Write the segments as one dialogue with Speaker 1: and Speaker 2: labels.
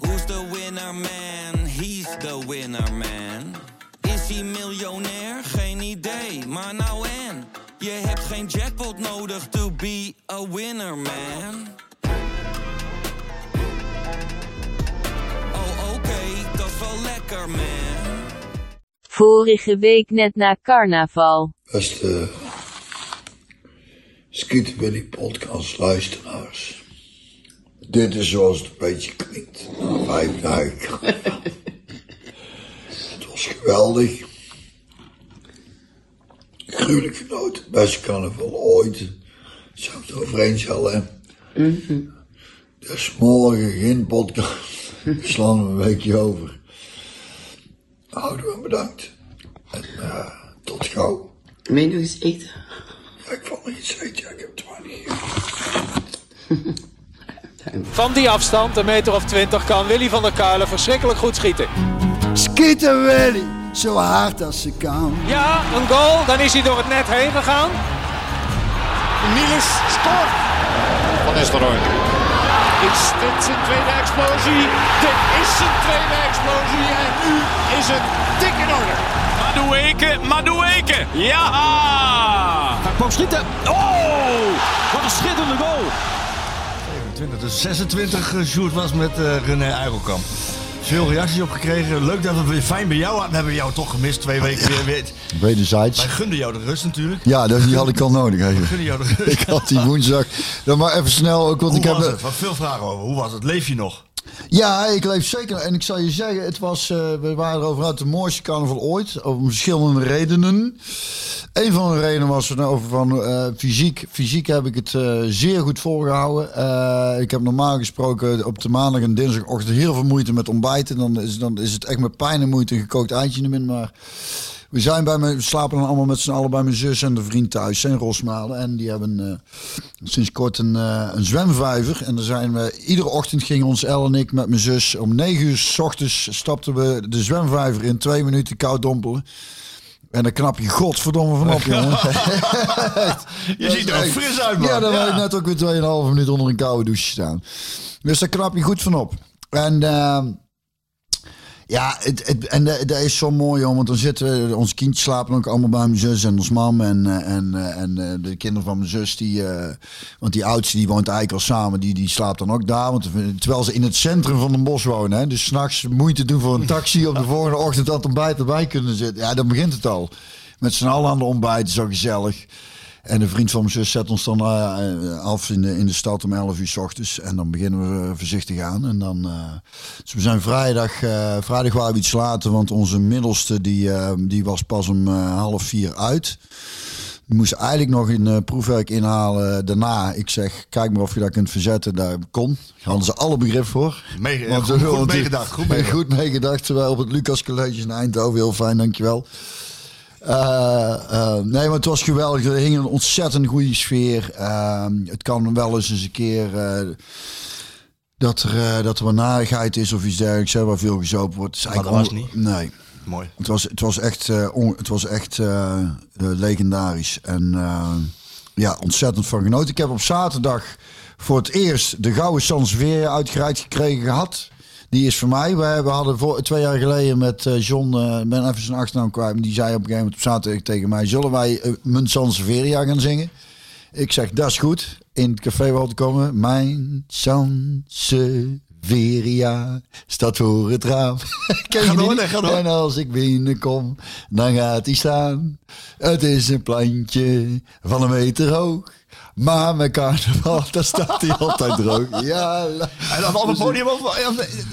Speaker 1: Who's the winner man? He's the winner man. Is hij miljonair? Geen idee, maar nou en. Je hebt geen jackpot nodig to be a winner man. Oh oké, dat is wel lekker man.
Speaker 2: Vorige week net na carnaval.
Speaker 3: Beste Skitterbilly podcast luisteraars. Dit is zoals het een beetje klinkt. Na vijf dagen. het was geweldig. Gruwelijk genoten. Beste carnaval ooit. Zou het over eens al, hè? Dus morgen geen podcast. Slaan we een weekje over. Houden we bedankt. En eh, tot gauw.
Speaker 4: Wil je nog eens eten?
Speaker 3: Ja, ik vond niet eten, ik heb het maar niet.
Speaker 5: Van die afstand, een meter of twintig, kan Willy van der Kuilen verschrikkelijk goed schieten.
Speaker 6: Schieten Willy, zo hard als ze kan.
Speaker 5: Ja, een goal, dan is hij door het net heen gegaan.
Speaker 7: Niels scoort. Van Nistelrooy. Is dit zijn tweede explosie? Dit is zijn tweede explosie. En nu is het dik in orde.
Speaker 8: Madueke, Madueke. Ja! Hij kwam schieten. Oh! Wat een schitterende goal.
Speaker 9: 20, dus 26 eh, Sjoerd was met eh, René Eikelkamp. Veel reacties op gekregen. Leuk dat we weer fijn bij jou hadden. We hebben jou toch gemist twee weken weer. weer. Wij
Speaker 10: Wederzijds.
Speaker 9: gunden jou de rust natuurlijk.
Speaker 10: Ja, dat, die had ik al nodig.
Speaker 9: We
Speaker 10: Even.
Speaker 9: gunnen jou de rust.
Speaker 10: Ik had die woensdag. Dan maar even snel ook, want
Speaker 9: Hoe
Speaker 10: ik heb.
Speaker 9: was het? Wat veel vragen over. Hoe was het? Leef je nog?
Speaker 10: Ja, ik leef zeker. En ik zal je zeggen, het was, eh, we waren erover uit de mooiste carnaval ooit. Om verschillende redenen. Een van de redenen was er nou over van eh, fysiek. Fysiek heb ik het eh, zeer goed volgehouden. Eh, ik heb normaal gesproken op de maandag en dinsdagochtend heel veel moeite met ontbijten. Dan is, dan is het echt met pijn en moeite een gekookt eitje in de min. Maar we zijn bij me, we slapen dan allemaal met z'n allen bij mijn zus en de vriend thuis in Rosmalen. En die hebben eh, sinds kort een, eh, een zwemvijver. En daar zijn we, iedere ochtend gingen ons El en ik met mijn zus om 9 uur s ochtends stapten we de zwemvijver in twee minuten koud dompelen. En dan knap je godverdomme van op, jongen.
Speaker 9: Je ziet er ook fris uit, man.
Speaker 10: Ja, dan
Speaker 9: Ja.
Speaker 10: heb ik net ook weer 2,5 minuut onder een koude douche staan. Dus daar knap je goed van op. En ehm, ja, het, het- en eh, dat dat is zo mooi, hoor, want dan zitten we, ons kindjes slapen ook allemaal bij mijn zus en ons mam en, eh, en, eh, en eh, de kinderen van mijn zus, die, eh, want die oudste die woont eigenlijk al samen, die, die slaapt dan ook daar, want, terwijl ze in het centrum van een bos wonen, hè, dus s'nachts moeite doen voor een taxi, op de volgende ochtend dat ontbijt erbij kunnen zitten. Ja, dan begint het al. Met z'n allen aan de ontbijt, zo gezellig. En een vriend van mijn zus zet ons dan eh, af in de, in de stad om 11 uur s ochtends. En dan beginnen we eh, voorzichtig aan. En dan, eh, dus we zijn vrijdag, eh, vrijdag waren we iets later, want onze middelste die, eh, die was pas om eh, half vier uit. Die moest eigenlijk nog een eh, proefwerk inhalen daarna. Ik zeg, kijk maar of je dat kunt verzetten. Daar kon. Daar hadden ze alle begrip voor.
Speaker 9: Mee-
Speaker 10: Want
Speaker 9: goed-
Speaker 10: we
Speaker 9: goed
Speaker 10: wilden-
Speaker 9: meegedacht, goed meegedacht.
Speaker 10: Goed meegedacht. Terwijl op het Lucas College in Eindhoven. Heel fijn, dankjewel. Eh, eh, nee, maar het was geweldig. Er hing een ontzettend goede sfeer. Ehm, het kan wel eens eens een keer eh, dat, er, eh, dat er wat narigheid is of iets dergelijks. Hè, waar veel gezopen wordt. Het is
Speaker 9: Maar dat
Speaker 10: eigenlijk
Speaker 9: was
Speaker 10: on- Nee.
Speaker 9: Mooi.
Speaker 10: Het was, het was echt, eh, on- het was echt eh, eh, legendarisch. En eh, ja, ontzettend van genoten. Ik heb op zaterdag voor het eerst de Gouden Sans weer uitgereikt gekregen gehad. Die is voor mij. We, we hadden voor, twee jaar geleden met eh, John, eh, ik ben even zijn achternaam kwijt. maar Die zei op een gegeven moment op zaterdag tegen mij: Zullen wij eh, mijn Sans Veria gaan zingen? Ik zeg, dat is goed. In het café wel te komen. Mijn Sanseveria staat voor het raam. Ken je
Speaker 9: Ga door,
Speaker 10: die?
Speaker 9: nee, ga door.
Speaker 10: En als ik binnenkom, dan gaat hij staan. Het is een plantje van een meter hoog. Maar met carnaval, daar staat hij altijd droog. Ja, la-
Speaker 9: En dan op het podium ook wel- ja,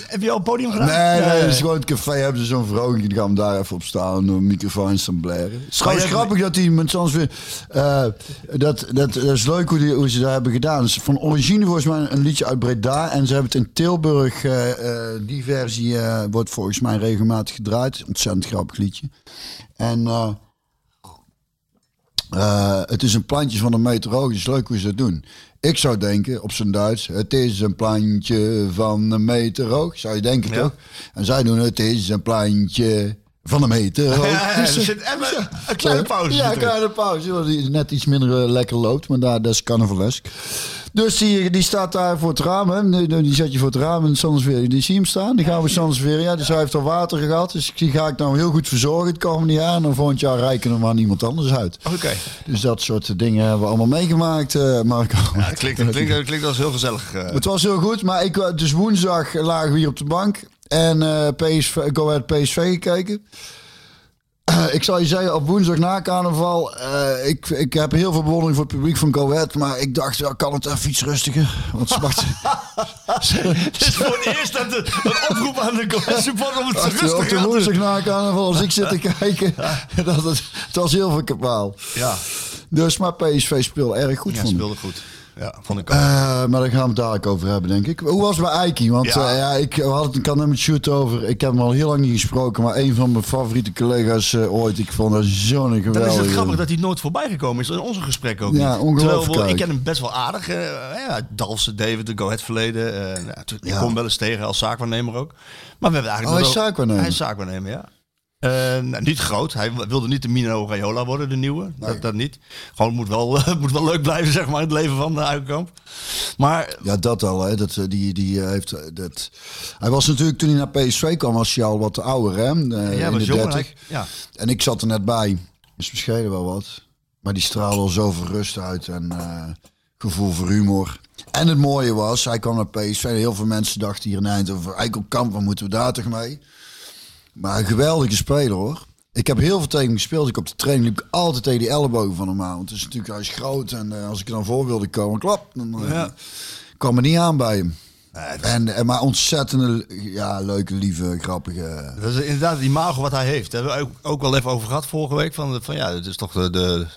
Speaker 9: Heb je al een podium gedaan?
Speaker 10: Dus- Nee, nee, dat is gewoon het café. Hebben ze zo'n vrouwtje, die gaan hem daar even op staan. Een microfoon staan blaren. Het is trouwens
Speaker 9: Maar jij-
Speaker 10: grappig dat die met soms weer... eh, dat, dat, dat is leuk hoe, die, hoe ze dat hebben gedaan. Het is van origine volgens mij een liedje uit Breda. En ze hebben het in Tilburg, eh, eh, die versie eh, wordt volgens mij regelmatig gedraaid. Ontzettend grappig liedje. En... eh, eh, het is een plantje van een meter hoog. Het is leuk hoe ze dat doen. Ik zou denken, op zijn Duits, het is een plantje van een meter hoog. Zou je denken toch? En zij doen, het is een plantje van een meter hoog.
Speaker 9: Ja, ja, er
Speaker 10: Dus, eh,
Speaker 9: zit even een kleine pauze.
Speaker 10: Ja,
Speaker 9: zit
Speaker 10: een
Speaker 9: erin.
Speaker 10: kleine pauze. want die Net iets minder eh, lekker loopt, maar daar, dat is carnavalesk. Dus die, die staat daar voor het raam. Hè? Die, die zet je voor het raam en Sans weer. Die zie je hem staan. Die gaan we Sans weer. Ja, dus hij heeft al water gehad. Dus die ga ik nou heel goed verzorgen het komende jaar. En dan volgend jaar reiken er maar niemand anders uit.
Speaker 9: Oké.
Speaker 10: Dus dat soort dingen hebben we allemaal meegemaakt, eh, Marco.
Speaker 9: Ja, het klinkt, het klinkt, het klinkt als heel gezellig. eh.
Speaker 10: Het was heel goed, maar ik, wa- dus woensdag lagen we hier op de bank. En eh PSV, Go Ahead PSV gekeken. ik zal je zeggen, op woensdag na carnaval... eh, ik, ik heb heel veel bewondering voor het publiek van Go Ahead. Maar ik dacht, ja, kan het even iets rustiger? Want zwart...
Speaker 9: Het is voor het eerst dat de, een oproep aan de Go- support om het te
Speaker 10: op
Speaker 9: rustig
Speaker 10: de
Speaker 9: aan te
Speaker 10: woensdag na carnaval, als ik zit te kijken... dat het, het was heel veel kapaal.
Speaker 9: Ja,
Speaker 10: Dus, maar PSV speelde erg goed,
Speaker 9: ja
Speaker 10: vond ik.
Speaker 9: speelde goed. Ja, vond ik ook.
Speaker 10: Eh, maar daar gaan we het dadelijk over hebben, denk ik. Hoe was het bij Eiki? Want
Speaker 9: Ja.
Speaker 10: ja. ja, ik had het een kan met shoot over. Ik heb hem al heel lang niet gesproken, maar een van mijn favoriete collega's eh, ooit. Ik vond dat zo'n
Speaker 9: Dan is het
Speaker 10: geweldige.
Speaker 9: grappig dat hij nooit voorbij gekomen is in onze gesprekken ook
Speaker 10: Ja,
Speaker 9: niet.
Speaker 10: ongelooflijk
Speaker 9: Terwijl wel- ik
Speaker 10: eigenlijk.
Speaker 9: ken hem best wel aardig. eh ja, Dalsen, David, de Go Ahead verleden. eh, nou, tu- Ik
Speaker 10: Ja.
Speaker 9: kom wel eens tegen als zaakwaarnemer ook. Maar we hebben eigenlijk
Speaker 10: Oh, hij is
Speaker 9: nog wel-
Speaker 10: zaakwaarnemer.
Speaker 9: Hij is zaakwaarnemer, ja. Eh, nou, niet groot. Hij wilde niet de Mino Raiola worden, de nieuwe. Dat, dat niet. Gewoon moet wel, moet wel leuk blijven, zeg maar, in het leven van de Uilenkamp. Maar
Speaker 10: Ja, dat al. Hè. Dat, eh, die, die eh, heeft, eh, dat... Hij was natuurlijk toen hij naar PSV kwam, was hij al wat ouder. Hè? Eh,
Speaker 9: ja,
Speaker 10: in
Speaker 9: was
Speaker 10: de
Speaker 9: jonger.
Speaker 10: 30.
Speaker 9: hij- Ja.
Speaker 10: En ik zat er net bij. Dus misschien wel wat. Maar die straalde al zoveel rust uit en eh, gevoel voor humor. En het mooie was, hij kwam naar PSV. Heel veel mensen dachten hier in Eindhoven, Eikelkamp, wat moeten we daar toch mee? Maar een geweldige speler hoor. Ik heb heel veel tegen hem gespeeld. Ik op de training liep ik altijd tegen die ellebogen van hem aan. Want het is natuurlijk, hij is groot. En eh, als ik er dan voor wilde komen, klap. Dan eh,
Speaker 9: Ja.
Speaker 10: kwam er niet aan bij hem.
Speaker 9: het
Speaker 10: En, en maar ontzettende, ja, leuke, lieve, grappige...
Speaker 9: Dat is inderdaad die imago wat hij heeft. Daar hebben we ook, ook wel even over gehad vorige week. Van, van ja, het is toch de, de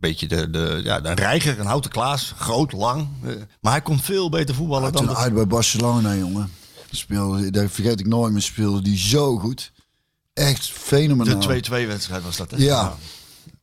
Speaker 9: beetje de, de, ja, de reiger, een houten klaas. Groot, lang. Eh, Maar hij komt veel beter voetballen
Speaker 10: Maar
Speaker 9: dan...
Speaker 10: toen
Speaker 9: dat-
Speaker 10: uit bij Barcelona, jongen. Speelde, daar vergeet ik nooit meer, speelde die zo goed. Echt
Speaker 9: de
Speaker 10: fenomenaal.
Speaker 9: 2-2 wedstrijd was dat. hè?
Speaker 10: Ja.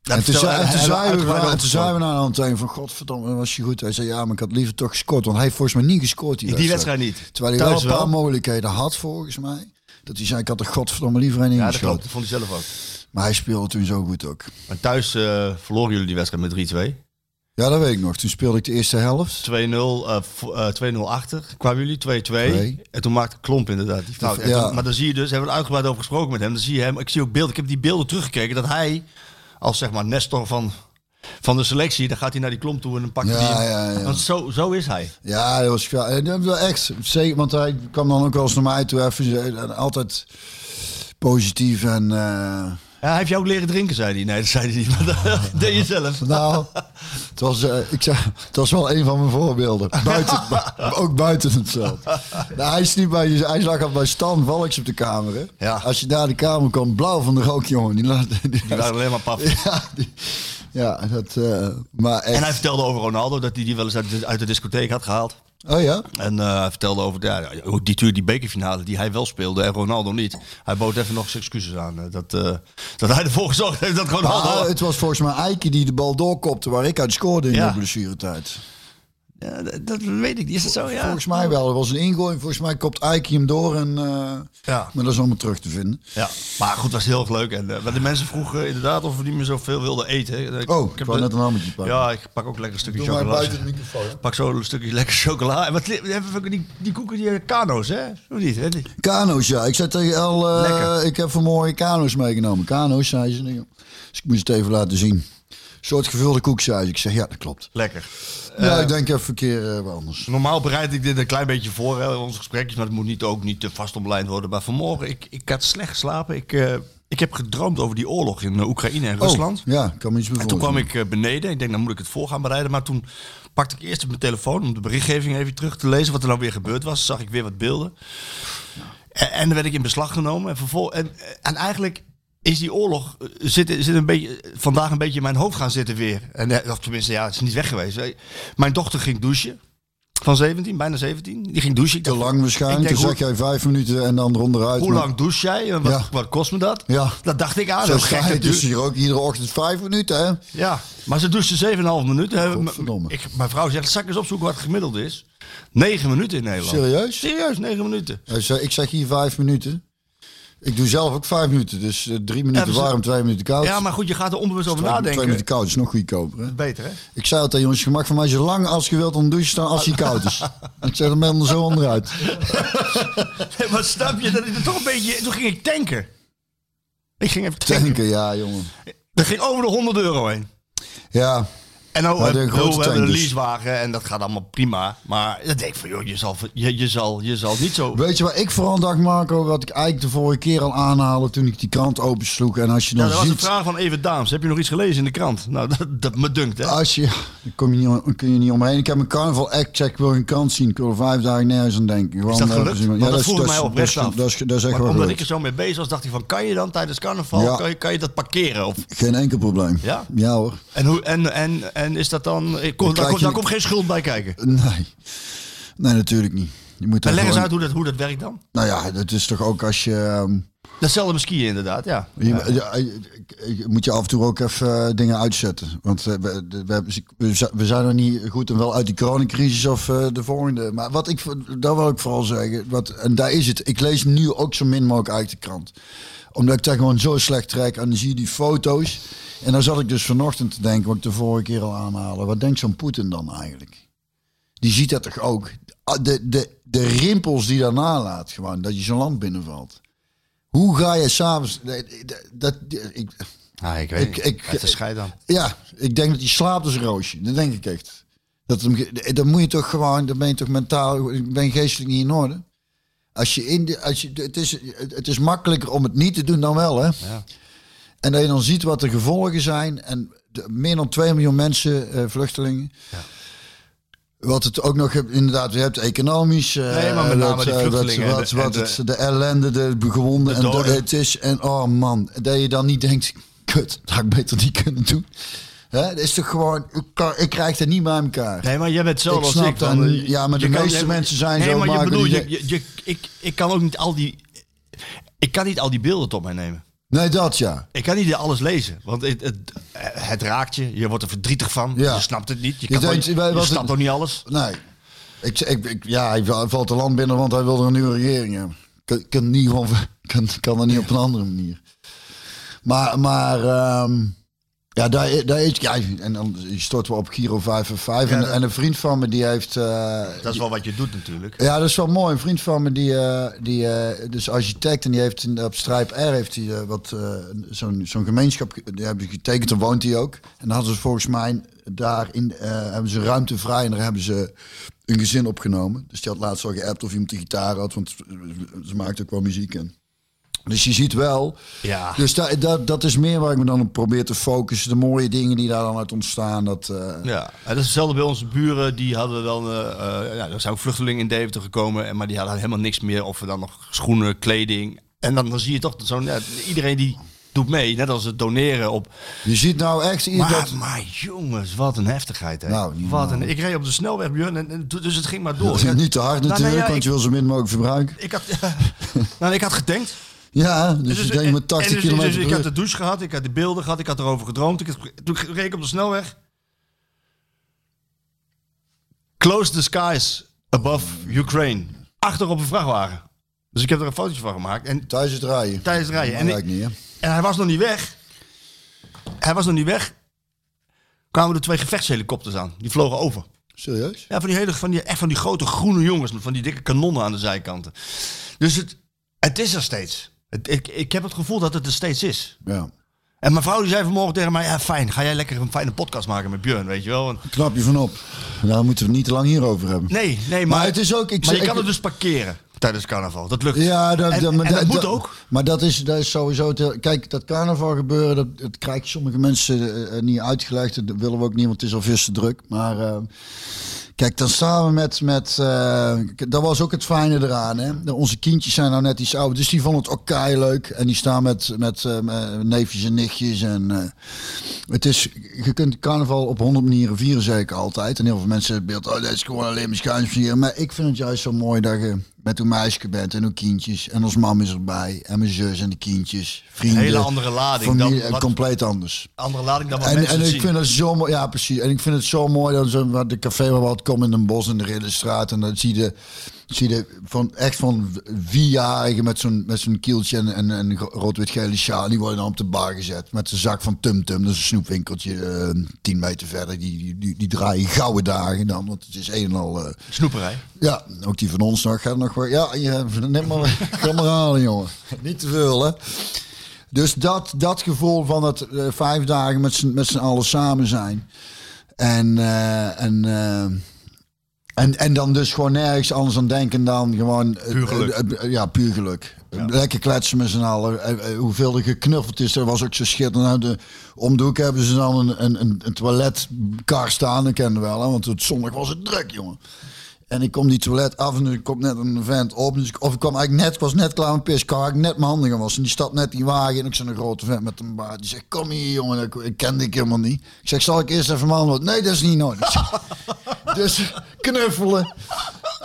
Speaker 10: En toen zei-
Speaker 9: vertelde
Speaker 10: en
Speaker 9: hij-
Speaker 10: toen
Speaker 9: hij
Speaker 10: zeiden we
Speaker 9: uitgebreid
Speaker 10: naar-
Speaker 9: over
Speaker 10: en toen zeiden we nou naar Antoine van godverdomme, was je goed. Hij zei ja, maar ik had liever toch gescoord. Want hij heeft volgens mij niet gescoord die
Speaker 9: In die
Speaker 10: wedstrijd.
Speaker 9: wedstrijd niet.
Speaker 10: Terwijl hij wel
Speaker 9: Thuis
Speaker 10: een paar mogelijkheden had volgens mij. Dat hij zei ik had er godverdomme liever een
Speaker 9: Ja, dat
Speaker 10: ingeschoten.
Speaker 9: klopt. Dat vond hij zelf ook.
Speaker 10: maar hij speelde toen zo goed ook.
Speaker 9: Maar thuis eh, verloren jullie die wedstrijd met 3-2. 2-0,
Speaker 10: Ja, dat weet ik nog. Toen speelde ik de eerste helft.
Speaker 9: eh, vo- eh, 2-0 achter. Kwamen jullie 2-2.
Speaker 10: Twee.
Speaker 9: En toen maakte Klomp inderdaad die fout. En
Speaker 10: Ja.
Speaker 9: toen- maar dan zie je dus, hebben we er uitgebreid over gesproken met hem. Dan zie je hem, ik zie ook beelden, ik heb die beelden teruggekeken. Dat hij, als zeg maar Nestor van, van de selectie, dan gaat hij naar die Klomp toe en dan pakt hij
Speaker 10: Ja,
Speaker 9: die.
Speaker 10: ja, ja.
Speaker 9: Want zo, zo is hij.
Speaker 10: Ja, dat was ja, en dat was echt. Zeker, want hij kwam dan ook wel eens naar mij toe. Even, eh, en altijd positief en... eh,
Speaker 9: Ja, hij heeft jou ook leren drinken, zei hij. Nee, dat zei hij niet. Maar dat deed je zelf.
Speaker 10: Nou, het was, eh, ik zei, het was wel een van mijn voorbeelden. Buiten, bu- ook buiten het veld. Nou, hij, is niet bij, hij lag al bij Stan Valks op de kamer. Hè?
Speaker 9: Ja.
Speaker 10: Als je daar de kamer kwam, blauw van de rook, jongen. Die, laat- die,
Speaker 9: Die waren alleen maar paf.
Speaker 10: ja, die- ja, dat... eh, maar echt.
Speaker 9: En hij vertelde over Ronaldo dat hij die wel eens uit de, uit de discotheek had gehaald.
Speaker 10: Oh ja?
Speaker 9: En eh, hij vertelde over ja, ja, ook die, tuur- die bekerfinale die hij wel speelde en Ronaldo niet. Hij bood even nog zijn excuses aan. eh, Dat, eh, dat hij ervoor gezorgd heeft dat Ronaldo...
Speaker 10: Ah, het was volgens mij Eike die de bal doorkopte waar ik uit scoorde in
Speaker 9: Ja.
Speaker 10: de blessuretijd.
Speaker 9: Ja, dat, dat weet ik niet. Is het zo? Ja.
Speaker 10: Volgens mij wel. Er was een ingooi. Volgens mij kopt Eike hem door. En, eh,
Speaker 9: Ja.
Speaker 10: Maar dat is allemaal terug te vinden.
Speaker 9: Ja. Maar goed, het was heel erg leuk. En, eh, maar de mensen vroegen inderdaad of we niet meer zoveel wilden eten. En Ik,
Speaker 10: Oh, ik
Speaker 9: heb
Speaker 10: wou
Speaker 9: de-
Speaker 10: net een hammetje pakken.
Speaker 9: Ja, ik pak ook lekker een stukje
Speaker 10: Doe maar
Speaker 9: chocola.
Speaker 10: buiten het microfoon. hè.
Speaker 9: Pak zo een stukje lekker chocola. En wat li- we hebben ook die, die koeken, die eh, kano's, hè? Of niet? Hè? Die-
Speaker 10: Kano's, ja. Ik zei tegen El, eh,
Speaker 9: Lekker.
Speaker 10: ik heb vanmorgen kano's meegenomen. Kano's, zei ze. Dus ik moest het even laten zien. Een soort gevulde koek, zei ze. Ik zeg, ja, dat klopt.
Speaker 9: Lekker.
Speaker 10: ja, ik denk even een keer eh, wat anders.
Speaker 9: Normaal bereid ik dit een klein beetje voor, hè, onze gesprekjes, maar het moet niet, ook niet te vast omlijnd worden. Maar vanmorgen, ik, ik had slecht geslapen. Ik, eh, ik heb gedroomd over die oorlog in eh, Oekraïne en Rusland.
Speaker 10: Oh, ja, ik kan me iets
Speaker 9: En
Speaker 10: bevoorstellen.
Speaker 9: toen kwam ik eh, beneden. Ik denk, dan moet ik het voor gaan bereiden. Maar toen pakte ik eerst op mijn telefoon om de berichtgeving even terug te lezen. Wat er nou weer gebeurd was. Zag ik weer wat beelden. En, en dan werd ik in beslag genomen. En, vervol en, en eigenlijk is die oorlog eh, zit, zit een beetje, vandaag een beetje in mijn hoofd gaan zitten weer. En, eh, of tenminste, ja, het is niet weg geweest. Eh, Mijn dochter ging douchen. Van 17, bijna 17. Die ging douchen. Ik
Speaker 10: Te
Speaker 9: dacht,
Speaker 10: lang waarschijnlijk.
Speaker 9: ik
Speaker 10: Toen
Speaker 9: denk,
Speaker 10: zag jij vijf minuten en dan eronderuit.
Speaker 9: Hoe
Speaker 10: Maar
Speaker 9: lang douche jij? En wat,
Speaker 10: Ja.
Speaker 9: wat kost me dat?
Speaker 10: Ja.
Speaker 9: Dat dacht ik aan.
Speaker 10: Zo
Speaker 9: Dat is gek
Speaker 10: ga je dus
Speaker 9: natuurlijk.
Speaker 10: hier ook iedere ochtend vijf minuten, hè?
Speaker 9: Ja, maar ze douchte 7,5 minuten. Hè.
Speaker 10: Godverdomme.
Speaker 9: Ik, mijn vrouw zegt, zal ik eens opzoeken wat het gemiddeld is? 9 minuten in Nederland.
Speaker 10: Serieus?
Speaker 9: Serieus, 9 minuten.
Speaker 10: Hij zei, ik zeg hier vijf minuten. Ik doe zelf ook vijf minuten, dus eh, drie minuten
Speaker 9: maar ze-
Speaker 10: warm, twee minuten koud.
Speaker 9: Ja, maar goed, je gaat er onbewust over
Speaker 10: twee, twee minuten
Speaker 9: nadenken.
Speaker 10: koud is nog goedkoper. Hè?
Speaker 9: Beter, hè?
Speaker 10: Ik zei altijd, jongens, je mag van mij zo lang als je wilt onder de douche staan als hij koud is. ik zeg hem helemaal zo onderuit.
Speaker 9: Nee, maar snap je, dat is toch een beetje... Toen ging ik tanken. Ik ging even tanken.
Speaker 10: Tanken, ja, jongen.
Speaker 9: Dat ging over de 100 euro heen.
Speaker 10: Ja,
Speaker 9: En nou,
Speaker 10: Maar de
Speaker 9: eh, ik bedoel,
Speaker 10: grote
Speaker 9: we hebben een
Speaker 10: tank dus.
Speaker 9: leasewagen en dat gaat allemaal prima. Maar dan denk ik van, joh, je zal, je, je zal, je zal niet zo...
Speaker 10: weet je wat ik vooral dacht, Marco? Wat ik eigenlijk de vorige keer al aanhaalde toen ik die krant opensloeg. En als je
Speaker 9: Ja,
Speaker 10: dan
Speaker 9: dat was een
Speaker 10: ziet...
Speaker 9: vraag van Evert Daams. Heb je nog iets gelezen in de krant? Nou, dat, dat me dunkt, hè?
Speaker 10: Als je, daar kom je niet, om- kun je niet omheen. Ik heb een carnaval act check, ik wil een kant zien. Ik wil er vijf dagen nergens aan denken. Gewoon,
Speaker 9: Is dat
Speaker 10: eh,
Speaker 9: gelukt?
Speaker 10: zien-
Speaker 9: Want dat,
Speaker 10: is-
Speaker 9: vroeg
Speaker 10: is-
Speaker 9: mij oprecht
Speaker 10: dat is-
Speaker 9: af.
Speaker 10: Dat is, dat is echt
Speaker 9: Maar
Speaker 10: wel
Speaker 9: omdat ik
Speaker 10: gelukt.
Speaker 9: er zo mee bezig was, dacht ik van, kan je dan tijdens carnaval,
Speaker 10: Ja.
Speaker 9: kan, je, kan je dat parkeren? Of,
Speaker 10: Geen enkel probleem.
Speaker 9: Ja?
Speaker 10: Ja hoor.
Speaker 9: en, hoe, en, en, en is dat dan... Ik kon,
Speaker 10: Dan
Speaker 9: daar,
Speaker 10: krijg
Speaker 9: komt-
Speaker 10: je-
Speaker 9: daar komt geen schuld bij kijken.
Speaker 10: Nee. Nee, natuurlijk niet. Je moet
Speaker 9: Maar
Speaker 10: daar
Speaker 9: leg eens
Speaker 10: gewoon-
Speaker 9: uit hoe dat, hoe dat werkt dan.
Speaker 10: Nou ja, dat is toch ook als je... ehm,
Speaker 9: Datzelfde met skiën inderdaad, ja.
Speaker 10: Je, ja, je- je- je moet je af en toe ook even eh, dingen uitzetten. Want eh, we, de- we, hebben- we zi- we zijn er niet goed en wel uit die coronacrisis of eh, de volgende. Maar wat ik, dat wil ik vooral zeggen. Wat, en daar is het. Ik lees nu ook zo min mogelijk uit de krant. Omdat ik daar gewoon zo slecht trek. En dan zie je die foto's. En dan zat ik dus vanochtend te denken, wat ik de vorige keer al aanhaalde. Wat denkt zo'n Poetin dan eigenlijk? Die ziet dat toch ook? Ah, De, de, de rimpels die daarna laat gewoon. Dat je zo'n land binnenvalt. Hoe ga je s'avonds... nee, Dat, dat, ik,
Speaker 9: Ah, ik
Speaker 10: Ik- ik-
Speaker 9: het is scheid aan.
Speaker 10: ja, ik denk dat hij slaapt als een roosje. Dat denk ik echt. Dat, hem ge- dan moet je toch gewoon... Dan ben je toch mentaal... Ik ben geestelijk niet in orde. Als je in de, als je, het, is, het is makkelijker om het niet te doen dan wel, hè? En dat je dan ziet wat de gevolgen zijn. En de- meer dan 2 miljoen mensen, eh, vluchtelingen. Wat het ook nog hebt, inderdaad, je hebt economisch. eh,
Speaker 9: Nee, maar met name
Speaker 10: dat,
Speaker 9: die
Speaker 10: eh, dat-
Speaker 9: vluchtelingen en
Speaker 10: Wat,
Speaker 9: de-
Speaker 10: wat
Speaker 9: en
Speaker 10: het-
Speaker 9: de-
Speaker 10: de, ellende, de gewonden.
Speaker 9: De
Speaker 10: en dat
Speaker 9: doden.
Speaker 10: het is. En oh man, dat je dan niet denkt: kut, dat had ik beter niet kunnen doen. Hè, dat is toch gewoon, ik, kan- ik krijg het niet bij elkaar.
Speaker 9: Nee, maar jij bent zo
Speaker 10: Ik
Speaker 9: als
Speaker 10: snap
Speaker 9: ik.
Speaker 10: dat
Speaker 9: van, eh,
Speaker 10: niet. Ja, maar
Speaker 9: je
Speaker 10: de meeste mensen zijn
Speaker 9: nee,
Speaker 10: zo,
Speaker 9: maar je
Speaker 10: Marco,
Speaker 9: bedoelt,
Speaker 10: die
Speaker 9: je, je, je- ik, ik kan ook niet al die... Ik kan niet al die beelden tot mij nemen.
Speaker 10: Nee, dat ja.
Speaker 9: Ik kan niet alles lezen, want het, het, het raakt je. Je wordt er verdrietig van.
Speaker 10: Ja.
Speaker 9: Je snapt het niet. Je,
Speaker 10: Je
Speaker 9: kan
Speaker 10: denkt,
Speaker 9: wel-
Speaker 10: wij-
Speaker 9: je
Speaker 10: wat-
Speaker 9: snapt ook niet alles.
Speaker 10: Nee. Ik, ik, ik- ja, hij va- valt de land binnen, want hij wil er een nieuwe regering hebben. Kan, kan, niet gewoon, kan, kan dat niet op een andere manier. Maar, maar ehm, ja, daar, daar is, ja, en dan storten we op Giro 5 en 5. en,
Speaker 9: dat-
Speaker 10: en een vriend van me die heeft... eh,
Speaker 9: Dat is wel wat je doet natuurlijk.
Speaker 10: ja, dat is wel mooi. Een vriend van me, die, eh, die eh, dus architect, en die heeft in, op Strijp R heeft hij eh, wat eh, zo'n zo'n gemeenschap, ge- die hebben ze getekend, daar woont hij ook. En dan hadden ze volgens mij daar in, eh, hebben ze ruimte vrij en daar hebben ze een gezin opgenomen. Dus die had laatst al geappt of iemand de gitaar had, want ze maakt ook wel muziek en... Dus je ziet wel.
Speaker 9: Ja.
Speaker 10: Dus da, da- dat is meer waar ik me dan op probeer te focussen. De mooie dingen die daar dan uit ontstaan. Dat, eh,
Speaker 9: Ja, en dat is hetzelfde bij onze buren. Die hadden wel, eh, eh, ja, er zijn ook vluchtelingen in Deventer gekomen, en- maar die hadden helemaal niks meer. Of dan nog schoenen, kleding. En dan, dan zie je toch dat zo'n, ja, iedereen die doet mee, net als het doneren op.
Speaker 10: Je ziet nou echt...
Speaker 9: Maar,
Speaker 10: dat,
Speaker 9: maar jongens, wat een heftigheid. Hè?
Speaker 10: Nou, niet
Speaker 9: wat een, ik reed op de snelweg, Björn, en, en- dus het ging maar door. Ik had-
Speaker 10: niet te hard
Speaker 9: Nou,
Speaker 10: natuurlijk,
Speaker 9: nou ja,
Speaker 10: want je wil zo min mogelijk verbruiken.
Speaker 9: ik, ik had, nou, ik had getankt.
Speaker 10: Ja, dus,
Speaker 9: Dus-
Speaker 10: je denkt
Speaker 9: en-
Speaker 10: met 80
Speaker 9: en dus-
Speaker 10: kilometer
Speaker 9: dus
Speaker 10: per
Speaker 9: ik had
Speaker 10: uur.
Speaker 9: de douche gehad, ik had de beelden gehad, ik had erover gedroomd. Ik had- toen reed ik op de snelweg. Close the skies above Ukraine. Achter op een vrachtwagen. Dus ik heb er een fotootje van gemaakt. En,
Speaker 10: Thuis het rijden.
Speaker 9: Tijdens het rijden.
Speaker 10: Dat
Speaker 9: En
Speaker 10: maakt
Speaker 9: ik-
Speaker 10: niet, hè?
Speaker 9: en hij was nog niet weg. Hij was nog niet weg. Kwamen er twee gevechtshelikopters aan. Die vlogen over.
Speaker 10: Serieus?
Speaker 9: Ja, van die hele, van die, echt van die grote groene jongens met van die dikke kanonnen aan de zijkanten. Dus het, het is er steeds. Het, ik, ik heb het gevoel dat het er steeds is.
Speaker 10: Ja.
Speaker 9: En mijn vrouw die zei vanmorgen tegen mij, ja fijn, ga jij lekker een fijne podcast maken met Björn, weet je wel. En-
Speaker 10: Knap je van op. Daar moeten we het niet te lang hierover hebben.
Speaker 9: nee, nee, maar,
Speaker 10: Maar het is ook- ik
Speaker 9: maar je
Speaker 10: zeg-
Speaker 9: kan
Speaker 10: ik-
Speaker 9: het dus parkeren tijdens carnaval, dat lukt.
Speaker 10: Ja, dat,
Speaker 9: en,
Speaker 10: dat, maar
Speaker 9: en dat
Speaker 10: dat-
Speaker 9: moet
Speaker 10: dat-
Speaker 9: ook.
Speaker 10: Maar dat is, dat is sowieso... te- kijk, dat carnaval gebeuren, dat, dat krijgen sommige mensen eh, eh, niet uitgelegd. Dat willen we ook niet, want het is alvast te druk. Maar eh, kijk, dan staan we met... met eh, k- dat was ook het fijne eraan. Hè? De- Onze kindjes zijn nou net iets ouder, dus die vonden het ook kei leuk. En die staan met, met eh, eh, neefjes en nichtjes en... eh, Het is, je kunt carnaval op honderd manieren vieren, zeg ik altijd. En heel veel mensen hebben het beeld, oh, dat is gewoon alleen maar schuimsvieren. Maar ik vind het juist zo mooi dat je met uw meisje bent en uw kindjes. En ons mam is erbij. En mijn zus en de kindjes. Vrienden.
Speaker 9: hele andere lading
Speaker 10: Familie,
Speaker 9: dan
Speaker 10: eh,
Speaker 9: wat-
Speaker 10: compleet anders.
Speaker 9: Andere lading dan wat
Speaker 10: En,
Speaker 9: mensen
Speaker 10: en
Speaker 9: het
Speaker 10: ik
Speaker 9: zien.
Speaker 10: vind het zo mooi, ja precies. En ik vind het zo mooi dat zo, wat de café waar we altijd kom in een bos in de Ridderstraat en dan zie je, zie je van, echt van vierjarigen met zo'n, met zo'n kieltje en, en, en gro- rood-wit-gele sjaal. Die worden dan op de bar gezet met een zak van Tum Tum. Dat is een snoepwinkeltje eh, tien meter verder. Die, die, die, die draaien gouden dagen dan, want het is een en al... eh,
Speaker 9: Snoeperij.
Speaker 10: ja, ook die van ons nog. Gaat nog wel. Ja, ja, neem maar, ga maar halen, jongen. Niet te veel, hè? Dus dat, dat gevoel van dat eh, vijf dagen met z'n, met z'n allen samen zijn. En, eh, en, eh, en, en dan dus gewoon nergens anders aan denken dan gewoon... eh,
Speaker 9: Puur geluk.
Speaker 10: eh, eh, ja, puur geluk. Lekker kletsen met z'n allen. Eh, eh, Hoeveel er geknuffeld is, dat was ook zo schitterend. Nou, de, om de hoek hebben ze dan een, een, een, een toiletkar staan. Dat kennen we wel, hè, want het zondag was het druk, jongen. En ik kom die toilet af en er komt net een vent op. Dus ik, of ik kwam eigenlijk net, ik was net klaar met pissen. Ik had eigenlijk net mijn handen gewassen. En die stapt net die wagen en ik zag een grote vent met een baard. Die zegt, kom hier jongen. Ik, ik kende ik helemaal niet. Ik zeg, zal ik eerst even mijn handen wassen? Nee, dat is niet nodig. dus knuffelen.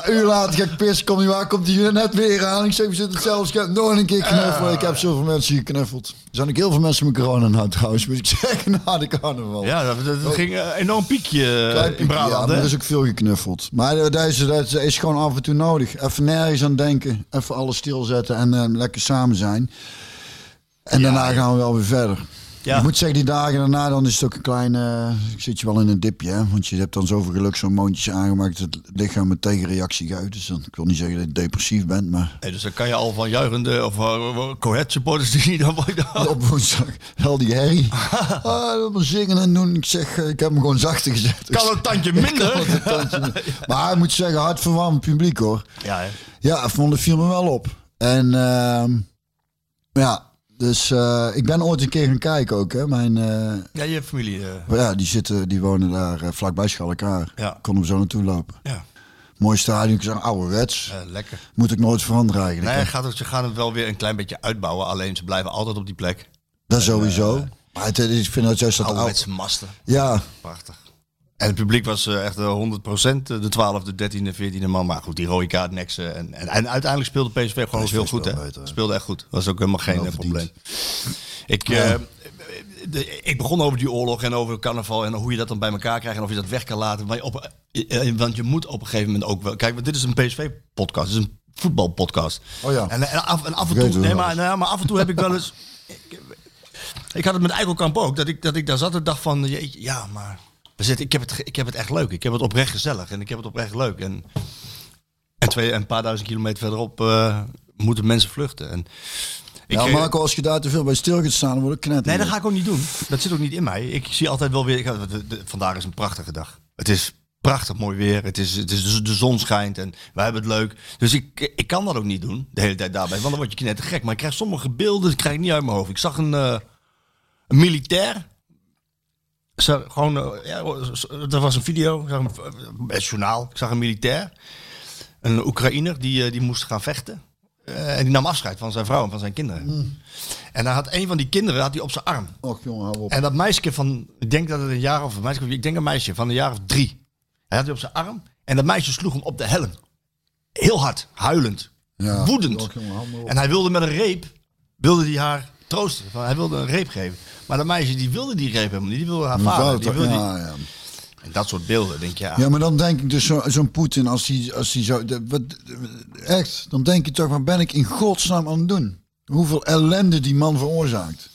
Speaker 10: Een uur later ga ik pissen. Kom die wagen, komt die hier net weer aan. Ik zeg, we zitten hetzelfde scherm. Nog een keer knuffelen. Ik heb zoveel mensen geknuffeld. Er zijn ook heel veel mensen met corona nou trouwens. Moet ik "Nou, zeggen, na de carnaval.
Speaker 9: Ja, dat, dat- dat ging eh, enorm piekje eh,
Speaker 10: Oh. Klein
Speaker 9: in
Speaker 10: piekje, ja,
Speaker 9: Brabant.
Speaker 10: maar
Speaker 9: hè?
Speaker 10: er is ook veel geknuffeld. Maar eh, dat is, dat is gewoon af en toe nodig. Even nergens aan denken. Even alles stilzetten en eh, lekker samen zijn. En daarna gaan we wel weer verder.
Speaker 9: Ja.
Speaker 10: Ik moet zeggen, die dagen daarna dan is het ook een klein... eh, ik zit je wel in een dipje, hè? Want je hebt dan zoveel geluk zo'n mondje aangemaakt... dat het lichaam een tegenreactie gaat. Dus dan, ik wil niet zeggen dat je depressief bent, maar...
Speaker 9: Hey, dus dan kan je al van juichende of uh, Cohet supporters die dan worden.
Speaker 10: Op woensdag, hel die herrie. Ah, allemaal zingen en doen. Ik zeg, eh, ik heb hem gewoon zachter gezet.
Speaker 9: Kan een tandje minder.
Speaker 10: Maar ik moet zeggen, hartverwarmend publiek hoor.
Speaker 9: Ja, hè.
Speaker 10: Ja, vond de film me wel op. En ehm, ja, dus eh, ik ben ooit een keer gaan kijken ook. Hè. Mijn, eh,
Speaker 9: ja, je familie. eh,
Speaker 10: ja, die, zitten, die wonen daar eh, vlakbij Schalkaar.
Speaker 9: Ja.
Speaker 10: Kon hem zo naartoe lopen.
Speaker 9: ja,
Speaker 10: Mooi stadion, ik zag ouderwets.
Speaker 9: eh, lekker.
Speaker 10: Moet ik nooit veranderen eigenlijk.
Speaker 9: Nee,
Speaker 10: hè.
Speaker 9: hij gaat, het- ze gaan het wel weer een klein beetje uitbouwen. Alleen ze blijven altijd op die plek.
Speaker 10: Dat sowieso.
Speaker 9: eh,
Speaker 10: maar het, ik vind dat juist dat
Speaker 9: Ouderwetse
Speaker 10: oud.
Speaker 9: masten.
Speaker 10: Ja,
Speaker 9: Prachtig. En het publiek was eh, echt eh, 100% de 12e, 13e, 14e man. Maar goed, die rode kaart, neksen. En, en, en uiteindelijk speelde PSV gewoon heel goed. Hè?
Speaker 10: speelde beter, hè?
Speaker 9: Speelde echt goed. Was ook helemaal geen eh,
Speaker 10: verdiend.
Speaker 9: probleem. Ik, eh, de- ik begon over die oorlog en over carnaval en hoe je dat dan bij elkaar krijgt en of je dat weg kan laten. Maar op, eh, eh, want je moet op een gegeven moment ook wel. Kijk, want dit is een PSV-podcast, dit is een voetbalpodcast.
Speaker 10: Oh ja.
Speaker 9: En, en af, en af en
Speaker 10: Vergeten
Speaker 9: toe,
Speaker 10: we
Speaker 9: nee,
Speaker 10: wel
Speaker 9: maar,
Speaker 10: eens.
Speaker 9: nou ja, maar af en toe heb ik wel eens. Ik, ik had het met Eikelkamp ook, dat ik, dat ik daar zat en dacht van, jeetje, ja, maar we zitten, ik, heb het, ge- ik heb het echt leuk. Ik heb het oprecht gezellig en ik heb het oprecht leuk. En, en, twee, en een paar duizend kilometer verderop eh, moeten mensen vluchten. En ik,
Speaker 10: ja
Speaker 9: eh,
Speaker 10: Marco, als je daar te veel bij stil gaat staan, dan word ik knetter.
Speaker 9: Nee, dat ga ik ook niet doen. Dat zit ook niet in mij. Ik zie altijd wel weer. ik ga- de- de- vandaag is een prachtige dag. Het is prachtig mooi weer. Het is, het is de, de zon schijnt en wij hebben het leuk. Dus ik, ik kan dat ook niet doen de hele tijd daarbij. Want dan word je knettergek. Maar ik krijg sommige beelden die krijg ik niet uit mijn hoofd. Ik zag een, eh, een militair. Zo, gewoon, eh, ja, er was een video, ik zag een, het journaal. Ik zag een militair, een Oekraïner, die, eh, die moest gaan vechten. Eh, en die nam afscheid van zijn vrouw en van zijn kinderen. En hij had een van die kinderen had hij op zijn arm.
Speaker 10: Och jongen, hou op.
Speaker 9: En dat meisje van, ik denk dat het een jaar of een meisje, ik denk een meisje van een jaar of drie. Hij had die op zijn arm en dat meisje sloeg hem op de helm. Heel hard, huilend,
Speaker 10: Ja,
Speaker 9: woedend.
Speaker 10: och, jongen, hou maar op.
Speaker 9: En hij wilde met een reep, wilde hij haar troosten. Van, hij wilde een reep geven. Maar dat meisje die wilde die reep helemaal niet, die wilde haar
Speaker 10: Mijn
Speaker 9: vader.
Speaker 10: vrouw
Speaker 9: Die
Speaker 10: toch-
Speaker 9: wilde die-
Speaker 10: ja, ja.
Speaker 9: En dat soort beelden, denk je, ja.
Speaker 10: Ja, maar dan denk ik dus zo- zo'n Poetin, als hij als die zo... dat- wat, echt, dan denk je toch, wat ben ik in godsnaam aan het doen? Hoeveel ellende die man veroorzaakt.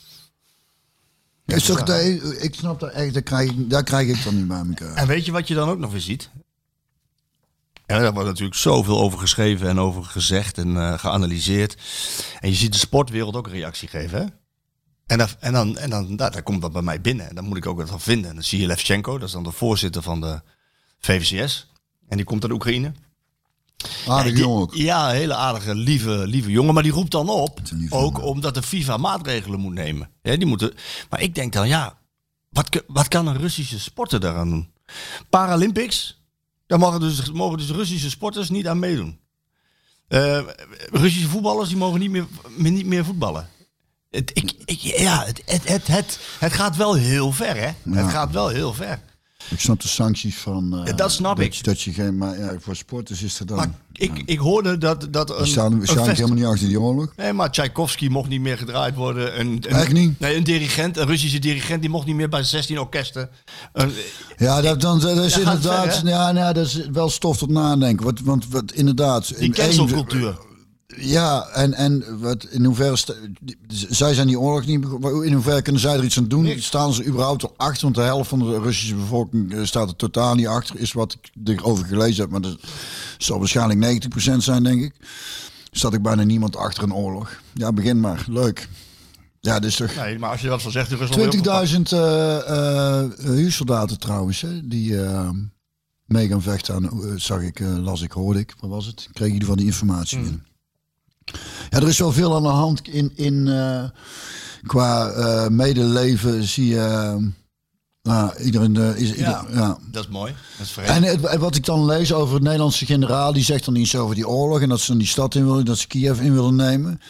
Speaker 10: Is toch, dat- ik snap dat echt, daar krijg, ik- daar krijg ik dan niet bij elkaar.
Speaker 9: En weet je wat je dan ook nog weer ziet? Ja, daar wordt natuurlijk zoveel over geschreven en over gezegd en eh, geanalyseerd. En je ziet de sportwereld ook een reactie geven. Hè? En, dan, en, dan, en dan, nou, daar komt dat bij mij binnen. En dan moet ik ook wat van vinden. En dan zie je Levchenko, dat is dan de voorzitter van de VVCS. En die komt uit Oekraïne.
Speaker 10: Aardig
Speaker 9: Die-
Speaker 10: jongen ook.
Speaker 9: Ja, een hele aardige, lieve, lieve jongen. Maar die roept dan op,
Speaker 10: een lieve
Speaker 9: ook
Speaker 10: jongen.
Speaker 9: omdat de FIFA maatregelen moet nemen. Ja, die moeten, maar ik denk dan, ja, wat, k- wat kan een Russische sporter daaraan doen? Paralympics, daar mogen dus, mogen dus Russische sporters niet aan meedoen. Eh, Russische voetballers, die mogen niet meer, meer- niet meer voetballen. Het, ik, ik, ja, het, het, het, het, het gaat wel heel ver, hè? Het gaat wel heel ver.
Speaker 10: Ik snap de sancties van... eh,
Speaker 9: Ja, dat snap ik.
Speaker 10: je- Dat je geen... Maar ja, voor sporters is dat dan...
Speaker 9: Maar ik, ik hoorde dat, dat een,
Speaker 10: Die staan,
Speaker 9: een
Speaker 10: staan
Speaker 9: fest-
Speaker 10: helemaal niet achter die oorlog.
Speaker 9: Nee, maar Tchaikovsky mocht niet meer gedraaid worden. Een, een,
Speaker 10: Echt niet?
Speaker 9: Nee, een dirigent, een Russische dirigent, die mocht niet meer bij 16 orkesten. Een-
Speaker 10: Ja, dat, dan, dat is
Speaker 9: gaat
Speaker 10: inderdaad...
Speaker 9: ver, hè?
Speaker 10: ja, nou, dat is wel stof tot nadenken. Want, want wat, inderdaad...
Speaker 9: die
Speaker 10: in één-
Speaker 9: cancelcultuur.
Speaker 10: Ja, en, en wat, in hoeverre... sta- die- zij zijn die oorlog niet begonnen. In hoeverre kunnen zij er iets aan doen? Staan ze überhaupt al achter? Want de helft van de Russische bevolking eh, staat er totaal niet achter. Is wat ik erover gelezen heb. Maar dat zal waarschijnlijk 90% zijn, denk ik. Staat ik bijna niemand achter een oorlog. Ja, begin maar. Leuk. Ja, dus toch...
Speaker 9: Nee, maar als je dat zo zegt, er is
Speaker 10: 20.000 eh, eh, huursoldaten trouwens, hè, die eh, mee gaan vechten aan, eh, zag ik, eh, las ik, hoorde ik, wat was het? Kreeg jullie van die informatie binnen. Ja, er is wel veel aan de hand in, in eh, qua eh, medeleven zie je, eh, nou, iedereen eh, is, ieder-
Speaker 9: Ja.
Speaker 10: ja.
Speaker 9: Dat is mooi. Dat is vreemd.
Speaker 10: En het- en wat ik dan lees over het Nederlandse generaal, die zegt dan iets over die oorlog en dat ze dan die stad in willen, dat ze Kiev in willen nemen.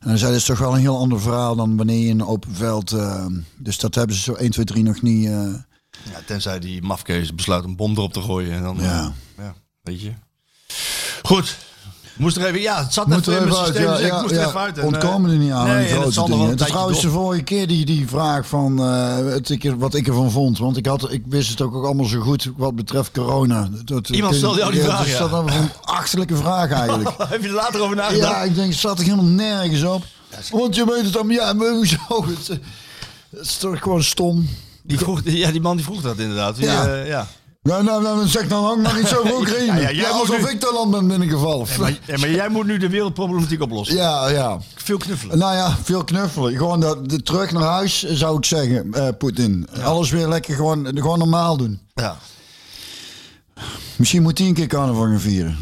Speaker 10: En dan zei dat is toch wel een heel ander verhaal dan wanneer je in een open veld. eh, dus dat hebben ze zo 1, 2, 3 nog niet. eh,
Speaker 9: Ja, tenzij die mafkees besluit een bom erop te gooien. En dan,
Speaker 10: Ja.
Speaker 9: ja. ja, weet je. Goed. Moest er even, ja, het zat
Speaker 10: Moet
Speaker 9: even
Speaker 10: er
Speaker 9: in
Speaker 10: even
Speaker 9: mijn
Speaker 10: uit.
Speaker 9: systeem,
Speaker 10: Ja,
Speaker 9: dus ik
Speaker 10: ja,
Speaker 9: moest er even
Speaker 10: ja.
Speaker 9: uit. En, eh,
Speaker 10: Ontkomen er niet aan.
Speaker 9: nee,
Speaker 10: Nee,
Speaker 9: en het
Speaker 10: grote
Speaker 9: zal nog wel
Speaker 10: dingen.
Speaker 9: een
Speaker 10: Het is
Speaker 9: tijdje
Speaker 10: trouwens de
Speaker 9: door.
Speaker 10: vorige keer die, die vraag van eh, het, ik, er- wat ik ervan vond. Want ik, had, ik wist het ook, ook allemaal zo goed wat betreft corona. Dat,
Speaker 9: Iemand stelde jou die vraag,
Speaker 10: Dat is
Speaker 9: ja.
Speaker 10: dat nou een achterlijke vraag eigenlijk.
Speaker 9: Heb je er later over nagedacht?
Speaker 10: Ja, ik denk, het staat er helemaal nergens op. Want je weet het dan, ja, maar hoezo? Het, eh, het is toch gewoon stom.
Speaker 9: Die, vroeg, ja, die man die vroeg dat inderdaad. Die,
Speaker 10: Ja.
Speaker 9: eh, ja.
Speaker 10: Nou, nou, nou zeg dan ook maar iets over Oekraïne.
Speaker 9: Ja,
Speaker 10: Ja,
Speaker 9: ja, jij moet
Speaker 10: alsof
Speaker 9: nu-
Speaker 10: ik dat land ben binnengevallen.
Speaker 9: Maar, ja, maar jij moet nu de wereldproblematiek oplossen.
Speaker 10: Ja, ja.
Speaker 9: Veel knuffelen.
Speaker 10: Nou ja, veel knuffelen. Gewoon dat, de, terug naar huis, eh, zou ik zeggen, eh, Poetin. Alles weer lekker gewoon, gewoon normaal doen.
Speaker 9: Ja.
Speaker 10: Misschien moet hij een keer carnaval gaan vieren.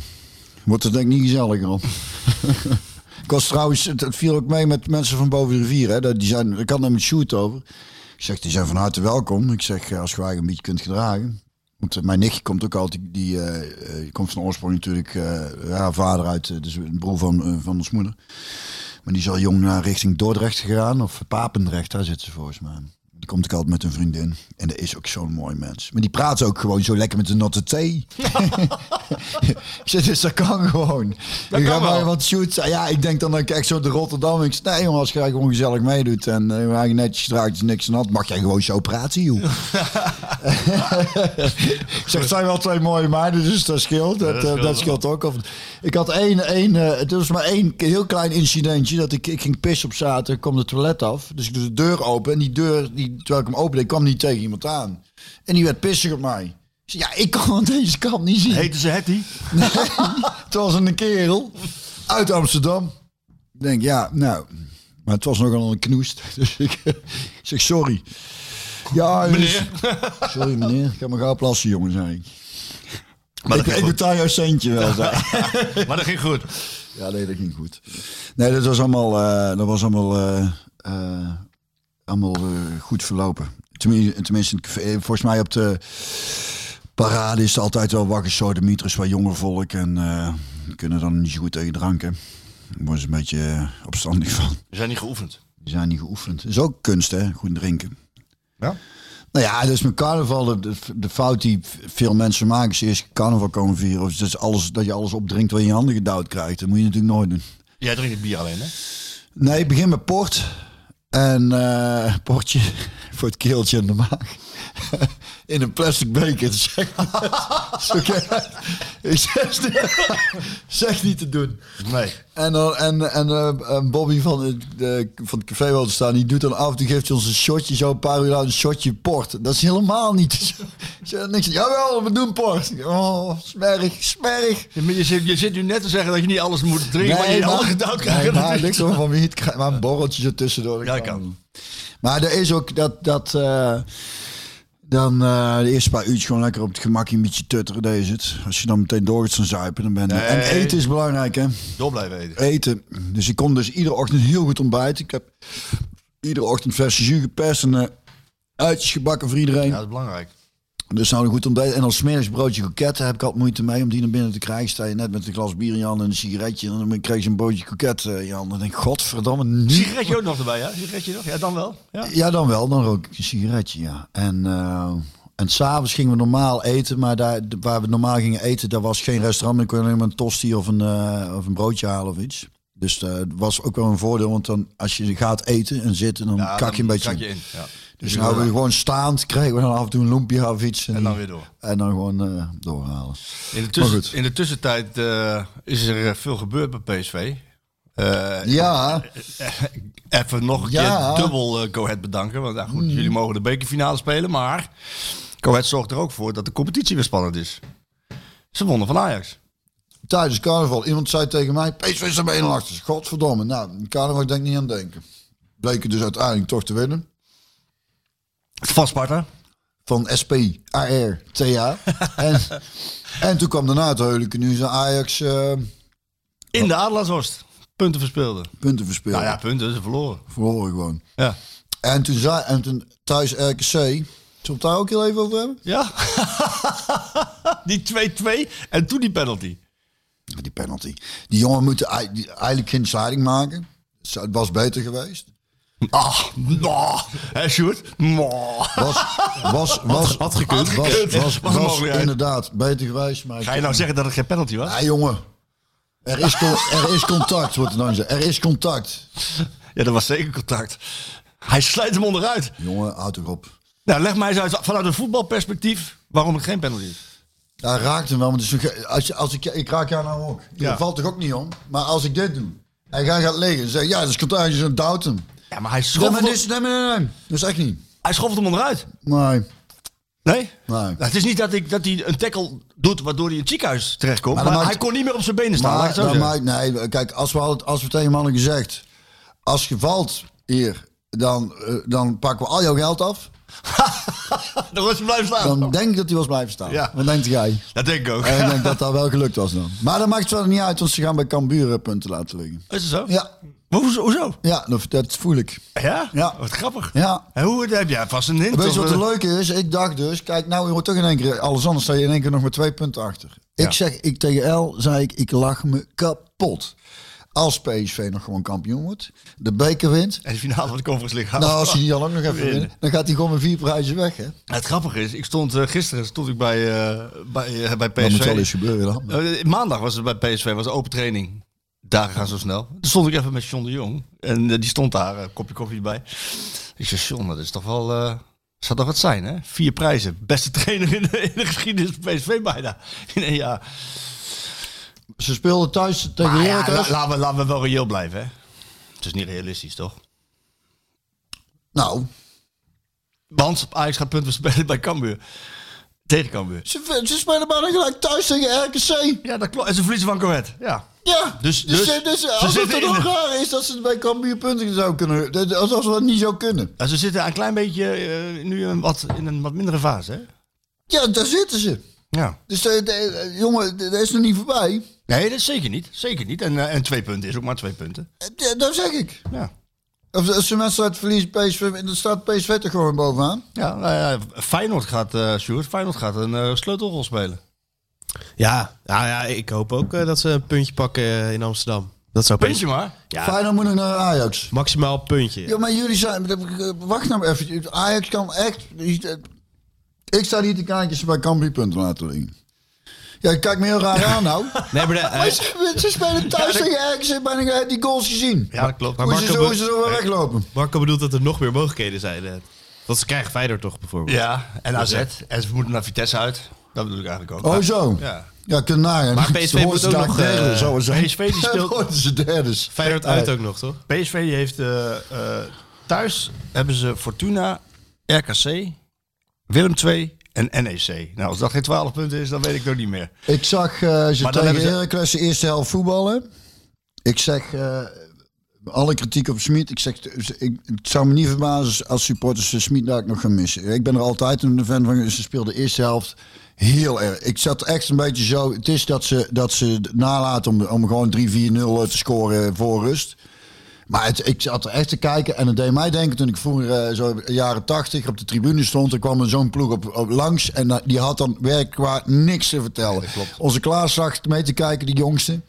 Speaker 10: Wordt er denk ik niet gezelliger op. ik was trouwens, het het viel ook mee met mensen van boven de rivier. Hè. Dat- Die zijn, ik had daar met Sjoerd over. Ik zeg, die zijn van harte welkom. Ik zeg, eh, als je eigenlijk een beetje kunt gedragen. Want eh, mijn nichtje komt ook altijd, die eh, eh, die komt van oorsprong natuurlijk eh, haar vader uit, eh, dus een broer van, eh, van ons moeder. Maar die is al jong naar richting Dordrecht gegaan, of Papendrecht, daar zit ze volgens mij. Die komt ook altijd met een vriendin. En dat is ook zo'n mooi mens. Maar die praat ook gewoon zo lekker met een natte thee. Ik zeg, dus dat kan gewoon. Dat
Speaker 9: kan wel.
Speaker 10: wat shoots. Ja, ik denk dan dat ik echt zo de Rotterdam. Ik zeg, nee jongen, als jij gewoon gezellig meedoet en eh, waar je netjes draait, is niks aan de hand, mag jij gewoon zo praten, joh. ik zeg, het zijn wel twee mooie meiden, dus dat scheelt. Dat, eh, dat,
Speaker 9: scheelt wel.
Speaker 10: scheelt ook. Of- Ik had één, één eh, het was maar één heel klein incidentje. Dat ik, ik ging pissen op zaterdag, kwam de toilet af. Dus ik doe de deur open en die deur, die, terwijl ik hem opende, kwam niet tegen iemand aan. En die werd pissig op mij. Ik zeg, ja, ik kon aan deze kant niet zien.
Speaker 9: Heten ze Hetty?
Speaker 10: Het was een kerel uit Amsterdam. Ik denk, ja, nou. Maar het was nogal een knoest. Dus ik eh, zeg, sorry. Ja, meneer. Sorry, meneer. Ik ga me gauw plassen, jongen, zei ik.
Speaker 9: Maar
Speaker 10: ik,
Speaker 9: dat,
Speaker 10: ik
Speaker 9: ging
Speaker 10: betaal jouw centje wel, zei ik.
Speaker 9: goed. maar dat ging goed.
Speaker 10: Ja, nee, dat ging goed. Nee, dat was allemaal, eh, dat was allemaal, eh, eh, allemaal eh, goed verlopen. Tenminste, tenminste, eh, volgens mij op de parade is er altijd wel wakker sodemieters van jonger volk. En eh, die kunnen dan niet zo goed tegen dranken. Daar worden ze een beetje eh, opstandig van.
Speaker 9: We zijn niet geoefend.
Speaker 10: Die zijn niet geoefend. Dat is ook kunst, hè? Goed drinken.
Speaker 9: Ja?
Speaker 10: Nou ja, dus met carnaval, de, de fout die veel mensen maken, is eerst carnaval komen vieren. Of dat, is alles, dat je alles opdrinkt wat je in je handen gedouwd krijgt. Dat moet je natuurlijk nooit doen.
Speaker 9: Jij drinkt het bier alleen, hè?
Speaker 10: Nee, ik begin met port. En eh, portje voor het keeltje en de maag. In een plastic beker. Zeg, Zo ken- Ik zeg, zeg niet te doen.
Speaker 9: Nee.
Speaker 10: En, dan, en, en eh, en Bobby van het, de, van het café wel te staan, die doet dan af en toe geeft hij ons een shotje, zo een paar uur lang een shotje port. Dat is helemaal niet. zo. Ik zeg, niks. Jawel, we doen port. Oh, smerig, smerig.
Speaker 9: Ja, maar je, zit, je zit nu net te zeggen dat je niet alles moet drinken, maar je
Speaker 10: maar-
Speaker 9: alle gedouwd krijgt.
Speaker 10: Nee,
Speaker 9: Dat
Speaker 10: maar
Speaker 9: is-
Speaker 10: niks hoor, van wiet krijg- maar een borreltje er tussendoor.
Speaker 9: Ja, kan.
Speaker 10: Maar er is ook dat, dat eh, dan eh, de eerste paar uurtjes gewoon lekker op het gemakje een beetje tutteren, daar is het. Als je dan meteen door gaat staan zuipen, dan ben je... En
Speaker 9: Nee.
Speaker 10: eten is belangrijk, hè.
Speaker 9: Door blijven eten.
Speaker 10: Eten. Dus ik kon dus iedere ochtend heel goed ontbijten. Ik heb iedere ochtend verse jus geperst en eh, uitjes gebakken voor iedereen.
Speaker 9: Ja, dat is belangrijk.
Speaker 10: Dus nou een goed ontbijt. En als smerigs broodje koketten heb ik altijd moeite mee om die naar binnen te krijgen. Sta je net met een glas bier in je handen en een sigaretje. En dan kreeg je een broodje koket eh, in je handen. Dan denk ik, godverdamme, nu.
Speaker 9: Sigaretje ook nog erbij, ja? Sigaretje nog? Ja, dan wel. Ja.
Speaker 10: Ja, dan wel. Dan rook ik een sigaretje, ja. En eh, En s'avonds gingen we normaal eten, maar daar waar we normaal gingen eten, daar was geen restaurant. Dan kon je alleen maar een tosti of een, eh, of een broodje halen of iets. Dus eh, dat was ook wel een voordeel, want dan als je gaat eten en zitten, dan
Speaker 9: Ja,
Speaker 10: kak je een
Speaker 9: dan
Speaker 10: beetje
Speaker 9: kak
Speaker 10: in.
Speaker 9: je in. Ja.
Speaker 10: Dus nou we gewoon staand kregen we dan af en toe een loempje of iets.
Speaker 9: En dan weer door.
Speaker 10: En dan gewoon eh, doorhalen.
Speaker 9: In de,
Speaker 10: Maar
Speaker 9: tussen,
Speaker 10: goed.
Speaker 9: in de tussentijd eh, is er eh, veel gebeurd bij PSV. Eh,
Speaker 10: Ja,
Speaker 9: Even nog een
Speaker 10: Ja.
Speaker 9: keer dubbel eh Go Ahead bedanken. Want nou goed, jullie mogen de bekerfinale spelen. Maar Go Ahead zorgt er ook voor dat de competitie weer spannend is. Ze wonnen van Ajax.
Speaker 10: tijdens carnaval. Iemand zei tegen mij, PSV is er bijna achter. Godverdomme. Nou, carnaval denk ik niet aan denken. Bleken dus uiteindelijk toch te winnen.
Speaker 9: Van Sparta.
Speaker 10: Van SP, AR, TA. en, en toen kwam daarna het heulijke nu zijn Ajax eh,
Speaker 9: In de Adelaarshorst. Punten verspeelden.
Speaker 10: punten verspeelde.
Speaker 9: Nou ja, punten. Ze verloren.
Speaker 10: Verloren gewoon.
Speaker 9: Ja.
Speaker 10: En toen, zei, en toen thuis RKC. Zullen we het daar ook heel even over hebben?
Speaker 9: Ja. die 2-2. En toen die penalty.
Speaker 10: Die penalty. Die jongen moet ei- die- eigenlijk geen sliding maken. Zou- Het was beter geweest.
Speaker 9: Ah, nou. Hé, Sjoerd? Nou.
Speaker 10: Was, was, was,
Speaker 9: had gekund.
Speaker 10: Was, was, was,
Speaker 9: Was een mogelijkheid.
Speaker 10: inderdaad beter geweest. Maar ik-
Speaker 9: Ga je nou zeggen dat het geen penalty was?
Speaker 10: Ja, jongen. Er is, con- er is contact, wordt er dan gezegd. Er is contact.
Speaker 9: Ja, dat was zeker contact. Hij sluit hem onderuit.
Speaker 10: Jongen, houd toch op.
Speaker 9: Nou, leg mij eens uit vanuit een voetbalperspectief waarom het geen penalty is.
Speaker 10: Hij raakt hem wel, want het is nog- als, je- als ik, ik raak jou nou ook. Je
Speaker 9: Ja.
Speaker 10: valt toch ook niet om? Maar als ik dit doe, en jij gaat liggen en zegt, ja, dat is contact, je zo'n doubt hem.
Speaker 9: Ja, maar hij
Speaker 10: Nee,
Speaker 9: schoft,
Speaker 10: maar
Speaker 9: hem,
Speaker 10: dit is- nee, nee, nee, nee. Dat is echt niet.
Speaker 9: hij schoft hem onderuit.
Speaker 10: Nee.
Speaker 9: Nee?
Speaker 10: Nee.
Speaker 9: Nou, het is niet dat, ik, dat hij een tackle doet waardoor hij in het ziekenhuis terechtkomt. Maar,
Speaker 10: Maar dan maakt-
Speaker 9: hij kon niet meer op zijn benen staan. laat ik
Speaker 10: Maar,
Speaker 9: het zo
Speaker 10: dat
Speaker 9: zeggen.
Speaker 10: maakt, nee, kijk, als we, al, als we tegen mannen gezegd, als je valt hier, dan, eh, dan pakken we al jouw geld af.
Speaker 9: Dan was hij blijven staan.
Speaker 10: Dan Eh, denk ik dat hij was blijven staan.
Speaker 9: Oh. Ja.
Speaker 10: Wat denkt jij?
Speaker 9: Dat denk ik ook.
Speaker 10: En ik denk dat dat wel gelukt was dan. Maar dat maakt verder niet uit, want ze gaan bij Cambuur eh, punten laten liggen.
Speaker 9: Is het zo?
Speaker 10: Ja,
Speaker 9: Maar hoezo? hoezo?
Speaker 10: ja dat, dat voel ik.
Speaker 9: Ja?
Speaker 10: Ja.
Speaker 9: Wat grappig.
Speaker 10: Ja.
Speaker 9: En hoe heb jij vast een hint?
Speaker 10: Weet je
Speaker 9: of,
Speaker 10: wat
Speaker 9: eh,
Speaker 10: het leuke is? Ik dacht dus, kijk, nou je wordt toch in één keer alles anders. sta je in één keer nog maar twee punten achter. Ik
Speaker 9: Ja.
Speaker 10: zeg, ik tegen L zei ik, ik lach me kapot. Als PSV nog gewoon kampioen wordt, de beker wint.
Speaker 9: En de finale van de Conference League.
Speaker 10: Nou, als hij die dan ook nog even wint, dan gaat hij gewoon met vier prijzen weg, hè?
Speaker 9: Het grappige is, ik stond eh, gisteren stond ik bij, eh, bij, eh, bij PSV.
Speaker 10: Dat moet wel eens gebeuren dan.
Speaker 9: Eh, maandag was het bij PSV, was open training. Dagen gaan zo snel. Toen stond ik even met John de Jong. En eh, die stond daar, eh, kopje koffie bij. Ik zei, John, dat is toch wel... eh zou toch wat zijn, hè? Vier prijzen. Beste trainer in de, in de geschiedenis van PSV bijna. In één jaar.
Speaker 10: Ze speelden thuis tegen
Speaker 9: Maar ja,
Speaker 10: Heracles.
Speaker 9: la- laten, we, laten we wel reëel blijven, hè? Het is niet realistisch, toch?
Speaker 10: Nou,
Speaker 9: Want Ajax gaat punten spelen bij Cambuur. Tegen Cambuur.
Speaker 10: ze, ze spelen bijna gelijk thuis tegen RKC.
Speaker 9: Ja, dat klopt. En ze verliezen van Corvette. Ja.
Speaker 10: Ja,
Speaker 9: Dus-
Speaker 10: dus,
Speaker 9: dus-
Speaker 10: dus, dus,
Speaker 9: ze
Speaker 10: als het dan
Speaker 9: zitten in
Speaker 10: nog
Speaker 9: de-
Speaker 10: raar is dat ze bij Cambuur punten zou kunnen... dat- Als als we dat niet zou kunnen.
Speaker 9: En ze zitten een klein beetje eh, nu een wat, in een wat mindere fase, hè?
Speaker 10: Ja, daar zitten ze.
Speaker 9: Ja.
Speaker 10: Dus de, de- jongen, de- dat is nog niet voorbij.
Speaker 9: Nee, dat zeker niet. Zeker niet. En, eh, en twee punten is ook maar twee punten.
Speaker 10: Eh, ja, Dat zeg ik.
Speaker 9: Ja.
Speaker 10: Of als ze mensen uit verliezen, PSV, dan staat PSV er gewoon bovenaan.
Speaker 9: Ja, nou ja, Feyenoord gaat, eh Sjoerd, Feyenoord gaat een eh, sleutelrol spelen.
Speaker 4: Ja, nou ja, ik hoop ook eh, dat ze een puntje pakken eh, in Amsterdam. Dat zou
Speaker 9: Puntje maar.
Speaker 4: Ja.
Speaker 10: Feyenoord moet nog naar Ajax.
Speaker 4: Maximaal puntje.
Speaker 10: Ja, maar jullie zijn... Wacht nou even. Ajax kan echt... eh, Ik sta niet te kijken als ze bij Cambuur punten laten liggen. Ja, ik kijk me heel raar aan nou.
Speaker 4: Nee, maar de-
Speaker 10: Maar ze, ze spelen thuis tegen Ajax en bijna heb die goals gezien.
Speaker 9: Ja, dat klopt.
Speaker 4: Maar
Speaker 10: Hoe ze,
Speaker 4: Marco
Speaker 10: zo- hoe
Speaker 4: Bus-
Speaker 10: ze zo weer weglopen.
Speaker 4: Marco bedoelt dat er nog meer mogelijkheden zijn. eh. Want ze krijgen Feyenoord toch bijvoorbeeld.
Speaker 9: Ja, en AZ. En ze moeten naar Vitesse uit. Dat bedoel ik eigenlijk ook. Nou,
Speaker 10: Oh zo.
Speaker 9: Ja.
Speaker 10: Ja, kunnen nagaan.
Speaker 4: Maar PSV
Speaker 10: Ze worden
Speaker 4: moet ook
Speaker 10: daar
Speaker 4: nog,
Speaker 10: derde,
Speaker 4: eh,
Speaker 10: zo en zo.
Speaker 9: PSV die speelt-
Speaker 10: Ze worden ze derde.
Speaker 9: Eh,
Speaker 4: Feyenoord uit ook nog, toch?
Speaker 9: PSV die heeft eh, eh, thuis hebben ze Fortuna, RKC, Willem II en NEC. Nou, als dat geen 12 punten is, dan weet ik het ook niet meer.
Speaker 10: Ik zag eh ze
Speaker 9: Maar dan
Speaker 10: tegen
Speaker 9: hebben ze-
Speaker 10: Heracles de eerste helft voetballen. Ik zeg eh, alle kritiek op Smit. Ik zeg, ik, het zou me niet verbazen als supporters de Smit daar ook nog gaan missen. Ik ben er altijd een fan van. Ze speelde de eerste helft heel erg. Ik zat echt een beetje zo. Het is dat ze, dat ze het nalaten om, om gewoon 3-4-0 te scoren voor rust. Maar het- ik zat er echt te kijken en het deed mij denken toen ik vroeger, eh, zo in de jaren tachtig, op de tribune stond. Er kwam er zo'n ploeg op, op langs en da- die had dan werkelijk qua niks te vertellen. Onze Klaas zag mee te kijken, die jongste.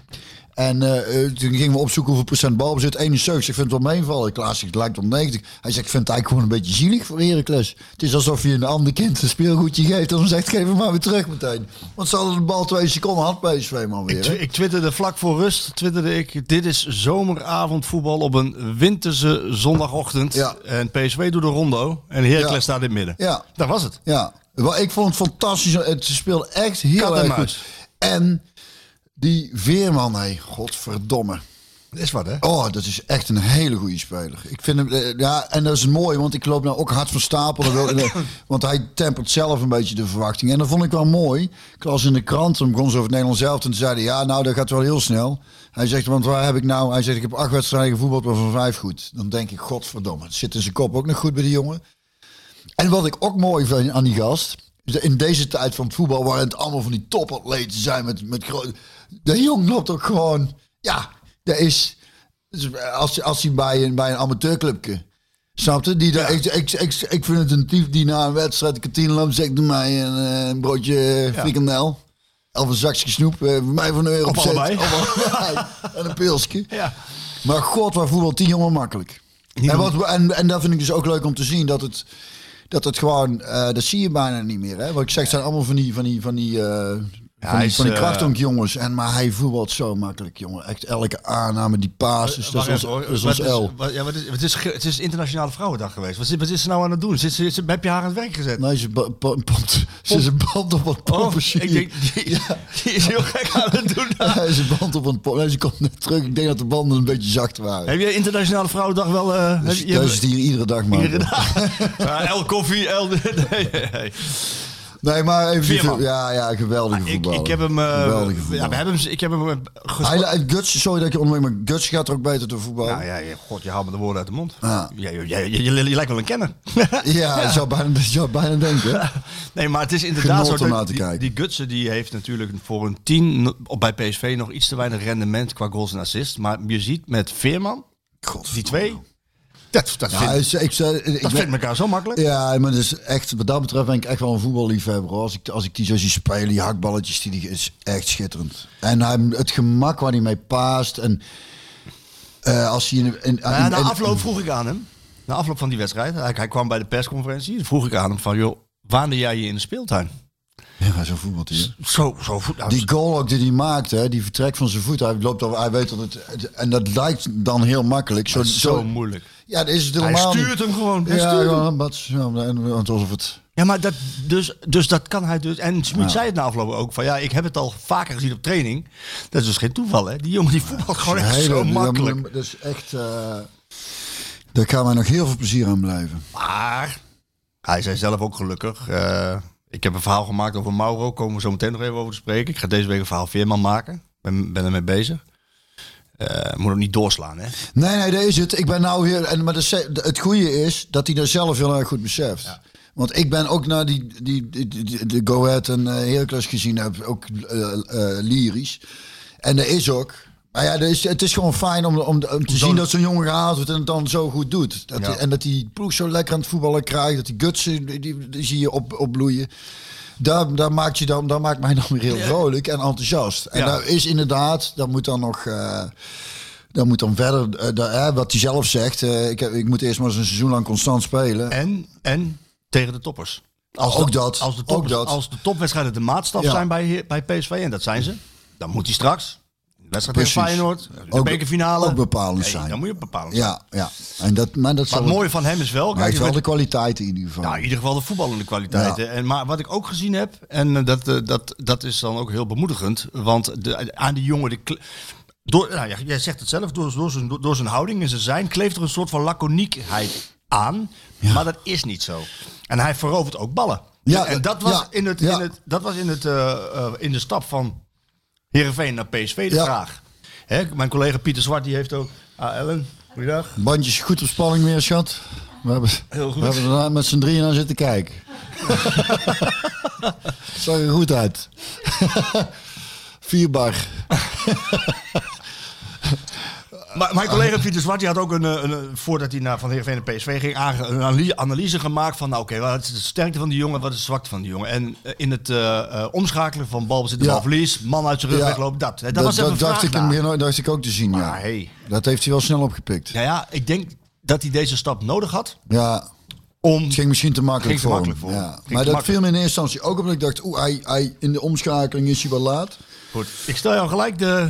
Speaker 10: En eh, eh, toen gingen we opzoeken hoeveel procent balbezit. 71, ik vind het wel meevallen. Klaas zegt, het lijkt op 90. Hij zegt, ik vind het eigenlijk gewoon een beetje zielig voor Heracles. Het is alsof je een ander kind een speelgoedje geeft. En dan zegt, geef hem maar weer terug meteen. Want ze hadden de bal twee seconden, had PSV man weer.
Speaker 9: Ik,
Speaker 10: hè?
Speaker 9: twi- ik twitterde vlak voor rust, twitterde ik, dit is zomeravondvoetbal op een winterse zondagochtend. En PSV doet de rondo en Heracles
Speaker 10: Ja.
Speaker 9: staat in het midden.
Speaker 10: Ja.
Speaker 9: Daar was het.
Speaker 10: Ja, wel, ik vond het fantastisch. Het speelde echt heel
Speaker 9: Kat en
Speaker 10: erg
Speaker 9: muis.
Speaker 10: goed. En die Veerman, hé, godverdomme.
Speaker 9: Dat is wat, hè?
Speaker 10: Oh, dat is echt een hele goede speler. Ik vind hem, eh, ja, en dat is mooi, want ik loop nou ook hard van stapel. Dat wil- eh, want hij tempert zelf een beetje de verwachting. En dat vond ik wel mooi. Ik las in de krant, hem begon ze over het Nederlands zelf. En toen zeiden, ja, nou, dat gaat wel heel snel. Hij zegt, want waar heb ik nou? Hij zegt, ik heb acht wedstrijden gevoetbald, maar van vijf goed. Dan denk ik, godverdomme, het zit in zijn kop ook nog goed bij die jongen. En wat ik ook mooi vind aan die gast. is dat In deze tijd van het voetbal, waar het allemaal van die topatleten zijn. Met, met grote, de jong loopt ook gewoon. Ja, dat is. dus Als, als hij bij een, bij een amateurclubje. Snapte? Die daar, ik, ik, ik, ik vind het een tief die na een wedstrijd de kantine loopt. Zegt doe mij een, eh, een broodje
Speaker 9: Ja.
Speaker 10: frikandel. Of een zakje snoep. eh, Voor mij van een euro
Speaker 9: Op
Speaker 10: cent.
Speaker 9: allebei.
Speaker 10: Of allebei. en een pilsje.
Speaker 9: Ja.
Speaker 10: Maar god, waar voetbal tien jongen makkelijk. En, wat, en, en dat vind ik dus ook leuk om te zien dat het, dat het gewoon, eh, dat zie je bijna niet meer. Hè? Wat ik zeg, het zijn allemaal van die, van die, van die, eh, van
Speaker 9: hij
Speaker 10: die,
Speaker 9: is,
Speaker 10: van die
Speaker 9: eh,
Speaker 10: krachtonkjongens. En maar hij voetbalt zo makkelijk, jongen. Echt elke aanname, die paas, Dus is dat
Speaker 9: Eh,
Speaker 10: is
Speaker 9: Wacht even,
Speaker 10: ons,
Speaker 9: hoor.
Speaker 10: dat is
Speaker 9: Maar
Speaker 10: ons
Speaker 9: het is-
Speaker 10: L.
Speaker 9: maar- ja, maar het, is, het, is, ge- het is Internationale Vrouwendag geweest. Wat, zit- wat is ze nou aan het doen? Zit, ze- zit- heb je haar aan het werk gezet?
Speaker 10: Nee, ze, ba- pa- pand- ze is een band Nou, op een pompensier.
Speaker 9: Oh, ik denk, die, die is heel gek aan het doen. daar.
Speaker 10: Hij is een band op een pomp. Nee, ze komt net terug. Ik denk dat de banden een beetje zacht waren.
Speaker 9: Heb jij Internationale Vrouwendag wel... eh heb
Speaker 10: dus
Speaker 9: je-
Speaker 10: dat is het hier iedere dag, man.
Speaker 9: Iedere dag. Ja, El koffie, El... Nee, nee.
Speaker 10: Nee, maar even...
Speaker 9: Veerman.
Speaker 10: Ja, ja, geweldige
Speaker 9: Ik,
Speaker 10: voetballer.
Speaker 9: ik heb hem... eh,
Speaker 10: Geweldige
Speaker 9: ja,
Speaker 10: voetballer.
Speaker 9: we hebben hem... Ik heb hem eh, gespo-
Speaker 10: Hij, en Guts, sorry dat ik je onderbreek, maar Guts gaat er ook beter te voetballen.
Speaker 9: Nou
Speaker 10: ja,
Speaker 9: ja, je- god, je haalt me de woorden uit de mond.
Speaker 10: Ja.
Speaker 9: Je, je, je, je- je- je lijkt wel een kenner.
Speaker 10: je zou bijna, je zou bijna denken.
Speaker 9: nee, maar het is inderdaad
Speaker 10: Genot om
Speaker 9: zo.
Speaker 10: naar
Speaker 9: dat
Speaker 10: te
Speaker 9: Die,
Speaker 10: kijken.
Speaker 9: die Gutsen die heeft natuurlijk voor een 10 no- op- bij PSV nog iets te weinig rendement qua goals en assists. Maar je ziet met Veerman,
Speaker 10: God,
Speaker 9: die twee, dat, dat,
Speaker 10: Ja,
Speaker 9: vindt,
Speaker 10: ik, ik, zou- ik,
Speaker 9: dat
Speaker 10: ben-
Speaker 9: vindt elkaar zo makkelijk.
Speaker 10: ja, maar dus echt, wat dat betreft ben ik echt wel een voetballiefhebber. hoor. Als ik, als ik die zo zie spelen, die hakballetjes, die, die is echt schitterend. En hij, het gemak waar hij mee paast. En eh, als hij in, in, in-
Speaker 9: Nou ja, na
Speaker 10: in-
Speaker 9: afloop vroeg ik aan hem, na afloop van die wedstrijd, hij, hij kwam bij de persconferentie, vroeg ik aan hem van, joh, wanneer jij je in de speeltuin?
Speaker 10: Ja, zo'n voetbalt hij, hè.
Speaker 9: Zo, zo voet. nou,
Speaker 10: Die goal ook die hij maakt, hè, die vertrek van zijn voet, hij, loopt al, hij weet dat het... En dat lijkt dan heel makkelijk. Zo,
Speaker 9: dat is zo moeilijk.
Speaker 10: Ja, dat is het
Speaker 9: Hij
Speaker 10: helemaal
Speaker 9: stuurt
Speaker 10: niet.
Speaker 9: hem gewoon. Hij
Speaker 10: Ja,
Speaker 9: stuurt hem.
Speaker 10: ja, wat, ja, en- alsof het...
Speaker 9: Ja, maar dat, dus, dus dat kan hij dus. En Smit zei het na afloop ook van ja, ik heb het al vaker gezien op training. Dat is dus geen toeval, hè? Die jongen die voetbalt gewoon echt
Speaker 10: Hele-
Speaker 9: zo
Speaker 10: dat-
Speaker 9: makkelijk.
Speaker 10: Dat is echt... eh, daar gaan wij nog heel veel plezier aan blijven.
Speaker 9: Maar hij zei zelf ook gelukkig. eh, ik heb een verhaal gemaakt over Mauro. Komen we zo meteen nog even over te spreken. Ik ga deze week een verhaal Veerman maken. Ben, ben ermee bezig. Eh, moet hem niet doorslaan, hè?
Speaker 10: Nee, nee, dat is het. Ik ben nou hier... En, maar dat ze- het goede is dat hij dat zelf heel erg goed beseft. Want ik ben ook naar die, die, die, die- de Go Ahead en eh, Heracles gezien heb, ook eh, eh, lyrisch. En dat is ook... Maar ja, dat is, het is gewoon fijn om, om, om te zien dat zo'n jongen gehaald wordt en het dan zo goed doet. Dat
Speaker 9: Ja.
Speaker 10: hij- en dat die ploeg zo lekker aan het voetballen krijgt. Dat die gutsen, die, die, die zie je op, opbloeien. Daar, daar, maakt je dan, daar maakt mij dan weer heel vrolijk en enthousiast. En
Speaker 9: Ja.
Speaker 10: daar is inderdaad, daar moet dan nog... eh, dat moet dan verder, eh, daar, hè, wat hij zelf zegt. eh, ik, heb- ik moet eerst maar eens een seizoen lang constant spelen.
Speaker 9: En, en tegen de toppers. Als
Speaker 10: Ook
Speaker 9: de,
Speaker 10: dat,
Speaker 9: Als de,
Speaker 10: ook
Speaker 9: toppers,
Speaker 10: dat.
Speaker 9: Als de topwedstrijden de maatstaf
Speaker 10: Ja.
Speaker 9: zijn bij, bij PSV, en dat zijn ze, dan moet hij straks. de Wedstrijd tegen
Speaker 10: Precies.
Speaker 9: Feyenoord, de
Speaker 10: Ook-
Speaker 9: bekerfinale.
Speaker 10: ook bepalend
Speaker 9: Nee,
Speaker 10: zijn.
Speaker 9: Dan moet je bepalen.
Speaker 10: Ja, ja. En dat, maar dat
Speaker 9: Wat
Speaker 10: zal-
Speaker 9: het mooie van hem is wel,
Speaker 10: Maar hij
Speaker 9: kijk,
Speaker 10: heeft wel
Speaker 9: je
Speaker 10: de
Speaker 9: bent-
Speaker 10: kwaliteit in ieder geval.
Speaker 9: nou, in ieder geval de voetballende kwaliteiten.
Speaker 10: Ja.
Speaker 9: En, maar wat ik ook gezien heb, en eh, dat, eh, dat, dat is dan ook heel bemoedigend, want de, aan die jongen, de, kle- door, nou, ja, jij zegt het zelf, door, door, zijn, door, zijn houding en zijn zijn kleeft er een soort van laconiekheid aan, maar dat is niet zo. En hij verovert ook ballen.
Speaker 10: Ja,
Speaker 9: en dat was,
Speaker 10: ja,
Speaker 9: in, het,
Speaker 10: ja.
Speaker 9: in, het, dat was in, het, eh, eh, in de stap van Heerenveen naar PSV de
Speaker 10: Ja.
Speaker 9: vraag. Hè, mijn collega Pieter Zwart, die heeft ook... Ah, Ellen, goeiedag.
Speaker 10: Bandjes goed op spanning weer, schat. We hebben,
Speaker 9: Heel goed.
Speaker 10: we hebben daarna met z'n drieën aan zitten kijken. Zag er goed uit. Vier bar.
Speaker 9: Maar mijn collega Pieter Zwart die had ook, een, eh, een, eh, voordat hij naar Van Heerenveen en PSV ging, aange- een analy- analyse gemaakt van... Nou, oké, wat is de sterkte van die jongen, wat is de zwakte van die jongen? En eh, in het eh, eh, omschakelen van balbezit en
Speaker 10: Ja.
Speaker 9: balverlies, man uit zijn rug
Speaker 10: Ja.
Speaker 9: weglopen, dat. Eh, Dat,
Speaker 10: Dat,
Speaker 9: was even
Speaker 10: dat
Speaker 9: een
Speaker 10: dacht
Speaker 9: vraag
Speaker 10: ik in
Speaker 9: daar.
Speaker 10: het begin ook- dacht ik ook te zien, ja.
Speaker 9: Maar hey.
Speaker 10: Dat heeft hij wel snel opgepikt.
Speaker 9: Nou ja, ik denk dat hij deze stap nodig had.
Speaker 10: Ja.
Speaker 9: Om,
Speaker 10: het ging misschien te makkelijk
Speaker 9: Ging te
Speaker 10: voor
Speaker 9: makkelijk
Speaker 10: hem.
Speaker 9: voor hem.
Speaker 10: Ja.
Speaker 9: Ging te
Speaker 10: Maar dat
Speaker 9: makkelijk.
Speaker 10: viel me in eerste instantie ook op. dat Ik dacht, oeh, hij, hij, in de omschakeling is hij wel laat.
Speaker 9: Goed, ik stel jou gelijk de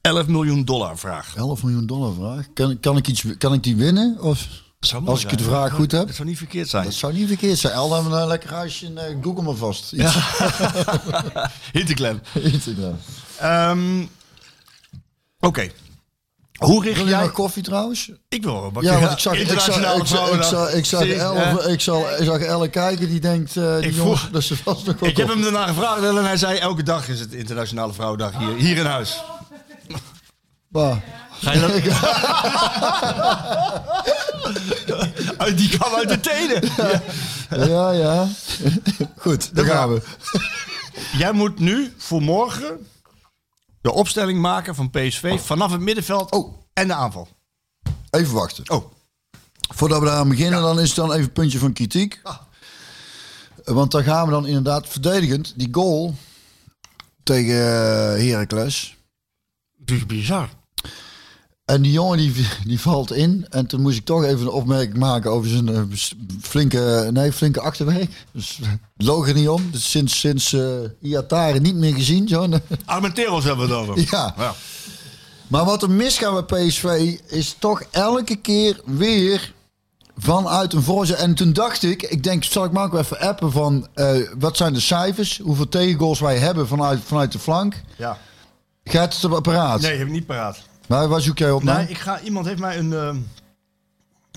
Speaker 9: 11 miljoen dollar vraag.
Speaker 10: 11 miljoen dollar vraag. Kan, kan, ik, iets, kan ik die winnen? Of,
Speaker 9: Zou mooi
Speaker 10: als ik de
Speaker 9: zijn.
Speaker 10: vraag
Speaker 9: Dat-
Speaker 10: goed heb?
Speaker 9: Dat zou niet verkeerd zijn.
Speaker 10: Dat zou niet verkeerd zijn. Elda, een eh, lekker huisje en eh, Google maar vast. Iets.
Speaker 9: Hinterklem.
Speaker 10: Iets inderdaad.
Speaker 9: Ehm, Oké. Hoe richt
Speaker 10: Wil je
Speaker 9: jij...
Speaker 10: nog koffie trouwens?
Speaker 9: Ik wil wel een bakje.
Speaker 10: Ja, want ik zag, ik zag,
Speaker 9: Internationale
Speaker 10: ik zag, ik zag, ik zag,
Speaker 9: Zie,
Speaker 10: Elle-
Speaker 9: hè?
Speaker 10: ik zag, ik zag Elle kijken die denkt, eh die
Speaker 9: Ik
Speaker 10: jongens,
Speaker 9: voel-
Speaker 10: dat ze vast nog wel
Speaker 9: Ik heb hem
Speaker 10: koffie-
Speaker 9: daarna gevraagd en hij zei elke dag is het Internationale Vrouwendag hier, hier in huis.
Speaker 10: Bah.
Speaker 9: Ga je dat... Oh, Die kwam uit de tenen.
Speaker 10: Ja, ja. Goed, daar
Speaker 9: Daar
Speaker 10: gaan we.
Speaker 9: Jij moet nu voor morgen de opstelling maken van PSV vanaf het middenveld
Speaker 10: Oh.
Speaker 9: en de aanval.
Speaker 10: Even wachten.
Speaker 9: Oh,
Speaker 10: Voordat we daar aan beginnen, dan is het dan even een puntje van kritiek. Want dan gaan we dan inderdaad verdedigend die goal tegen eh, Heracles.
Speaker 9: dat is bizar.
Speaker 10: En die jongen die, die valt in. En toen moest ik toch even een opmerking maken over zijn eh, s- flinke, nee, flinke achterwerk. Dus loog er niet om. Dus sinds sinds eh, Iatare niet meer gezien. Zo.
Speaker 9: Armenteros hebben we het over.
Speaker 10: Ja. Maar wat er misgaat bij PSV is toch elke keer weer vanuit een voorzet. En toen dacht ik, ik denk, zal ik maar ook even appen van eh, wat zijn de cijfers? Hoeveel tegengoals wij hebben vanuit, vanuit de flank?
Speaker 9: ja.
Speaker 10: Gaat het op apparaat?
Speaker 9: Nee, heb ik niet paraat.
Speaker 10: Maar waar zoek jij op
Speaker 9: Nee,
Speaker 10: naar?
Speaker 9: ik ga, iemand heeft mij een... ehm,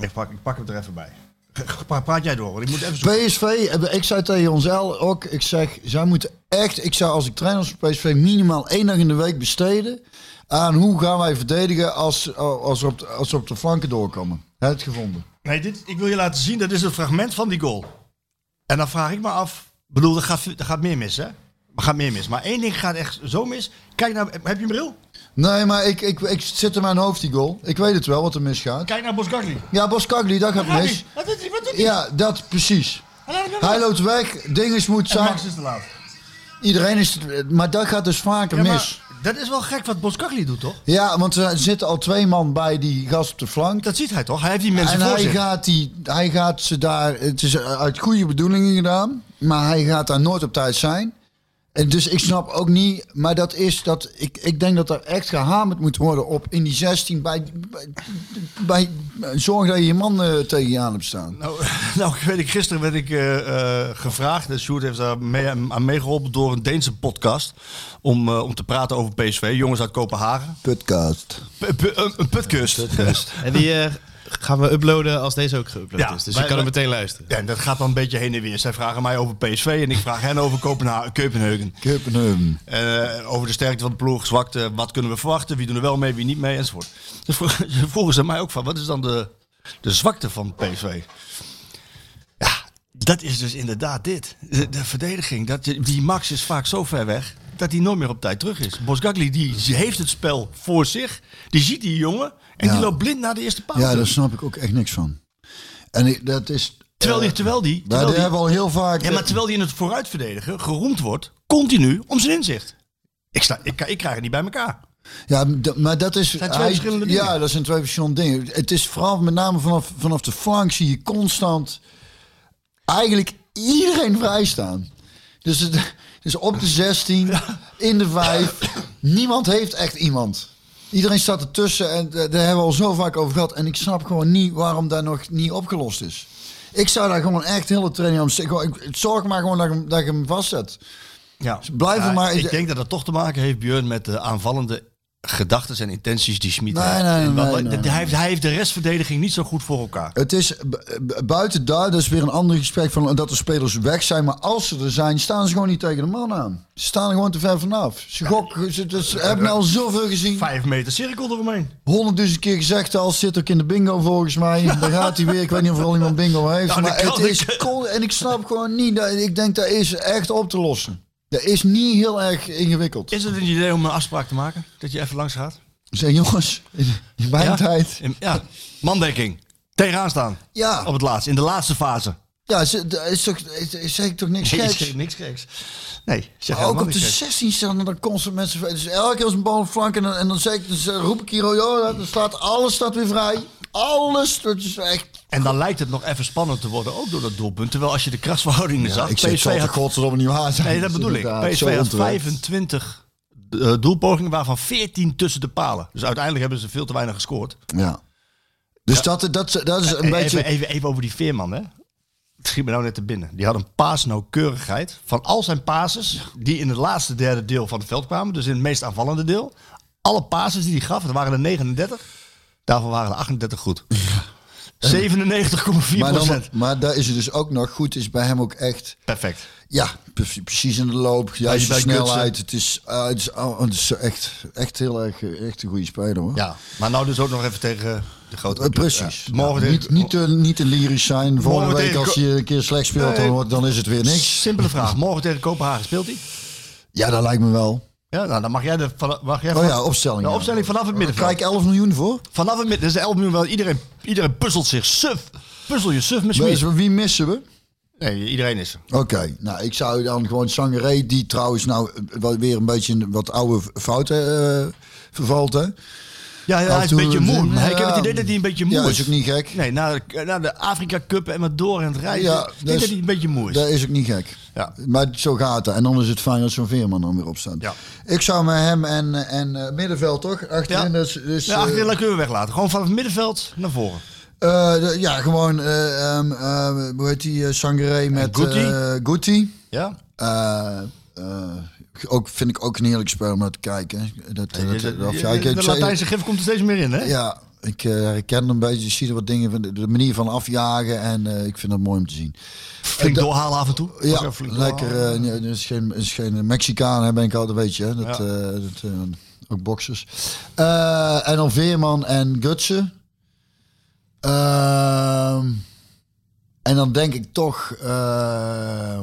Speaker 9: Ik, pak, ik pak hem er even bij. Ga- ga- Praat jij door, want ik moet even zoeken.
Speaker 10: PSV, eh, ik zei tegen ons El ook, ik zeg, zij moeten echt, ik zou als ik trainer was van PSV minimaal één dag in de week besteden aan hoe gaan wij verdedigen als, eh, als, we op, de- als we op de flanken doorkomen. Heb je het gevonden?
Speaker 9: Nee, dit, ik wil je laten zien, dat is een fragment van die goal. En dan vraag ik me af, ik bedoel, er gaat, er gaat meer mis, hè? Er gaat meer mis. Maar één ding gaat echt zo mis. Kijk nou, heb je een bril?
Speaker 10: Nee, maar ik, ik, ik zit in mijn hoofd die goal. Ik weet het wel wat er misgaat.
Speaker 9: Kijk naar Boskakli.
Speaker 10: Ja, Boskagli, dat gaat mis.
Speaker 9: Wat doet hij? Wat doet hij?
Speaker 10: Ja, dat precies. Hij loopt weg, dinges moet
Speaker 9: En
Speaker 10: zijn.
Speaker 9: Max is te laat.
Speaker 10: Iedereen is... Maar dat gaat dus vaker
Speaker 9: Ja, maar
Speaker 10: mis.
Speaker 9: dat is wel gek wat Boskakli doet, toch?
Speaker 10: Ja, want er zitten al twee man bij die gast op de flank.
Speaker 9: Dat ziet hij toch? Hij heeft die mensen
Speaker 10: en
Speaker 9: voor
Speaker 10: hij
Speaker 9: zich.
Speaker 10: gaat, die, hij gaat ze daar. Het is eh, uit goede bedoelingen gedaan. Maar hij gaat daar nooit op tijd zijn. En dus ik snap ook niet. Maar dat is dat. Ik, ik denk dat er echt gehamerd moet worden op in die 16. Bij, bij, bij- zorg dat je je man eh, tegen je aan hebt staan.
Speaker 9: Nou, nou, ik weet ik, gisteren werd ik eh, eh, gevraagd, en Sjoerd heeft daar mee, aan meegeholpen door een Deense podcast, om, eh, om te praten over PSV, jongens uit Kopenhagen.
Speaker 10: Podcast.
Speaker 9: P- p- een, een putkust.
Speaker 4: En die eh, gaan we uploaden als deze ook geüpload
Speaker 9: Ja,
Speaker 4: is. Dus
Speaker 9: wij-
Speaker 4: je kan hem
Speaker 9: wij-
Speaker 4: meteen luisteren.
Speaker 9: Ja, en dat gaat dan een beetje heen en weer. Zij vragen mij over PSV en ik vraag hen over Kopenha- Kopenhagen.
Speaker 10: Kippenhum.
Speaker 9: Eh, over de sterkte van de ploeg, zwakte, wat kunnen we verwachten, wie doen er wel mee, wie niet mee, enzovoort. Dus vro- ze vroegen ze mij ook van, wat is dan de, de zwakte van PSV? Ja, dat is dus inderdaad dit. De, de verdediging, dat, je- die Max is vaak zo ver weg dat hij nooit meer op tijd terug is. Bosgagli die heeft het spel voor zich, die ziet die jongen en
Speaker 10: Ja.
Speaker 9: die loopt blind naar de eerste paal.
Speaker 10: Ja,
Speaker 9: toe.
Speaker 10: daar snap ik ook echt niks van. En ik- dat is.
Speaker 9: Terwijl die,
Speaker 10: eh,
Speaker 9: terwijl die,
Speaker 10: maar
Speaker 9: terwijl
Speaker 10: die
Speaker 9: die,
Speaker 10: hebben we al heel vaak. eh,
Speaker 9: ja, maar terwijl die in het vooruitverdedigen geroemd wordt, continu om zijn inzicht. Ik, sta, ik, ik krijg het niet bij elkaar.
Speaker 10: Ja, d- maar dat is.
Speaker 9: zijn twee verschillende dingen.
Speaker 10: Ja, dat zijn twee verschillende dingen. Het is vooral met name vanaf, vanaf de flank zie je constant eigenlijk iedereen vrijstaan. Dus het is op de 16, in de 5. Niemand heeft echt iemand. Iedereen staat ertussen en eh, daar hebben we al zo vaak over gehad. En ik snap gewoon niet waarom daar nog niet opgelost is. Ik zou daar gewoon echt hele training aan besteden. Gewoon, ik- Zorg maar gewoon dat ik, hem- dat ik hem vastzet.
Speaker 9: Ja.
Speaker 10: blijven Dus maar-
Speaker 9: Ik denk dat dat toch te maken heeft, Björn, met de aanvallende gedachten en intenties die Schmid
Speaker 10: Nee,
Speaker 9: heeft.
Speaker 10: nee,
Speaker 9: En wat-
Speaker 10: nee, nee,
Speaker 9: dat-
Speaker 10: nee.
Speaker 9: hij, heeft, hij heeft de restverdediging niet zo goed voor elkaar.
Speaker 10: Het is eh, bu- bu- buiten daar, dat is weer een ander gesprek van dat de spelers weg zijn. Maar als ze er zijn, staan ze gewoon niet tegen de man aan. Ze staan er gewoon te ver vanaf. Ze gokken, ze, dus, hebben al zoveel gezien.
Speaker 9: Vijf meter cirkel eromheen.
Speaker 10: Honderdduizend keer gezegd al, zit ook in de bingo volgens mij. Daar gaat hij weer, ik weet niet of er al iemand bingo heeft.
Speaker 9: Nou, dat
Speaker 10: maar het
Speaker 9: kan
Speaker 10: is
Speaker 9: ik.
Speaker 10: cool en ik snap gewoon niet, dat, ik denk dat is echt op te lossen. Dat is niet heel erg ingewikkeld.
Speaker 9: Is het een idee om een afspraak te maken? Dat je even langs gaat?
Speaker 10: Zeg jongens, in, in mijn
Speaker 9: Ja?
Speaker 10: tijd.
Speaker 9: In- ja, mandekking. Tegenaan staan.
Speaker 10: Ja.
Speaker 9: Op het laatst, in de laatste fase.
Speaker 10: Ja, ze- daar is toch, is, is- zeg ik toch niks
Speaker 9: Nee,
Speaker 10: geks?
Speaker 9: zeg niks geks. Nee, zeg
Speaker 10: Maar ook
Speaker 9: helemaal
Speaker 10: op de
Speaker 9: niks geks.
Speaker 10: 16 staan er dan constant mensen vrij. Dus elke keer als een bal op flank en, dan- en dan, zeg ik, dus, eh, roep ik hier, oh, joh, dan staat alles staat weer vrij. Alles, dat is echt...
Speaker 9: En dan lijkt het nog even spannend te worden, ook door dat doelpunt. Terwijl als je de krasverhoudingen zag, PSV had
Speaker 10: godverdomme niet waar zijn.
Speaker 9: Nee, dat bedoel ik. PSV had 25 eh, doelpogingen, waarvan 14 tussen de palen. Dus uiteindelijk hebben ze veel te weinig gescoord.
Speaker 10: Ja. Dus Dat, dat, dat is een
Speaker 9: even,
Speaker 10: beetje...
Speaker 9: even, even over die Veerman, hè. Het schiet me nou net te binnen. Die had een paasnauwkeurigheid van al zijn pases... die in het laatste derde deel van het veld kwamen. Dus in het meest aanvallende deel. Alle pases die hij gaf, er waren er 39. Daarvan waren er 38 goed.
Speaker 10: maar,
Speaker 9: 97,4
Speaker 10: dan,
Speaker 9: eh, procent.
Speaker 10: maar daar is het dus ook nog goed, is bij hem ook echt...
Speaker 9: Perfect.
Speaker 10: Ja, pre- precies in de loop,
Speaker 9: je
Speaker 10: juist de
Speaker 9: bij
Speaker 10: snelheid.
Speaker 9: Gutsen.
Speaker 10: Het is, eh, het is, oh, het is echt, echt heel erg eh, echt een goede speler hoor.
Speaker 9: Ja, maar nou dus ook nog even tegen de grote...
Speaker 10: Eh, precies.
Speaker 9: Ja, morgen
Speaker 10: Ja,
Speaker 9: tegen-
Speaker 10: niet, niet, te, niet te lyrisch zijn. Volgende
Speaker 9: Morgen
Speaker 10: week
Speaker 9: tegen
Speaker 10: als
Speaker 9: Ko-
Speaker 10: je een keer slecht speelt, dan,
Speaker 9: Nee.
Speaker 10: wordt- dan is het weer niks.
Speaker 9: Simpele vraag. Morgen tegen Kopenhagen speelt hij?
Speaker 10: Ja, dat lijkt me wel.
Speaker 9: Ja, nou, dan mag jij de van- mag jij
Speaker 10: Oh
Speaker 9: vanaf-
Speaker 10: ja, opstelling.
Speaker 9: De
Speaker 10: ja.
Speaker 9: opstelling vanaf het middenveld.
Speaker 10: Kijk, 11 miljoen voor.
Speaker 9: Vanaf het midden, dus de 11 miljoen wel. Iedereen, iedereen puzzelt zich suf. Puzzel je suf met Smit.
Speaker 10: Wie, wie missen we?
Speaker 9: Nee, iedereen is er.
Speaker 10: Oké, nou ik zou dan gewoon Sangaré, die trouwens nou eh, wel weer een beetje in wat oude fouten eh, vervalt hè.
Speaker 9: Ja, ja, hij is een beetje moe. Maar ik heb het idee dat hij een beetje moe
Speaker 10: ja,
Speaker 9: is.
Speaker 10: is ook niet gek.
Speaker 9: Nee, na de, na de Afrika Cup en maar door en het reizen.
Speaker 10: Ja,
Speaker 9: ik denk
Speaker 10: dus-
Speaker 9: dat hij een beetje moe is.
Speaker 10: Dat is ook niet gek.
Speaker 9: Ja.
Speaker 10: Maar zo gaat het. En dan is het fijn dat zo'n Veerman dan weer opstaat.
Speaker 9: Ja.
Speaker 10: Ik zou met hem en, en eh, middenveld toch? Achterin.
Speaker 9: Ja.
Speaker 10: Dus, dus,
Speaker 9: ja, achterin laat kunnen we weglaten. Gewoon vanaf het middenveld naar voren.
Speaker 10: eh, eh, de- ja, gewoon, eh, ehm, eh, hoe heet die, eh, Sangaré met
Speaker 9: Guti.
Speaker 10: eh, Guti.
Speaker 9: Ja?
Speaker 10: Eh, eh, ook, vind ik ook een heerlijk spel om naar te kijken. Dat, dat,
Speaker 9: de,
Speaker 10: of ja,
Speaker 9: de-
Speaker 10: ik- ik
Speaker 9: de
Speaker 10: zei-
Speaker 9: Latijnse gif komt er steeds meer in, hè?
Speaker 10: Ja, ik eh, herken hem een beetje. Je ziet er wat dingen van de, de manier van afjagen. En eh, ik vind dat mooi om te zien.
Speaker 9: Flink doorhalen af en toe.
Speaker 10: Ja,
Speaker 9: Lekker flink
Speaker 10: lekker.
Speaker 9: doorhalen.
Speaker 10: eh, nee, Er is geen, is geen Mexicaan, hè, ben ik altijd, weet je. Hè? Dat,
Speaker 9: Ja.
Speaker 10: eh, dat, eh, ook boxers. Eh, en dan Veerman en Gutsen. Ehm, en dan denk ik toch, eh,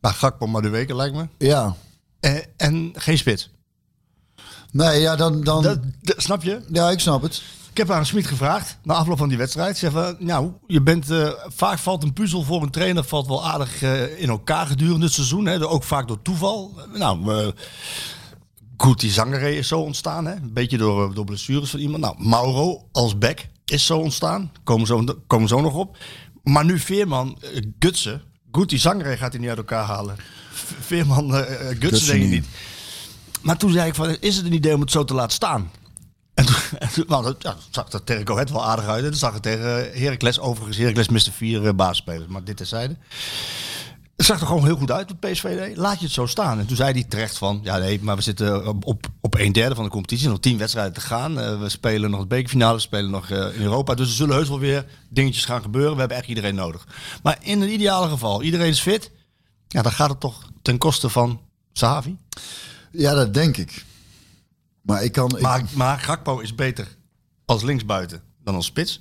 Speaker 9: Maar Nou, Gakpo maar de weken, lijkt me.
Speaker 10: ja.
Speaker 9: En, Eh, en geen spits.
Speaker 10: Nee, ja, dan... dan
Speaker 9: Dat, dat, snap je?
Speaker 10: ja, ik snap het.
Speaker 9: Ik heb aan Smit gevraagd, na afloop van die wedstrijd, zeg van, nou, je bent, eh, vaak valt een puzzel voor een trainer valt wel aardig eh, in elkaar gedurende het seizoen, hè, ook vaak door toeval. Nou, eh goed, die Zangeré is zo ontstaan, hè, een beetje door, eh, door blessures van iemand. Nou, Mauro als back is zo ontstaan, komen zo, komen zo nog op. Maar nu Veerman, eh, Gutsen, goed, die Zangeré gaat hij niet uit elkaar halen. V- Veerman, eh, eh, Gutsen,
Speaker 10: Gutsen
Speaker 9: denk ik
Speaker 10: niet.
Speaker 9: niet. Maar toen zei ik van, is het een idee om het zo te laten staan? En toen, en toen- nou, dat, ja, dat zag er tegen Go Ahead wel aardig uit. En dat zag er tegen eh, Heracles, overigens Heracles miste vier eh, basisspelers. Maar dit terzijde. Het zag er gewoon heel goed uit wat PSV deed. Laat je het zo staan. En toen zei hij terecht van, ja nee, maar we zitten eh, op- op, op een derde van de competitie. Nog tien wedstrijden te gaan. Eh, we spelen nog de bekerfinale, we spelen nog eh, in Europa. Dus er zullen heus wel weer dingetjes gaan gebeuren. We hebben echt iedereen nodig. Maar in het ideale geval, iedereen is fit. Ja, dan gaat het toch ten koste van Sahavi.
Speaker 10: Ja, dat denk ik. Maar ik kan... ik-
Speaker 9: Maar, maar Gakpo is beter als linksbuiten dan als spits.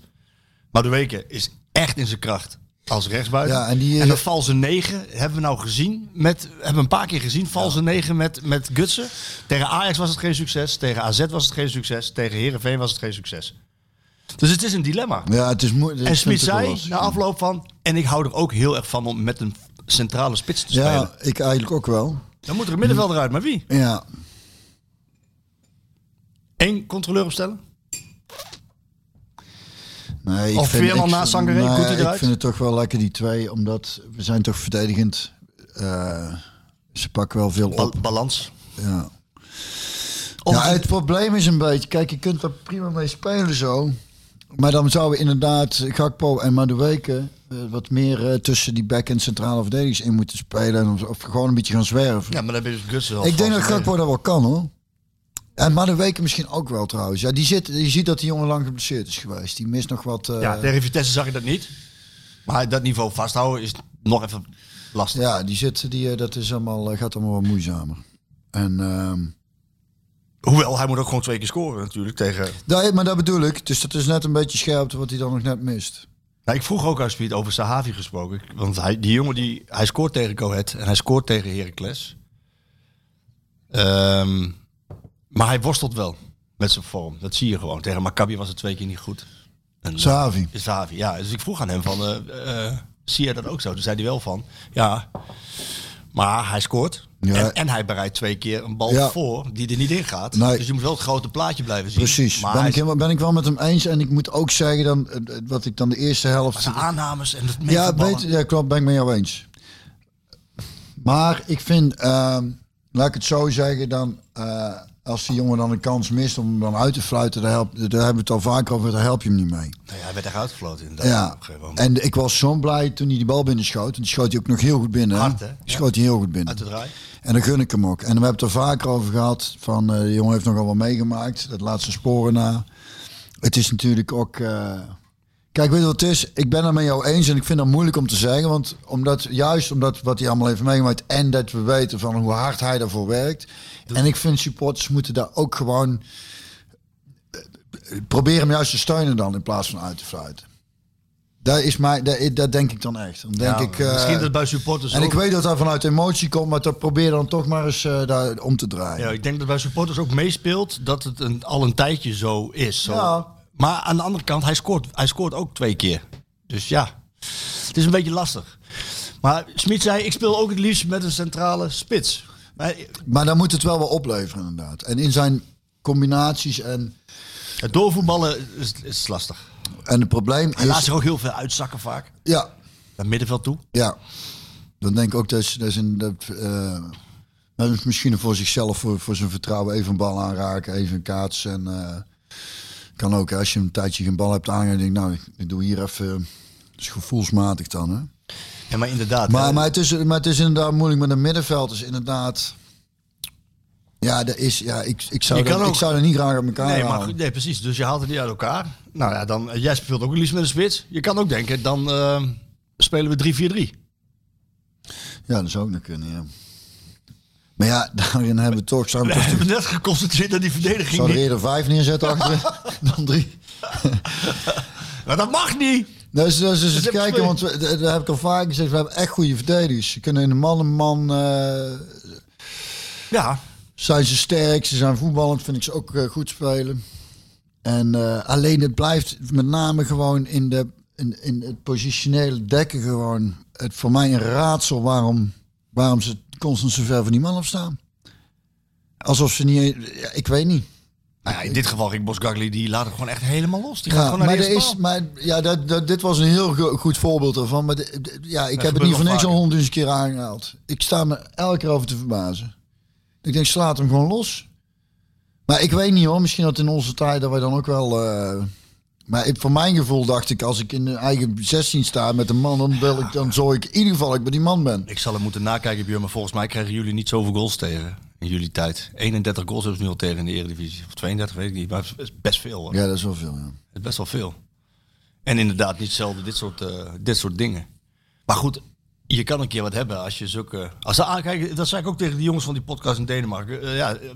Speaker 9: Maar de Weken is echt in zijn kracht als rechtsbuiten.
Speaker 10: Ja, en die,
Speaker 9: een
Speaker 10: eh,
Speaker 9: valse 9 hebben we nou gezien. Met, hebben we een paar keer gezien. Valse negen 9 met, met Gutsen. Tegen Ajax was het geen succes. Tegen AZ was het geen succes. Tegen Herenveen was het geen succes. Dus het is een dilemma.
Speaker 10: ja, het is moeilijk.
Speaker 9: en Smit zei na afloop van... En ik hou er ook heel erg van om met een centrale spits te spelen.
Speaker 10: Ja, ik eigenlijk ook wel.
Speaker 9: Dan moet er een middenvelder uit. Maar wie?
Speaker 10: Ja,
Speaker 9: Eén controleur opstellen?
Speaker 10: Nee, ik
Speaker 9: Of
Speaker 10: vind-
Speaker 9: Veerman
Speaker 10: ik-
Speaker 9: na Sangaré,
Speaker 10: nee,
Speaker 9: komt hij
Speaker 10: Ik
Speaker 9: eruit?
Speaker 10: vind het toch wel lekker die twee, omdat we zijn toch verdedigend. Eh ze pakken wel veel
Speaker 9: Bal-
Speaker 10: op.
Speaker 9: balans.
Speaker 10: Ja.
Speaker 9: Of
Speaker 10: Ja, het probleem is een beetje, kijk, je kunt er prima mee spelen zo. Maar dan zouden inderdaad Gakpo en Madueke eh, wat meer eh, tussen die back- en centrale verdedigers in moeten spelen. en Of, of gewoon een beetje gaan zwerven.
Speaker 9: Ja, maar dan ben je dus Gutsen wel
Speaker 10: ik denk dat
Speaker 9: valse negen.
Speaker 10: Gakpo dat wel kan hoor. En Madueke misschien ook wel trouwens. Ja, die zit, je ziet dat die jongen lang geblesseerd is geweest. Die mist nog wat... eh,
Speaker 9: Ja, tegen Vitesse zag je dat niet. Maar dat niveau vasthouden is nog even lastig.
Speaker 10: Ja, die zit, die, eh, dat is allemaal, eh, gaat allemaal wat moeizamer. En, ehm,
Speaker 9: Hoewel, hij moet ook gewoon twee keer scoren natuurlijk. Tegen...
Speaker 10: daar, maar dat bedoel ik. Dus dat is net een beetje scherpte wat hij dan nog net mist.
Speaker 9: Nou, ik vroeg ook aan Speed over Sahavi gesproken. Want hij, die jongen, die, hij scoort tegen Go Ahead en hij scoort tegen Heracles. Ehm, maar hij worstelt wel met zijn vorm. Dat zie je gewoon. Tegen Maccabi was het twee keer niet goed. En,
Speaker 10: Zahavi.
Speaker 9: Zahavi, ja. Dus ik vroeg aan hem van, eh, eh, zie je dat ook zo? Toen zei hij wel van, ja. Maar hij scoort.
Speaker 10: Ja.
Speaker 9: En, en hij bereidt twee keer een bal
Speaker 10: Ja.
Speaker 9: voor die er niet in gaat.
Speaker 10: Nee.
Speaker 9: Dus je moet wel het grote plaatje blijven zien.
Speaker 10: Precies,
Speaker 9: Maar
Speaker 10: ben,
Speaker 9: hij
Speaker 10: ik helemaal, ben ik wel met hem eens. En ik moet ook zeggen, dan, eh, wat ik dan de eerste helft...
Speaker 9: zijn aannames en het
Speaker 10: Ja,
Speaker 9: meevoetballen.
Speaker 10: weet, ja, klopt, ben ik met jou eens. Maar ik vind, ehm, laat ik het zo zeggen, dan, eh, als die jongen dan een kans mist om hem dan uit te fluiten, daar, help, daar hebben we het al vaker over, daar help je hem niet mee.
Speaker 9: Nou ja, hij werd echt uitgefloten inderdaad.
Speaker 10: Ja,
Speaker 9: Op een gegeven moment.
Speaker 10: en ik was zo blij toen hij die bal binnen schoot. En die schoot hij ook nog heel goed binnen. hè?
Speaker 9: Hard, hè?
Speaker 10: Die
Speaker 9: Ja.
Speaker 10: Schoot hij heel goed binnen.
Speaker 9: Uit de draai.
Speaker 10: En dan gun ik hem ook. En we hebben het er vaker over gehad. Van, eh de jongen heeft nogal wat meegemaakt. Dat laat zijn sporen na. Het is natuurlijk ook... eh, Kijk, weet je wat het is? Ik ben het met jou eens en ik vind dat moeilijk om te zeggen. Want omdat, juist omdat wat hij allemaal heeft meegemaakt... en dat we weten van hoe hard hij daarvoor werkt. En ik vind supporters moeten daar ook gewoon... eh, Probeer hem juist te steunen dan in plaats van uit te fluiten. Daar is mij, daar, dat denk ik dan echt. Dan denk
Speaker 9: Ja,
Speaker 10: ik, eh,
Speaker 9: Nou, misschien dat het bij supporters
Speaker 10: en
Speaker 9: ook-
Speaker 10: ik weet dat dat vanuit emotie komt, maar dat probeer dan toch maar eens eh, daar om te draaien.
Speaker 9: Ja, ik denk dat bij supporters ook meespeelt dat het een, al een tijdje zo is. Zo.
Speaker 10: Ja.
Speaker 9: Maar aan de andere kant, hij scoort, hij scoort ook twee keer. Dus ja, het is een beetje lastig. Maar Smit zei, ik speel ook het liefst met een centrale spits. Maar eh,
Speaker 10: Maar dan moet het wel wel opleveren inderdaad. En in zijn combinaties en,
Speaker 9: het doorvoetballen is, is lastig.
Speaker 10: en het probleem
Speaker 9: Hij laat
Speaker 10: is...
Speaker 9: zich ook heel veel uitzakken vaak.
Speaker 10: Ja,
Speaker 9: Naar middenveld toe.
Speaker 10: ja. Dan denk ik ook dat, is- dat, is een, dat, eh, dat is misschien voor zichzelf, voor, voor zijn vertrouwen, even een bal aanraken, even een kaats. En eh, kan ook, hè, als je een tijdje geen bal hebt aangegeven, denk ik, nou, ik, ik doe hier even... Dat is gevoelsmatig dan, hè?
Speaker 9: Ja, maar inderdaad.
Speaker 10: Maar,
Speaker 9: hè,
Speaker 10: maar, het is, maar het is inderdaad moeilijk met een middenveld. Is inderdaad. Ja, er is, ja ik, ik, zou
Speaker 9: Je
Speaker 10: dat,
Speaker 9: kan ook-
Speaker 10: ik zou er niet graag uit elkaar
Speaker 9: Nee, maar
Speaker 10: halen.
Speaker 9: goed, nee, precies. Dus je haalt het niet uit elkaar. Nou ja, dan, eh, jij speelt ook het liefst met een spits. Je kan ook denken, dan eh, spelen we 3-4-3.
Speaker 10: Ja, dat zou ook nog kunnen, ja. Maar ja, daarin hebben we toch... Zou
Speaker 9: We
Speaker 10: ik toch
Speaker 9: hebben net geconcentreerd aan die verdediging.
Speaker 10: zou
Speaker 9: niet.
Speaker 10: er eerder vijf neerzetten achter dan drie.
Speaker 9: Maar dat mag niet.
Speaker 10: Dus, dus, dus eens
Speaker 9: heb ik
Speaker 10: kijken,
Speaker 9: twee.
Speaker 10: want we, dat dat heb ik al vaak gezegd. We hebben echt goede verdedigers. Ze kunnen in de man-man... eh,
Speaker 9: Ja.
Speaker 10: zijn ze sterk, ze zijn voetballend, vind ik ze ook eh, goed spelen. En eh, alleen het blijft met name gewoon in, de, in, in het positionele dekken gewoon het, voor mij een raadsel waarom, waarom ze constant zo ver van die man afstaan. Alsof ze niet... ja, ik weet niet.
Speaker 9: Nou ja, in dit geval Rick Bosgagli, die laat het gewoon echt helemaal los. Die gaat
Speaker 10: Ja,
Speaker 9: gewoon naar
Speaker 10: maar
Speaker 9: de
Speaker 10: er
Speaker 9: eerste
Speaker 10: is,
Speaker 9: paal.
Speaker 10: maar, ja, dat, dat, dit was een heel go- goed voorbeeld daarvan. Maar de- de- ja, ik heb het
Speaker 9: gebeurt
Speaker 10: niet voor
Speaker 9: nog
Speaker 10: niks al
Speaker 9: vaker.
Speaker 10: honderdduizend keer aangehaald. Ik sta me elke keer over te verbazen. Ik denk, slaat hem gewoon los. Maar ik weet niet hoor, misschien dat in onze tijd dat wij dan ook wel... eh, maar ik- voor mijn gevoel dacht ik, als ik in de eigen 16 sta met een man, dan, wil ik, dan zorg ik in ieder geval dat ik bij die man ben.
Speaker 9: Ik zal hem moeten nakijken, Björn. Maar volgens mij krijgen jullie niet zoveel goals tegen in jullie tijd. 31 goals hebben ze nu al tegen in de Eredivisie. Of 32, weet ik niet. Maar het is best veel. Hoor.
Speaker 10: Ja, dat is wel veel. Ja.
Speaker 9: Het is best wel veel. En inderdaad, niet zelden dit soort, eh, dit soort dingen. Maar goed, je kan een keer wat hebben als je zulke... Als ze aankijken, dat zei ik ook tegen de jongens van die podcast in Denemarken. Eh, ja, eh,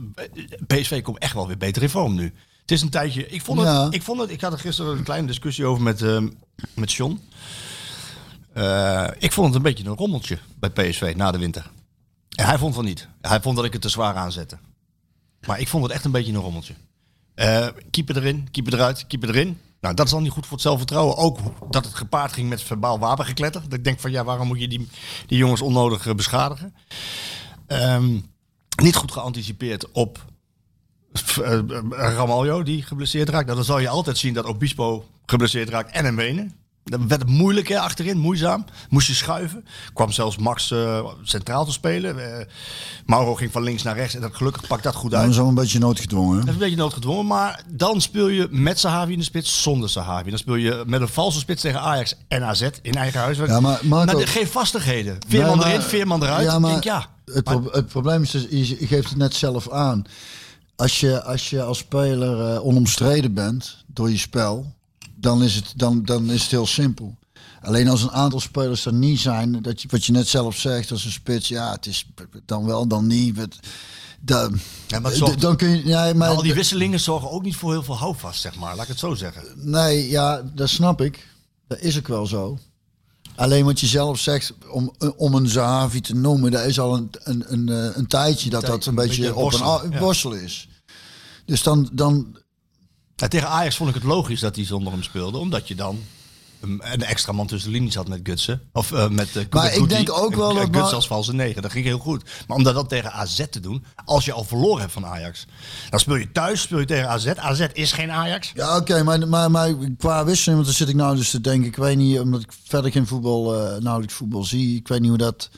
Speaker 9: PSV komt echt wel weer beter in vorm nu. Het is een tijdje... Ik vond het...
Speaker 10: Ja.
Speaker 9: Ik, vond het, ik had er gisteren een kleine discussie over met, eh, met John. Eh, ik vond het een beetje een rommeltje bij PSV na de winter. En hij vond van niet. Hij vond dat ik het te zwaar aanzette. Maar ik vond het echt een beetje een rommeltje. Eh, keeper erin, keeper eruit, keeper erin. Nou, dat is al niet goed voor het zelfvertrouwen. Ook dat het gepaard ging met verbaal wapengekletter. Dat ik denk van ja, waarom moet je die, die jongens onnodig eh, beschadigen? Ehm, niet goed geanticipeerd op f- eh, eh, Ramaljo die geblesseerd raakt. Nou, dan zal je altijd zien dat Obispo geblesseerd raakt en een benen. Dan werd het moeilijk hè, achterin, moeizaam. Moest je schuiven. Kwam zelfs Max eh, centraal te spelen. Eh, Mauro ging van links naar rechts en dat, gelukkig pakt dat goed
Speaker 10: Dan
Speaker 9: uit.
Speaker 10: is al een beetje noodgedwongen. hè?
Speaker 9: Dat is een beetje noodgedwongen, maar dan speel je met Sahavi in de spits, zonder Sahavi. Dan speel je met een valse spits tegen Ajax en AZ in eigen huis.
Speaker 10: Ja, maar Marco-
Speaker 9: Maar de- geen vastigheden. Veerman
Speaker 10: Nee, maar-
Speaker 9: erin, Veerman eruit.
Speaker 10: Ja, maar
Speaker 9: ik denk, ja.
Speaker 10: Het, pro- het probleem is, dus, je je geeft het net zelf aan. Als je als, je als speler eh, onomstreden bent door je spel, dan is, het, dan, dan is het heel simpel. Alleen als een aantal spelers er niet zijn, dat je, wat je net zelf zegt als een spits, ja, het is dan wel, dan niet. wat- Dan,
Speaker 9: Ja, maar het zorgt-
Speaker 10: dan kun je. Nee, maar,
Speaker 9: al die wisselingen zorgen ook niet voor heel veel houvast, zeg maar. Laat ik het zo zeggen.
Speaker 10: Nee, ja, dat snap ik. Dat is ook wel zo. Alleen wat je zelf zegt, om, om een Zahavi te noemen, daar is al een, een, een, eh, een tijdje dat
Speaker 9: Tijd-
Speaker 10: dat een
Speaker 9: een
Speaker 10: beetje,
Speaker 9: beetje
Speaker 10: op een
Speaker 9: worstelen,
Speaker 10: a-
Speaker 9: ja.
Speaker 10: worstelen is. Dus dan, dan
Speaker 9: Ja, tegen Ajax vond ik het logisch dat hij zonder hem speelde. Omdat je dan een, een extra man tussen de linies had met Gutsen. Of eh, met, eh
Speaker 10: Maar
Speaker 9: met
Speaker 10: ik
Speaker 9: Guti.
Speaker 10: denk ook wel
Speaker 9: En, eh,
Speaker 10: dat
Speaker 9: Gutsen
Speaker 10: maar-
Speaker 9: als valse negen, dat ging heel goed. Maar om dat dan tegen AZ te doen, als je al verloren hebt van Ajax. Dan speel je thuis, speel je tegen AZ. AZ is geen Ajax.
Speaker 10: Ja, oké, maar, maar, maar qua wisseling, want dan zit ik nou dus te denken, ik weet niet, omdat ik verder geen voetbal, eh, nauwelijks voetbal zie, ik weet niet hoe dat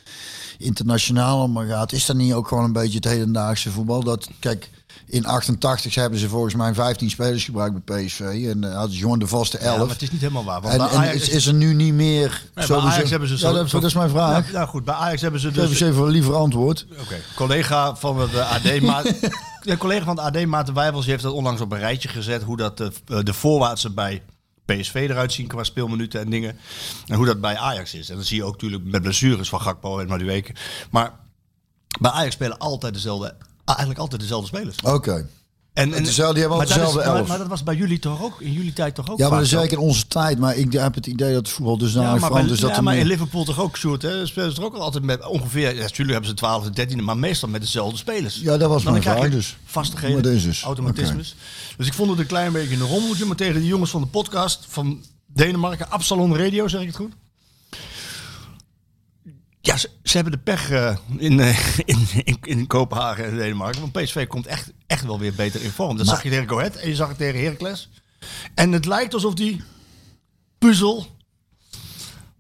Speaker 10: internationaal allemaal gaat. Is dat niet ook gewoon een beetje het hedendaagse voetbal? Dat, kijk, in 88 hebben ze volgens mij 15 spelers gebruikt bij PSV en eh, hadden ze gewoon de vaste 11.
Speaker 9: Ja, maar het is niet helemaal waar. Want
Speaker 10: en
Speaker 9: bij
Speaker 10: en
Speaker 9: Ajax
Speaker 10: is, is er nu niet meer
Speaker 9: Nee, bij
Speaker 10: sowieso-
Speaker 9: Ajax hebben ze
Speaker 10: Ja,
Speaker 9: zo-
Speaker 10: dat,
Speaker 9: zo-
Speaker 10: dat is mijn vraag.
Speaker 9: Ja, nou goed, bij Ajax hebben ze
Speaker 10: Geef
Speaker 9: dus...
Speaker 10: eens even een liever antwoord.
Speaker 9: Oké, collega van het eh, AD, Ma- Ja, collega van het AD Maarten Wijvels, die heeft dat onlangs op een rijtje gezet. Hoe dat eh, de voorwaartsen bij PSV eruit zien qua speelminuten en dingen. En hoe dat bij Ajax is. En dat zie je ook natuurlijk met blessures van Gakpo en Madueke. Maar bij Ajax spelen altijd dezelfde, eigenlijk altijd dezelfde spelers.
Speaker 10: Oké.
Speaker 9: En,
Speaker 10: Dezelfde- die hebben
Speaker 9: maar
Speaker 10: altijd
Speaker 9: dat
Speaker 10: dezelfde
Speaker 9: is- maar-
Speaker 10: elf.
Speaker 9: Maar dat was bij jullie toch ook, in jullie tijd toch ook
Speaker 10: Ja, maar dat
Speaker 9: vaak
Speaker 10: is
Speaker 9: zo?
Speaker 10: zeker in onze tijd, maar ik heb het idee dat het voetbal dus
Speaker 9: Ja,
Speaker 10: nou
Speaker 9: maar,
Speaker 10: verandert.
Speaker 9: bij-
Speaker 10: Dus dat
Speaker 9: ja,
Speaker 10: er
Speaker 9: maar
Speaker 10: meer-
Speaker 9: in Liverpool toch ook, Sjoerd, hè? Spelen ze er ook altijd met ongeveer... Ja, natuurlijk hebben ze 12 en 13, maar meestal met dezelfde spelers.
Speaker 10: Ja, dat was
Speaker 9: Dan
Speaker 10: mijn
Speaker 9: krijg
Speaker 10: vraag
Speaker 9: je
Speaker 10: dus.
Speaker 9: Vastigheden,
Speaker 10: Maar dat is dus.
Speaker 9: automatismes. Dus ik vond het een klein beetje een rommeltje, maar tegen de jongens van de podcast van Denemarken, Absalon Radio, zeg ik het goed? Ja, ze, ze hebben de pech eh, in, eh, in, in, in Kopenhagen en Denemarken. Want PSV komt echt, echt wel weer beter in vorm. Dat zag je tegen Go Ahead en je zag het tegen Heracles. En het lijkt alsof die puzzel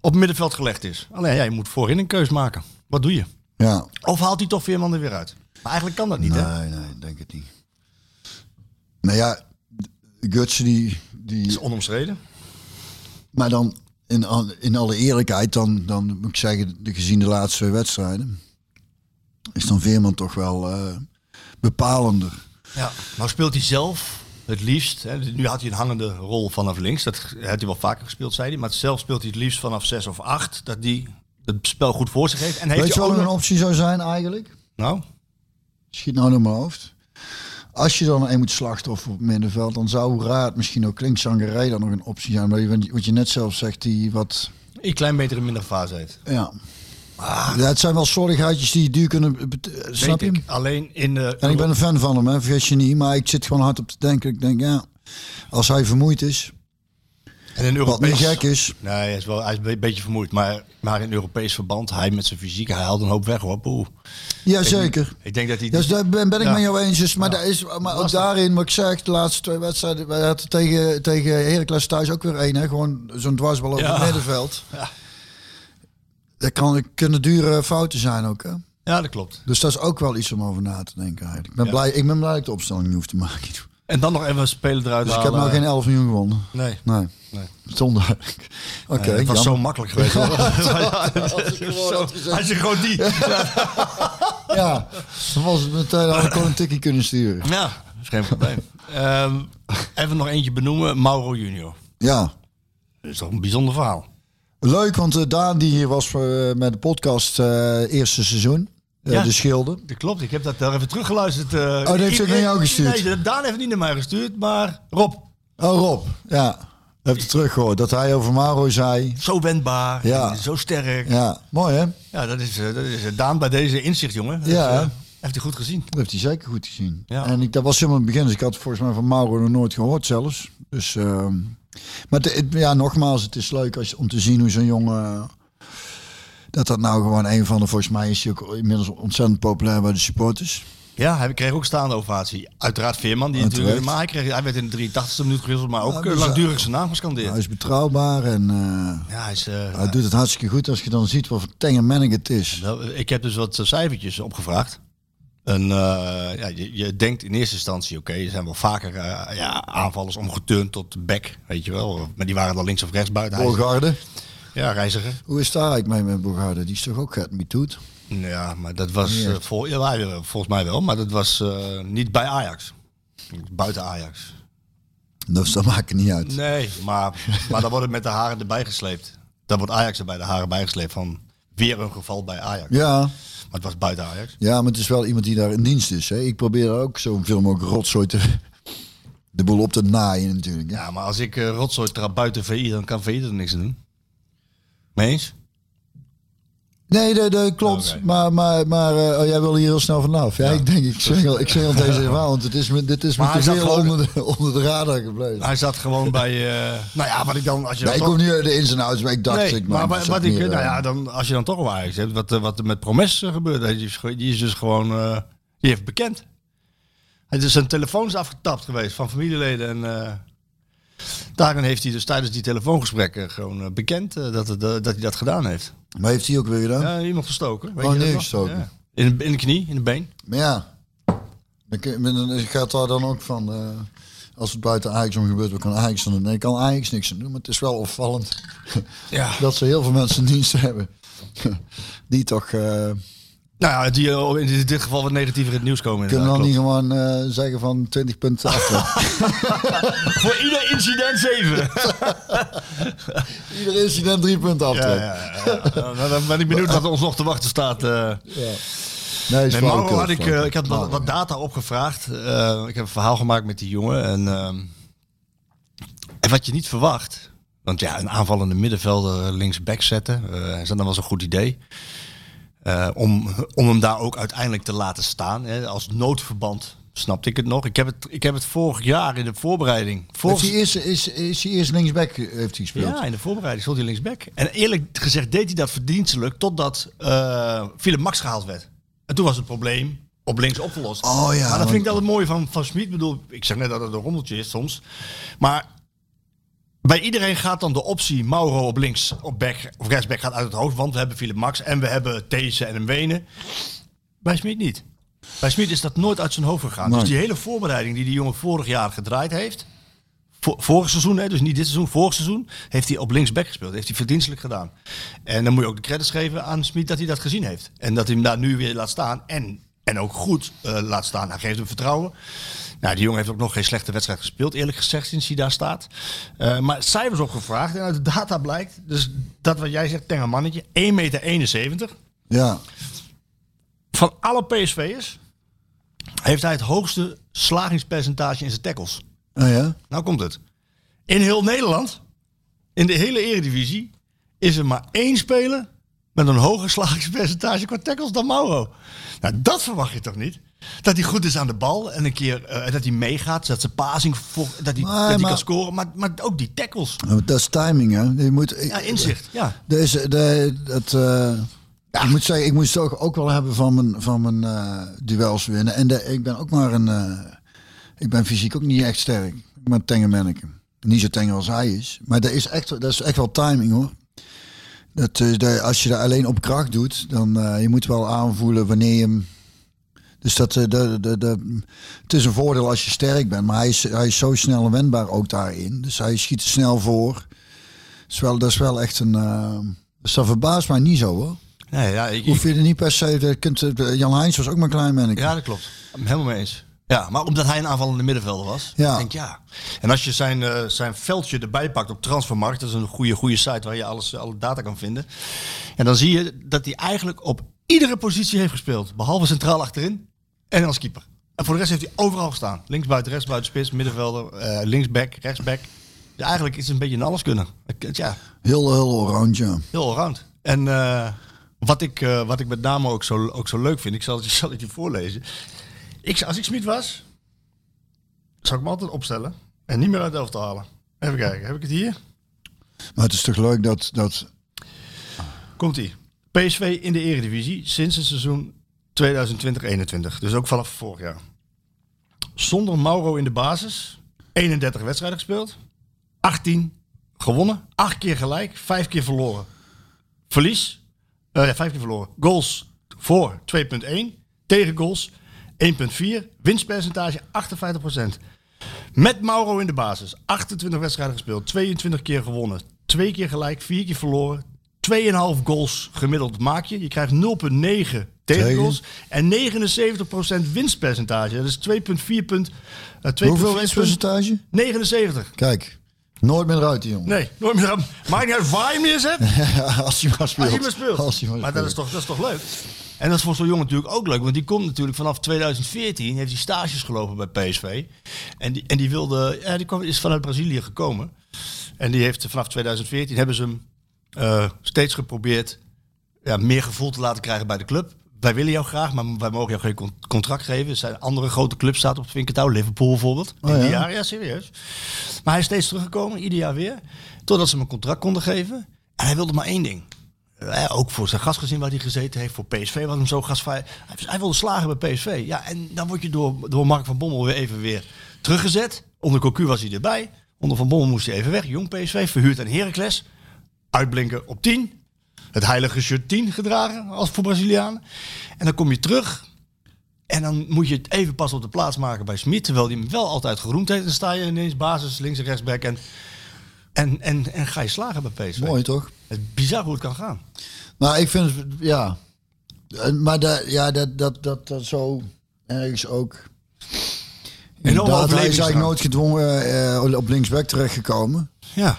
Speaker 9: op middenveld gelegd is. Alleen, ja, je moet voorin een keus maken. Wat doe je?
Speaker 10: Ja,
Speaker 9: Of haalt hij toch Veerman er weer uit? Maar eigenlijk kan dat niet, hè?
Speaker 10: Nee, nee, ik denk het niet. Nou ja, Gutsen die...
Speaker 9: is
Speaker 10: die
Speaker 9: onomstreden.
Speaker 10: maar dan, in, al- in alle eerlijkheid, dan, dan moet ik zeggen, de, gezien de laatste twee wedstrijden, is dan Veerman toch wel eh, bepalender.
Speaker 9: Ja. Nou speelt hij zelf het liefst. Hè? Nu had hij een hangende rol vanaf links. Dat had hij wel vaker gespeeld, zei hij. Maar zelf speelt hij het liefst vanaf zes of acht. Dat hij het spel goed voor zich heeft. En heeft
Speaker 10: Weet je
Speaker 9: hij
Speaker 10: wat
Speaker 9: ook
Speaker 10: een
Speaker 9: nog-
Speaker 10: optie zou zijn eigenlijk?
Speaker 9: Nou,
Speaker 10: Schiet nou door mijn hoofd. Als je dan een moet slachtoffer op het middenveld, dan zou raad misschien ook Klinkzangerij dan nog een optie zijn. Maar je- Wat je net zelf zegt, die wat...
Speaker 9: een klein beter in minder fase heeft.
Speaker 10: Ja. Ja, het zijn wel zorgheidjes die duur kunnen... bet- Snap je?
Speaker 9: Ah. Weet
Speaker 10: hem?
Speaker 9: ik. Alleen in de...
Speaker 10: En ik ben een fan van hem, hè, vergeet je niet. Maar ik zit gewoon hard op te denken. Ik denk, ja, als hij vermoeid is,
Speaker 9: en in
Speaker 10: wat niet
Speaker 9: Europees...
Speaker 10: gek is.
Speaker 9: Nee, hij is, wel, hij is een beetje vermoeid. Maar, maar in Europees verband, hij met zijn fysiek, hij haalt een hoop weg hoor. Poeh.
Speaker 10: Jazeker.
Speaker 9: Ik denk dat hij...
Speaker 10: Ja, dus daar ben, ben ik
Speaker 9: Ja.
Speaker 10: met jou eens. Dus, maar daar is, maar ook daarin, wat ik zeg, de laatste twee wedstrijden. Wij hadden tegen, tegen Heracles thuis ook weer één. Hè? Gewoon zo'n dwarsbal op
Speaker 9: Ja.
Speaker 10: het middenveld. Dat kan, dat kunnen dure fouten zijn ook. Hè?
Speaker 9: Ja, dat klopt.
Speaker 10: Dus dat is ook wel iets om over na te denken eigenlijk. Ik ben, blij, ik ben blij dat ik de opstelling niet hoef te
Speaker 9: Nou,
Speaker 10: maken. Dus
Speaker 9: En dan nog even een speler eruit
Speaker 10: ik heb
Speaker 9: halen.
Speaker 10: nou geen 11 miljoen gewonnen.
Speaker 9: Nee.
Speaker 10: Nee.
Speaker 9: Nee.
Speaker 10: Zonde. Oké,
Speaker 9: Nee, Eh, het
Speaker 10: jammer.
Speaker 9: was zo makkelijk geweest. hoor.
Speaker 10: Als je gewoon
Speaker 9: Zo,
Speaker 10: had gezegd.
Speaker 9: als je gewoon die.
Speaker 10: Ja, dan was eh, het meteen al kon een tikkie kunnen sturen.
Speaker 9: Ja, dat is geen probleem. Ehm, even nog eentje benoemen. Mauro Junior.
Speaker 10: Ja,
Speaker 9: Dat is toch een bijzonder verhaal.
Speaker 10: leuk, want eh, Daan die hier was eh, met de podcast eh, eerste seizoen, eh,
Speaker 9: Ja.
Speaker 10: de Schilden.
Speaker 9: Dat klopt, ik heb dat daar even teruggeluisterd. eh. oh,
Speaker 10: dat heeft ze ook naar jou gestuurd?
Speaker 9: Nee, dat- Daan heeft niet naar mij gestuurd, maar Rob.
Speaker 10: Oh Rob, ja, heb je teruggehoord dat hij over Maro zei.
Speaker 9: Zo wendbaar,
Speaker 10: Ja.
Speaker 9: en zo sterk. Ja,
Speaker 10: Ja, mooi hè?
Speaker 9: dat, is, eh, dat is eh, Daan bij deze inzicht, jongen. Dat
Speaker 10: Ja.
Speaker 9: is, eh, heeft hij goed gezien.
Speaker 10: Dat heeft hij zeker goed gezien.
Speaker 9: Ja.
Speaker 10: En ik, dat was helemaal in het begin, dus ik had het volgens mij van Mauro nog nooit gehoord zelfs. Dus, ehm, maar het- het- ja, nogmaals, het is leuk als, om te zien hoe zo'n jongen... Dat dat nou gewoon een van de, volgens mij is hij ook inmiddels ontzettend populair bij de supporters.
Speaker 9: Ja, hij kreeg ook staande ovatie. Uiteraard Veerman, die
Speaker 10: Uiteraard.
Speaker 9: natuurlijk, maar hij, kreeg, hij werd in de 83e minuut gewisseld, maar ook
Speaker 10: Ja,
Speaker 9: eh, nou,
Speaker 10: dus, eh,
Speaker 9: langdurig zijn naam gescandeerd.
Speaker 10: Hij is betrouwbaar en eh,
Speaker 9: Ja, hij is, eh,
Speaker 10: hij doet het hartstikke goed als je dan ziet wat voor tengermannig het is.
Speaker 9: Nou, ik heb dus wat eh, cijfertjes opgevraagd. En eh, ja, je, je denkt in eerste instantie, oké, er zijn wel vaker eh, ja, aanvallers omgeturnd tot back, weet je wel. Maar die waren dan links of rechts buiten. Hij is-
Speaker 10: Bogarde,
Speaker 9: Ja, reiziger.
Speaker 10: hoe is daar eigenlijk mee met Bogarde? Die is toch ook het niet doet?
Speaker 9: Ja, maar dat was
Speaker 10: Ja.
Speaker 9: eh, vol- ja, wij, eh, volgens mij wel, maar dat was eh, niet bij Ajax. Buiten Ajax.
Speaker 10: Dus dat maakt het niet uit.
Speaker 9: Nee, maar, maar dan wordt het met de haren erbij gesleept. Dan wordt Ajax er bij de haren bij gesleept van weer een geval bij Ajax.
Speaker 10: Ja,
Speaker 9: Maar het was buiten Ajax.
Speaker 10: ja, maar het is wel iemand die daar in dienst is. Hè? Ik probeer daar ook zo'n film ook rotzooi te... De boel op te naaien natuurlijk. Ja.
Speaker 9: Ja, maar als ik eh, rotzooi trap buiten VI, dan kan VI er niks aan doen. Meens?
Speaker 10: Nee, dat dat klopt. Maar, maar, maar eh, oh, jij wil hier heel snel vanaf. Ja, ik denk, ik zeg al, ik zeg al deze verhaal, want het is me, dit is me
Speaker 9: Maar
Speaker 10: te
Speaker 9: hij zat
Speaker 10: veel
Speaker 9: gewoon-
Speaker 10: onder, de, onder de radar gebleven.
Speaker 9: Hij zat gewoon bij. eh, nou ja, wat ik dan. Als je
Speaker 10: Nee,
Speaker 9: dan
Speaker 10: ik
Speaker 9: toch-
Speaker 10: hoef niet de ins en outs, maar ik dacht...
Speaker 9: Nee,
Speaker 10: ik,
Speaker 9: maar
Speaker 10: maak
Speaker 9: wat,
Speaker 10: het
Speaker 9: wat
Speaker 10: zelf
Speaker 9: ik,
Speaker 10: meer,
Speaker 9: nou
Speaker 10: eh,
Speaker 9: ja, dan, als je dan toch wel Ajax hebt, wat, eh, wat er met Promes eh, gebeurt, die is, ge- die is dus gewoon, eh, die heeft bekend. Het is dus zijn telefoon is afgetapt geweest van familieleden en eh, daarin heeft hij dus tijdens die telefoongesprekken gewoon eh, bekend eh, dat, het, eh, dat hij dat gedaan heeft.
Speaker 10: Maar heeft hij ook weer gedaan?
Speaker 9: Ja, iemand gestoken. Weet
Speaker 10: Oh,
Speaker 9: je dat
Speaker 10: nee,
Speaker 9: nog?
Speaker 10: gestoken.
Speaker 9: Ja. In, de- in de knie, in de been.
Speaker 10: Maar ja, dan kun- maar dan gaat daar dan ook van... eh, als het buiten Ajax om gebeurt, wat kan Ajax dan doen? Nee, kan Ajax niks aan doen, maar het is wel opvallend...
Speaker 9: Ja.
Speaker 10: dat ze heel veel mensen in dienst hebben. die toch... eh,
Speaker 9: Nou ja, die eh, in dit- in dit geval wat negatiever in het nieuws komen.
Speaker 10: kunnen
Speaker 9: inderdaad,
Speaker 10: dan niet
Speaker 9: klopt.
Speaker 10: gewoon eh, zeggen van 20 punten achter.
Speaker 9: Voor ieder incident 7.
Speaker 10: Ieder incident drie punten
Speaker 9: ja, ja,
Speaker 10: achter.
Speaker 9: ja, ja. Nou, dan ben ik benieuwd wat ons nog te wachten staat. eh.
Speaker 10: Nee, is
Speaker 9: Nee,
Speaker 10: flauwekul,
Speaker 9: Mauro had ik,
Speaker 10: flauwekul.
Speaker 9: eh, ik had wat, wat data opgevraagd. Eh, ik heb een verhaal gemaakt met die jongen. En, ehm, en wat je niet verwacht. Want ja, een aanvallende middenvelder linksback zetten. eh, is dat dan wel zo'n goed idee? Eh, om, om hem daar ook uiteindelijk te laten staan. Hè, als noodverband snapte ik het nog. Ik heb het, ik heb het vorig jaar in de voorbereiding.
Speaker 10: Heeft
Speaker 9: Vorig,
Speaker 10: hij eerst, is, is hij eerst linksback eh, heeft hij gespeeld?
Speaker 9: ja, in de voorbereiding stond hij linksback. En eerlijk gezegd deed hij dat verdienstelijk totdat eh Philip Max gehaald werd. En toen was het probleem op links opgelost.
Speaker 10: Oh ja,
Speaker 9: maar dat
Speaker 10: want-
Speaker 9: vind ik dan het mooie van, van Smit. Ik bedoel, ik zeg net dat het een rommeltje is soms. Maar bij iedereen gaat dan de optie Mauro op links, op back, of rechtsback gaat uit het hoofd. Want we hebben Philip Max en we hebben These en een Wenen. Bij Smit niet. Bij Smit is dat nooit uit zijn hoofd gegaan.
Speaker 10: Nee.
Speaker 9: Dus die hele voorbereiding die die jongen vorig jaar gedraaid heeft. Vor, vorig seizoen, hè, dus niet dit seizoen, vorig seizoen. Heeft hij op linksback gespeeld. Heeft hij verdienstelijk gedaan. En dan moet je ook de credits geven aan Smit dat hij dat gezien heeft. En dat hij hem daar nu weer laat staan. En, en ook goed eh, laat staan. Hij geeft hem vertrouwen. Nou, die jongen heeft ook nog geen slechte wedstrijd gespeeld, eerlijk gezegd, sinds hij daar staat. Eh, maar cijfers opgevraagd en uit de data blijkt, dus dat wat jij zegt, tenger mannetje, 1,71 meter.
Speaker 10: Ja.
Speaker 9: Van alle PSV'ers heeft hij het hoogste slagingspercentage in zijn tackles.
Speaker 10: Oh ja?
Speaker 9: Nou komt het. In heel Nederland, in de hele eredivisie, is er maar één speler met een hoger slagingspercentage qua tackles dan Mauro. Nou, dat verwacht je toch niet? Dat hij goed is aan de bal en een keer eh, dat hij meegaat, dat zijn passing, vo- dat hij,
Speaker 10: Maar-
Speaker 9: dat hij
Speaker 10: maar-
Speaker 9: kan scoren, maar, maar ook die tackles.
Speaker 10: Ja, maar Oh, Dat is timing, hè? Je moet,
Speaker 9: Ja, inzicht. Ja.
Speaker 10: Er is, er- dat, eh, Ik moet zeggen, ik moest het ook, ook wel hebben van mijn, van mijn eh, duels winnen. En de, ik ben ook maar een... eh, ik ben fysiek ook niet echt sterk. Ik ben een tenger manneke. Niet zo tenger als hij is. Maar dat is echt, dat is echt wel timing, hoor. Dat, eh, dat- als je dat alleen op kracht doet, dan eh, je moet wel aanvoelen wanneer je hem... Dus dat, eh, de, de, de, het is een voordeel als je sterk bent, maar hij is, hij is zo snel en wendbaar ook daarin. Dus hij schiet er snel voor. Dat is wel, dat is wel echt een... eh, dus dat verbaast mij niet zo hoor.
Speaker 9: Nee, ja, ik,
Speaker 10: Hoef je er niet per se... dat Kunt, eh, Jan Heijns was ook maar klein manneke.
Speaker 9: Ja, dat klopt. Helemaal mee eens. Ja, maar omdat hij een aanvallende middenvelder was.
Speaker 10: Ja.
Speaker 9: Ik denk ja. En als je zijn, eh, zijn veldje erbij pakt op Transfermarkt, dat is een goede, goede site waar je alles, eh, alle data kan vinden. En dan zie je dat hij eigenlijk op iedere positie heeft gespeeld. Behalve centraal achterin en als keeper. En voor de rest heeft hij overal gestaan. Links buiten, rechts buiten, spits, middenvelder, eh linksback, rechtsback. Ja, eigenlijk is het een beetje een alleskunner. Ik- Ja,
Speaker 10: Heel, heel oranje. ja.
Speaker 9: heel allround. En eh, wat, ik, eh, wat ik met name ook zo, ook zo leuk vind, ik zal het, ik zal het je voorlezen. Ik, zou- als ik Smit was, zou ik me altijd opstellen en niet meer uit de elftal halen. Even kijken, heb ik het hier?
Speaker 10: Maar het is toch leuk dat... dat
Speaker 9: Komt ie. PSV in de eredivisie sinds het seizoen 2020-21. Dus ook vanaf vorig jaar. Zonder Mauro in de basis. 31 wedstrijden gespeeld. 18 gewonnen. 8 keer gelijk. 5 keer verloren. Verlies. Eh, ja, 5 keer verloren. Goals voor 2.1. Tegen goals 1.4. Winstpercentage 58%. Met Mauro in de basis. 28 wedstrijden gespeeld. 22 keer gewonnen. 2 keer gelijk. 4 keer verloren. 2,5 goals gemiddeld maak je. Je krijgt 0,9 tegengoals. En 79% winstpercentage. Dat is 2,4 punt. eh, 2,4
Speaker 10: hoeveel
Speaker 9: punt-
Speaker 10: winstpercentage?
Speaker 9: 79.
Speaker 10: Kijk, nooit meer eruit die jongen.
Speaker 9: Nee, nooit meer. aan- Maakt niet uit waar je hem neerzet.
Speaker 10: als hij maar speelt.
Speaker 9: Als hij maar speelt.
Speaker 10: Als hij maar
Speaker 9: maar dat is,
Speaker 10: speelt.
Speaker 9: toch, dat is toch leuk? En dat is voor zo'n jongen natuurlijk ook leuk. Want die komt natuurlijk vanaf 2014, heeft hij stages gelopen bij PSV. En die, en die wilde, ja, die kwam, is vanuit Brazilië gekomen. En die heeft vanaf 2014, hebben ze hem eh, steeds geprobeerd ja, meer gevoel te laten krijgen bij de club. Wij willen jou graag, maar wij mogen jou geen con- contract geven. Er zijn andere grote clubs staat op het vinkertouw. Liverpool bijvoorbeeld.
Speaker 10: Oh,
Speaker 9: in
Speaker 10: ja.
Speaker 9: die jaren, ja, serieus. Maar hij is steeds teruggekomen, ieder jaar weer. Totdat ze hem een contract konden geven. En hij wilde maar één ding. Eh, ook voor zijn gastgezin waar hij gezeten heeft. Voor PSV was hem zo gastvrij. Hij, hij wilde slagen bij PSV. Ja, en dan word je door, door Mark van Bommel weer even weer teruggezet. Onder Cocu was hij erbij. Onder Van Bommel moest hij even weg. Jong PSV, verhuurd aan Heracles. Uitblinken op 10. Het heilige shirt 10 gedragen als voor Brazilianen. En dan kom je terug. En dan moet je het even pas op de plaats maken bij Smit. Terwijl hij hem wel altijd geroemd heeft. En dan sta je ineens basis, links en rechtsback. En, en, en, en ga je slagen bij PSV.
Speaker 10: Mooi toch?
Speaker 9: Het is bizar hoe het kan gaan.
Speaker 10: Maar ik vind, het- ja. Eh, Maar dat, ja, dat, dat, dat, dat zo ergens ook. Inderdaad, hij is eigenlijk
Speaker 9: overlevingsdrang.
Speaker 10: nooit gedwongen eh, op linksback terechtgekomen.
Speaker 9: Ja.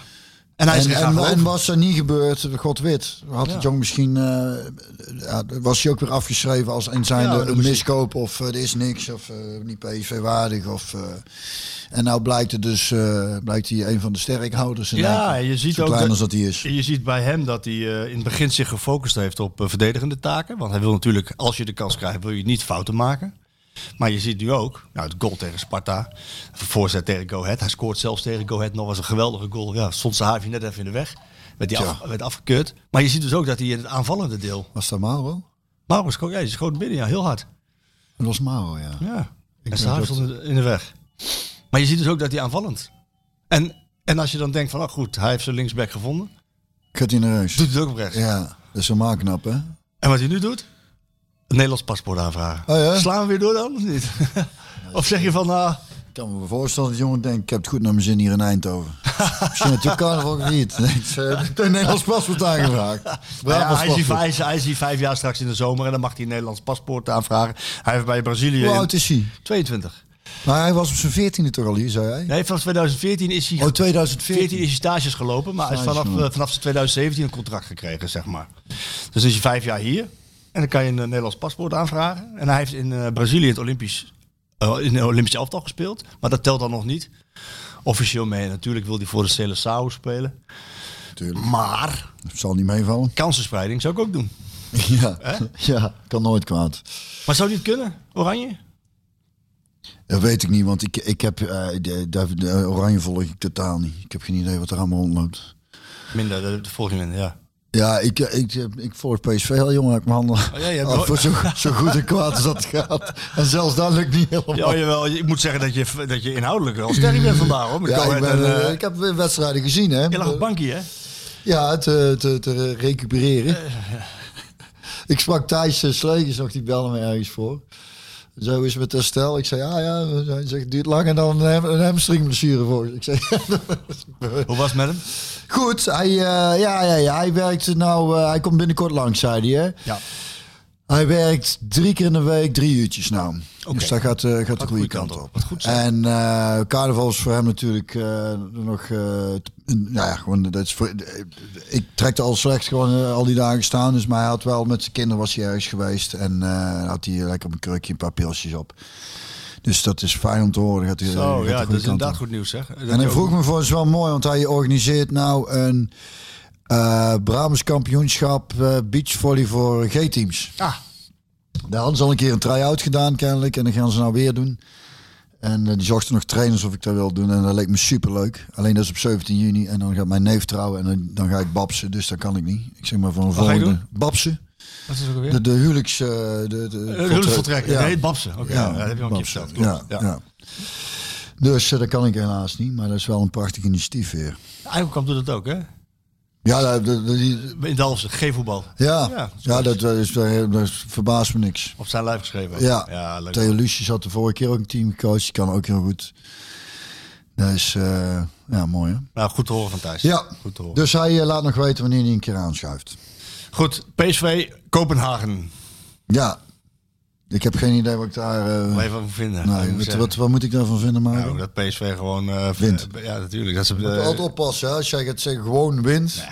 Speaker 9: En hij is
Speaker 10: en,
Speaker 9: er graag
Speaker 10: en,
Speaker 9: over.
Speaker 10: en was er niet gebeurd, god weet, had
Speaker 9: Ja.
Speaker 10: het jong misschien, eh, ja, was hij ook weer afgeschreven als een zijnde
Speaker 9: Ja, dat
Speaker 10: een
Speaker 9: moest hij.
Speaker 10: miskoop of eh, er is niks of eh, niet PSV waardig of eh, en nou blijkt het dus eh, blijkt hij een van de sterkhouders. in
Speaker 9: Ja,
Speaker 10: Nijkerk.
Speaker 9: je ziet
Speaker 10: zo
Speaker 9: ook
Speaker 10: klein
Speaker 9: dat-
Speaker 10: als dat hij is.
Speaker 9: Je ziet bij hem dat hij eh, in het begin zich gefocust heeft op eh, verdedigende taken. Want hij wil natuurlijk, als je de kans krijgt, wil je niet fouten maken. Maar je ziet nu ook, nou, het goal tegen Sparta, de voorzet tegen Go Ahead. Hij scoort zelfs tegen Go Ahead nog eens een geweldige goal. Ja, stond zijn haafje net even in de weg. Werd, die af, werd afgekeurd. Maar je ziet dus ook dat hij in het aanvallende deel...
Speaker 10: Was dat Mauro?
Speaker 9: Mauro scho- ja, die schoot binnen, ja, heel hard.
Speaker 10: Dat was Mauro, ja.
Speaker 9: Ja,
Speaker 10: Ik
Speaker 9: en
Speaker 10: weet
Speaker 9: Saar
Speaker 10: dat-
Speaker 9: stond in de- in de weg. Maar je ziet dus ook dat hij aanvallend. En, en als je dan denkt van, oh goed, hij heeft zijn linksback gevonden.
Speaker 10: Kut in de reus.
Speaker 9: Doet hij het ook op rechts.
Speaker 10: Ja, dat is helemaal knap, hè?
Speaker 9: En wat hij nu doet? Een Nederlands paspoort aanvragen.
Speaker 10: Oh, ja?
Speaker 9: Slaan we weer door dan, of niet? of zeg je van, nou,
Speaker 10: Ik kan me voorstellen dat de jongen denkt, ik heb het goed naar mijn zin hier in Eindhoven. Misschien natuurlijk carnaval gevierd. Nee, het, eh, het Nederlands paspoort aangevraagd.
Speaker 9: nou ja,
Speaker 10: Brabants
Speaker 9: hij, is hier,
Speaker 10: paspoort.
Speaker 9: hij, is, hij is hier vijf jaar straks in de zomer en dan mag hij een Nederlands paspoort aanvragen. Hij heeft bij Brazilië...
Speaker 10: Hoe
Speaker 9: in-
Speaker 10: oud is hij?
Speaker 9: 22.
Speaker 10: Maar hij was op zijn veertiende toch al hier, zei hij?
Speaker 9: Nee, vanaf 2014 is hij...
Speaker 10: Oh,
Speaker 9: 14 is
Speaker 10: 2014.
Speaker 9: hij stages gelopen, maar hij is
Speaker 10: Stage,
Speaker 9: vanaf,
Speaker 10: man.
Speaker 9: eh, vanaf zijn 2017 een contract gekregen, zeg maar. Dus is hij vijf jaar hier. En dan kan je een eh, Nederlands paspoort aanvragen. En hij heeft in eh, Brazilië het Olympisch, eh, in het Olympisch elftal gespeeld. Maar dat telt dan nog niet. Officieel mee. Natuurlijk wil hij voor de Celeção spelen.
Speaker 10: Natuurlijk.
Speaker 9: Maar
Speaker 10: Dat zal niet meevallen.
Speaker 9: kansenspreiding zou ik ook doen.
Speaker 10: ja. ja, kan nooit kwaad.
Speaker 9: Maar zou die het kunnen, Oranje?
Speaker 10: Dat weet ik niet, want ik, ik heb eh, de, de- de oranje volg ik totaal niet. Ik heb geen idee wat er allemaal rondloopt.
Speaker 9: Minder, eh, de, de volgende minder, ja.
Speaker 10: Ja, ik, eh, ik, eh, ik volg PSV heel jong uit mijn handen.
Speaker 9: Oh, ja, je hebt
Speaker 10: Al
Speaker 9: wel-
Speaker 10: voor zo, zo goed en kwaad als dat gaat. En zelfs dat lukt niet helemaal.
Speaker 9: Ja, Oh, jawel. Ik moet zeggen dat je, dat je inhoudelijk wel sterk bent vandaag, hoor. Met
Speaker 10: Ja, ik,
Speaker 9: Coët
Speaker 10: ben,
Speaker 9: en,
Speaker 10: eh,
Speaker 9: eh,
Speaker 10: ik heb weer wedstrijden gezien, hè?
Speaker 9: je lag op bankje, hè?
Speaker 10: Ja, te, te, te recupereren. ik sprak Thijs eh, Slegers nog, die belde me ergens voor. Zo is het met herstel. Ik zei, ja, ja. Hij zegt, het duurt langer dan een, ham- een hamstringblessure voor. Ik zei,
Speaker 9: Hoe was het met hem?
Speaker 10: goed, hij, eh, ja, ja, ja, hij werkt nou, eh, hij komt binnenkort langs, zei hij, hè?
Speaker 9: Ja.
Speaker 10: Hij werkt drie keer in de week, drie uurtjes nou.
Speaker 9: Oké.
Speaker 10: Dus dat gaat, eh, gaat de goede kant op.
Speaker 9: Wat goed zo.
Speaker 10: en eh, carnaval is voor hem natuurlijk eh, nog... eh, t- nou ja, gewoon, dat is voor, eh, ik trekte al slecht gewoon eh, al die dagen staan. Dus, maar hij had wel met zijn kinderen was hij ergens geweest. En eh, had hij lekker op een krukje een paar pilsjes op. Dus dat is fijn om te horen. Gaat hij, gaat de
Speaker 9: Zo,
Speaker 10: Eh, goede
Speaker 9: Oh, ja, dat is
Speaker 10: kant
Speaker 9: inderdaad
Speaker 10: op.
Speaker 9: goed nieuws, zeg. Dat
Speaker 10: En
Speaker 9: je
Speaker 10: hij
Speaker 9: ook-
Speaker 10: vroeg me voor, het is wel mooi, want hij organiseert nou een eh Brabants kampioenschap eh, beachvolley voor G-teams.
Speaker 9: Ah.
Speaker 10: Daar hadden ze al een keer een try-out gedaan kennelijk en dan gaan ze nou weer doen. En eh, die zochten nog trainers of ik dat wil doen en dat leek me superleuk. Alleen dat is op 17 juni en dan gaat mijn neef trouwen en dan, dan ga ik babsen, dus dat kan ik niet. Ik zeg maar van een
Speaker 9: ga je
Speaker 10: volgende. Babsen?
Speaker 9: Wat is het ook
Speaker 10: De,
Speaker 9: weer?
Speaker 10: de huwelijks... eh, de, de,
Speaker 9: Hulpvertrekker.
Speaker 10: Ja.
Speaker 9: Ja. Nee, Babsen. Oké, ja, dat heb je al een keer
Speaker 10: Babsen.
Speaker 9: verteld. Klopt.
Speaker 10: Ja,
Speaker 9: Ja.
Speaker 10: ja. Dus eh, dat kan ik helaas niet, maar dat is wel een prachtig initiatief weer.
Speaker 9: Eikelkamp doet dat ook, hè?
Speaker 10: Ja, dat, dat- dat- die-
Speaker 9: In Dalfsen, geen voetbal.
Speaker 10: ja.
Speaker 9: Ja,
Speaker 10: ja,
Speaker 9: dat is
Speaker 10: dat, dat, is, dat verbaast me niks.
Speaker 9: Op zijn lijf geschreven.
Speaker 10: Ja,
Speaker 9: ja leuk.
Speaker 10: Theo Lucius had de vorige keer ook een team gecoacht, die kan ook heel goed. Dat is eh, ja, mooi hè?
Speaker 9: Nou, goed te horen van Thijs.
Speaker 10: Ja,
Speaker 9: Goed te horen.
Speaker 10: dus hij eh, laat nog weten wanneer hij een keer aanschuift.
Speaker 9: Goed, PSV, Kopenhagen.
Speaker 10: Ja, ik heb geen idee wat ik daar... eh,
Speaker 9: Wat even van vinden.
Speaker 10: nee,
Speaker 9: Ik moet
Speaker 10: wat,
Speaker 9: zeggen.
Speaker 10: wat, wat moet ik daarvan vinden, Mario?
Speaker 9: Nou, dat PSV gewoon... eh,
Speaker 10: Wint.
Speaker 9: Ja, natuurlijk. Dat ze,
Speaker 10: Je moet
Speaker 9: eh,
Speaker 10: altijd oppassen hè? als jij gaat zeggen gewoon wint.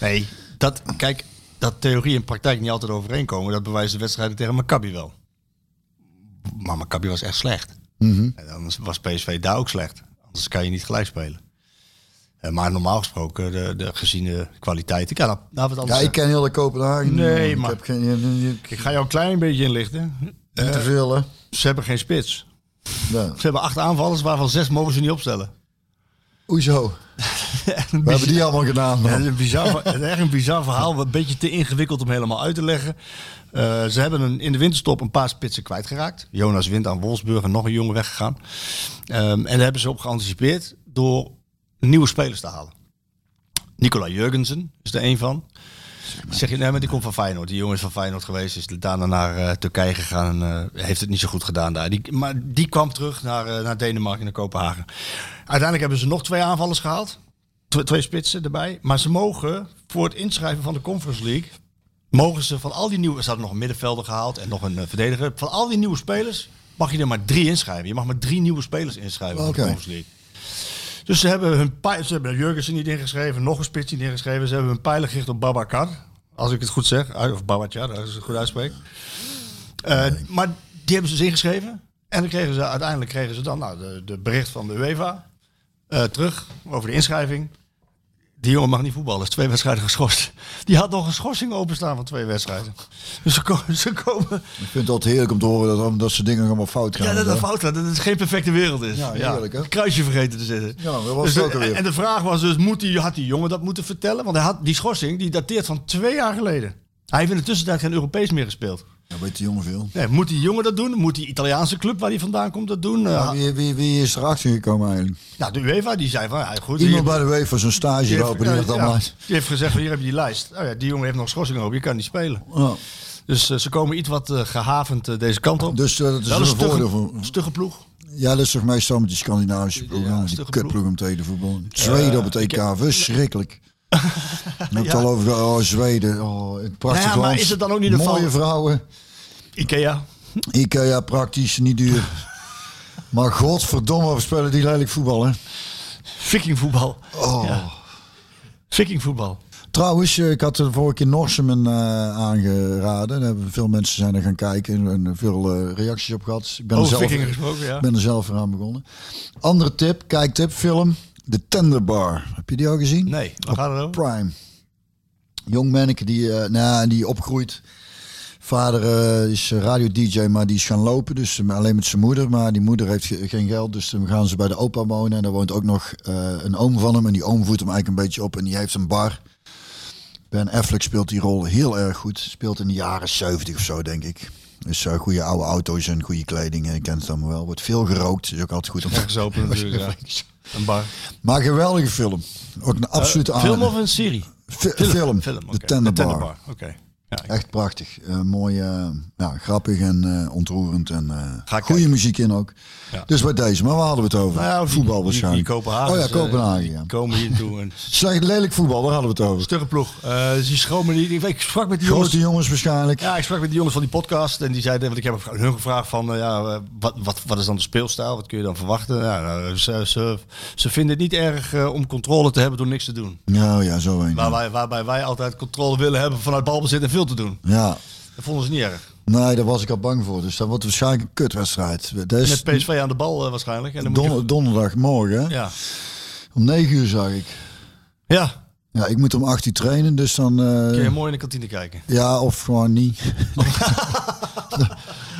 Speaker 9: nee, dat... Kijk, dat theorie en praktijk niet altijd overeenkomen. Dat bewijst de wedstrijden tegen Maccabi wel. Maar Maccabi
Speaker 10: Mhm.
Speaker 9: was echt slecht. En anders was PSV daar ook slecht. Anders kan je niet gelijk spelen. Eh, maar normaal gesproken, de, de gezien de kwaliteit. Ik nou- kan daar- daar wat anders
Speaker 10: Ja, ik ken heel de Kopenhagen. niet,
Speaker 9: Dus, eh, Nee,
Speaker 10: man.
Speaker 9: maar- Eh.
Speaker 10: Ik, heb geen,
Speaker 9: Ik ga jou een klein beetje inlichten.
Speaker 10: Niet te veel, hè?
Speaker 9: Ze hebben geen spits.
Speaker 10: Nee.
Speaker 9: Ze hebben acht aanvallers, waarvan zes mogen ze niet opstellen.
Speaker 10: Hoezo? We hebben die allemaal gedaan.
Speaker 9: Ja,
Speaker 10: man.
Speaker 9: dat is een bizar, ver- het is echt een bizar verhaal, wat een beetje te ingewikkeld om helemaal uit te leggen. Eh, ze hebben een, in de winterstop een paar spitsen kwijtgeraakt. Jonas Wind aan Wolfsburg en nog een jongen weggegaan. Ehm, en daar hebben ze op geanticipeerd door nieuwe spelers te halen. Nicola Jurgensen is er een van. Zeg je, nee, maar die komt van Feyenoord. Die jongen is van Feyenoord geweest, is daarna naar eh, Turkije gegaan en eh, heeft het niet zo goed gedaan daar. Die, maar die kwam terug naar, eh, naar Denemarken en naar Kopenhagen. Uiteindelijk hebben ze nog twee aanvallers gehaald. Tw- twee spitsen erbij. Maar ze mogen voor het inschrijven van de Conference League. Mogen ze van al die nieuwe. Ze hadden nog een middenvelder gehaald en nog een eh, verdediger. Van al die nieuwe spelers mag je er maar drie inschrijven. Je mag maar drie nieuwe spelers inschrijven voor
Speaker 10: Oké.
Speaker 9: de Conference League. Dus ze hebben hun pijl- ze hebben Jurgensen niet ingeschreven, nog een spits niet ingeschreven. Ze hebben hun pijlen gericht op Babacar. Als ik het goed zeg. Uit- Of Babacar, als ik het goed uitspreek. Eh, maar die hebben ze dus ingeschreven. En dan kregen ze, uiteindelijk kregen ze dan nou, de, de bericht van de UEFA eh, terug over de inschrijving. Die jongen mag niet voetballen, is twee wedstrijden geschorst. Die had nog een schorsing openstaan van twee wedstrijden. Dus ze, ko- ze komen...
Speaker 10: Ik vind het altijd heerlijk om te horen dat, dat soort dingen allemaal fout gaan.
Speaker 9: Ja, dat dat
Speaker 10: hè?
Speaker 9: fout gaat, dat het geen perfecte wereld is.
Speaker 10: Ja, heerlijk, hè?
Speaker 9: Het Kruisje vergeten te zetten.
Speaker 10: Ja, dat was
Speaker 9: Dus
Speaker 10: het
Speaker 9: de-
Speaker 10: ook alweer.
Speaker 9: En de vraag was dus, moet die, had die jongen dat moeten vertellen? Want hij had, die schorsing die dateert van twee jaar geleden. Hij heeft in de tussentijd geen Europees meer gespeeld.
Speaker 10: Dat weet die jongen veel.
Speaker 9: Nee, moet die jongen dat doen? Moet die Italiaanse club waar hij vandaan komt dat doen? Eh,
Speaker 10: Maar wie, wie, wie is erachter gekomen eigenlijk?
Speaker 9: nou, de UEFA die zei van, ja, goed.
Speaker 10: Iemand
Speaker 9: hier-
Speaker 10: bij de UEFA zo'n stage
Speaker 9: die
Speaker 10: lopen die dat
Speaker 9: ja,
Speaker 10: allemaal
Speaker 9: ja, die heeft gezegd, van, hier heb je die lijst. Oh ja, die jongen heeft nog schorsing op, je kan niet spelen.
Speaker 10: Ja.
Speaker 9: Dus eh, ze komen iets wat eh, gehavend eh, deze kant op.
Speaker 10: Dus eh, dat is
Speaker 9: Wel
Speaker 10: een
Speaker 9: een stugge,
Speaker 10: voordeel voor...
Speaker 9: stugge ploeg.
Speaker 10: Ja, dat is toch meestal met die Scandinavische ploeg.
Speaker 9: Ja,
Speaker 10: Ja, die
Speaker 9: stugge
Speaker 10: kutploeg om tegen te voetballen. Zweden op het EK, verschrikkelijk. Dan heb ik het al over, oh, Zweden, oh, een prachtig
Speaker 9: Nou ja, maar
Speaker 10: land.
Speaker 9: is het dan ook niet een
Speaker 10: Mooie
Speaker 9: val-
Speaker 10: vrouwen.
Speaker 9: Ikea.
Speaker 10: Ikea praktisch, niet duur. maar godverdomme, we spelen die lelijk voetbal, hè?
Speaker 9: Vikingvoetbal.
Speaker 10: Oh.
Speaker 9: Vikingvoetbal.
Speaker 10: Trouwens, eh, ik had de vorige keer Norseman eh, aangeraden. Daar hebben veel mensen zijn er gaan kijken en veel eh, reacties op gehad. Ik ben,
Speaker 9: Over
Speaker 10: er zelf,
Speaker 9: vikingen gesproken, ja.
Speaker 10: ik ben er zelf aan begonnen. Andere tip, kijktip, film. De Tender Bar. Heb je die al gezien?
Speaker 9: Nee, waar gaat het over?
Speaker 10: Prime. Jong manneke die, eh, nou, die opgroeit. Vader eh, is radio-dj, maar die is gaan lopen. Dus eh, alleen met zijn moeder. Maar die moeder heeft ge- geen geld. Dus dan gaan ze bij de opa wonen. En daar woont ook nog eh, een oom van hem. En die oom voedt hem eigenlijk een beetje op. En die heeft een bar. Ben Affleck speelt die rol heel erg goed. Speelt in de jaren 70 of zo, denk ik. Dus eh, goede oude auto's en goede kleding. eh, Je kent het allemaal wel. Wordt veel gerookt. Is ook altijd goed om
Speaker 9: Ergens open natuurlijk, ja. Een bar.
Speaker 10: Maar geweldige film. Ook een absolute
Speaker 9: Eh, Film
Speaker 10: aanrader.
Speaker 9: of een serie?
Speaker 10: Fi- film.
Speaker 9: oké.
Speaker 10: De Tender Bar.
Speaker 9: Oké. Ja, ik-
Speaker 10: Echt prachtig. Eh, mooi, eh, ja, grappig en eh, ontroerend. En eh,
Speaker 9: Ga
Speaker 10: goede
Speaker 9: ik kijken.
Speaker 10: muziek in ook.
Speaker 9: Ja.
Speaker 10: Dus bij deze, maar waar hadden we het over?
Speaker 9: Nou ja, die-
Speaker 10: voetbal
Speaker 9: die-
Speaker 10: waarschijnlijk.
Speaker 9: Die, Kopenhagen. eh,
Speaker 10: Oh ja, Kopenhagen. ja.
Speaker 9: Komen hier toe. En...
Speaker 10: Slecht lelijk voetbal, daar hadden we het over.
Speaker 9: Stugge ploeg. Eh, ze schromen niet. Ik, ik sprak met die jongens.
Speaker 10: Grote jongens waarschijnlijk.
Speaker 9: Ja, ik sprak met die jongens van die podcast en die zeiden, want ik heb hun gevraagd van, eh, ja, eh, wat, wat, wat is dan de speelstijl? Wat kun je dan verwachten? Ja, nou, ze, ze, ze vinden het niet erg eh, om controle te hebben door niks te doen.
Speaker 10: Ja, Oh ja, zo een.
Speaker 9: Waar
Speaker 10: Ja.
Speaker 9: wij, waarbij wij altijd controle willen hebben vanuit balbezit en veel te doen.
Speaker 10: Ja.
Speaker 9: Dat vonden ze niet erg.
Speaker 10: nee, daar was ik al bang voor. Dus dat wordt waarschijnlijk een kutwedstrijd. Dat is
Speaker 9: Met PSV aan de bal eh, waarschijnlijk. En dan moet je-
Speaker 10: Dus don- donderdagmorgen. hè?
Speaker 9: ja.
Speaker 10: Om 9 uur zag ik.
Speaker 9: ja,
Speaker 10: Ja, ik moet om 8 uur trainen, dus dan... eh,
Speaker 9: kun je mooi in de kantine kijken.
Speaker 10: ja, of gewoon niet.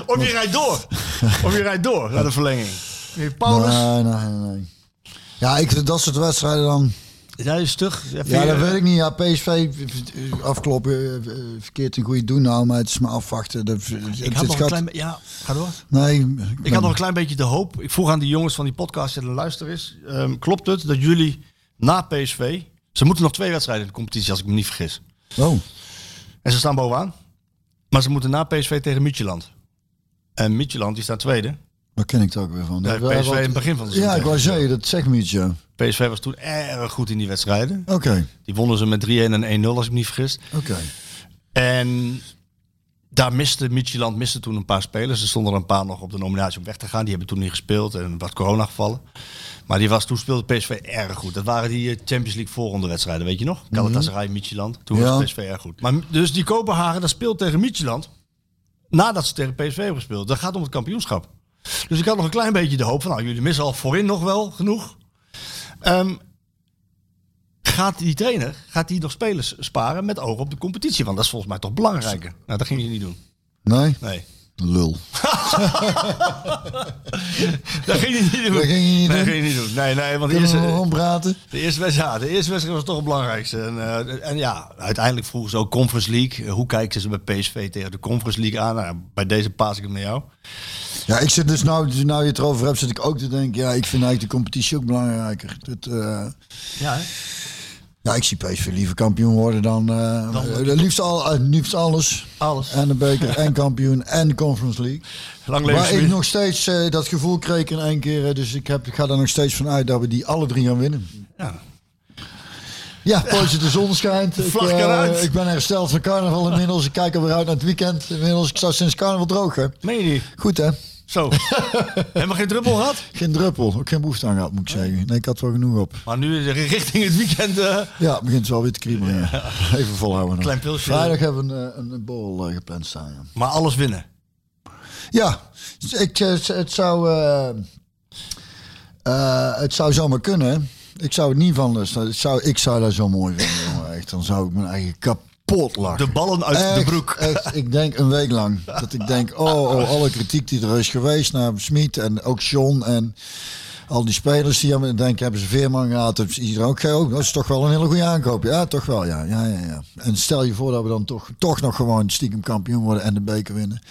Speaker 9: Of je rijdt door. Of je rijdt door naar de verlenging. Meneer Paulus.
Speaker 10: Nee, nee, nee, nee. Ja, ik vind dat soort wedstrijden dan...
Speaker 9: Is hij stug?
Speaker 10: Ja, dat weet ik niet. Ja, PSV eh, afkloppen, eh, eh, verkeerd een goede doen nou, maar het is maar afwachten. Dat,
Speaker 9: Ik had nog een klein... be- Ja, ga door.
Speaker 10: Nee,
Speaker 9: Ik had nog een klein beetje de hoop. Ik vroeg aan die jongens van die podcast en luister eens. ehm, klopt het dat jullie na PSV... Ze moeten nog twee wedstrijden in de competitie, als ik me niet vergis.
Speaker 10: Oh,
Speaker 9: En ze staan bovenaan. Maar ze moeten na PSV tegen Midtjylland. En Midtjylland, die staat tweede.
Speaker 10: daar ken ik het ook weer van.
Speaker 9: Daar heeft PSV in het begin van het
Speaker 10: Ja,
Speaker 9: seizoen
Speaker 10: ik wou
Speaker 9: tegen.
Speaker 10: zeggen, dat zegt me iets, ja. Oké,
Speaker 9: PSV was toen erg goed in die wedstrijden.
Speaker 10: oké.
Speaker 9: Die wonnen ze met 3-1 en 1-0, als ik me niet vergis. En daar miste Midtjylland miste toen een paar spelers. Er stonden er een paar nog op de nominatie om weg te gaan. Die hebben toen niet gespeeld en wat corona gevallen. Maar die was, toen speelde PSV erg goed. Dat waren die eh, Champions League voorronde wedstrijden, weet je nog? Galatasaray, Midtjylland. Toen
Speaker 10: Ja.
Speaker 9: was PSV erg goed. Maar dus die Kopenhagen, dat speelt tegen Midtjylland. Nadat ze tegen PSV hebben gespeeld. Dat gaat om het kampioenschap. Dus ik had nog een klein beetje de hoop van, nou, jullie missen al voorin nog wel genoeg. Ehm, gaat die trainer gaat die nog spelers sparen met oog op de competitie? Want dat is volgens mij toch belangrijker. Nou, dat ging je niet doen.
Speaker 10: Nee?
Speaker 9: Nee.
Speaker 10: Lul.
Speaker 9: Dat ging je niet doen.
Speaker 10: Dat ging je niet
Speaker 9: Nee,
Speaker 10: doen.
Speaker 9: ging je niet doen. Nee, nee, want de
Speaker 10: Kunnen we
Speaker 9: eerste,
Speaker 10: gewoon praten?
Speaker 9: de eerste wedstrijd, ja, de eerste wedstrijd was toch het belangrijkste. En, eh, en ja, uiteindelijk vroegen ze ook Conference League. Eh, Hoe kijken ze bij PSV tegen de Conference League aan? Nou, bij deze paas ik hem naar jou.
Speaker 10: Ja, ik zit dus nou, nou je het erover hebt, zit ik ook te denken, ja, ik vind eigenlijk de competitie ook belangrijker. Dat, eh,
Speaker 9: Ja,
Speaker 10: ja, Nou, ik zie PSV liever kampioen worden dan, eh, eh, liefst, al, eh, liefst alles.
Speaker 9: Alles.
Speaker 10: En de beker, en kampioen, en de Conference League.
Speaker 9: Lang leven
Speaker 10: Waar ik
Speaker 9: Smit.
Speaker 10: nog steeds eh, dat gevoel kreeg in één keer, eh, dus ik, heb, ik ga er nog steeds van uit dat we die alle drie gaan winnen.
Speaker 9: Ja.
Speaker 10: Ja, poosje de zon schijnt. Ik,
Speaker 9: vlag kan
Speaker 10: eh,
Speaker 9: uit.
Speaker 10: ik ben hersteld van carnaval inmiddels. Ik kijk alweer uit naar het weekend. Inmiddels, ik sta sinds carnaval droog, hè.
Speaker 9: Meen je niet?
Speaker 10: Goed, hè?
Speaker 9: Zo. Helemaal geen druppel gehad.
Speaker 10: Geen druppel. Ook geen behoefte aan gehad, moet ik zeggen. Nee, ik had wel genoeg op.
Speaker 9: Maar nu richting het weekend. eh,
Speaker 10: Ja, het begint wel weer te kriebelen. ja. Even volhouden. nog.
Speaker 9: Klein pilsje.
Speaker 10: Vrijdag hebben we een, eh, een, een borrel eh, gepland staan. Ja,
Speaker 9: maar alles winnen.
Speaker 10: ja dus ik, eh, het, het zou, eh, eh, het zou zomaar kunnen. Ik zou het niet van de sta- ik zou, Ik zou dat zo mooi vinden. jongen. Echt, dan zou ik mijn eigen kapot lachen.
Speaker 9: De ballen uit de
Speaker 10: Echt,
Speaker 9: broek.
Speaker 10: echt, ik denk een week lang. Dat ik denk, oh, oh, alle kritiek die er is geweest naar Smit en ook John en al die spelers die hebben, denk, hebben ze Veerman gehad. Hebben ze iedereen ook, ook, dat is toch wel een hele goede aankoop. Ja, toch wel, ja. ja, ja, ja. En stel je voor dat we dan toch, toch nog gewoon stiekem kampioen worden en de beker winnen.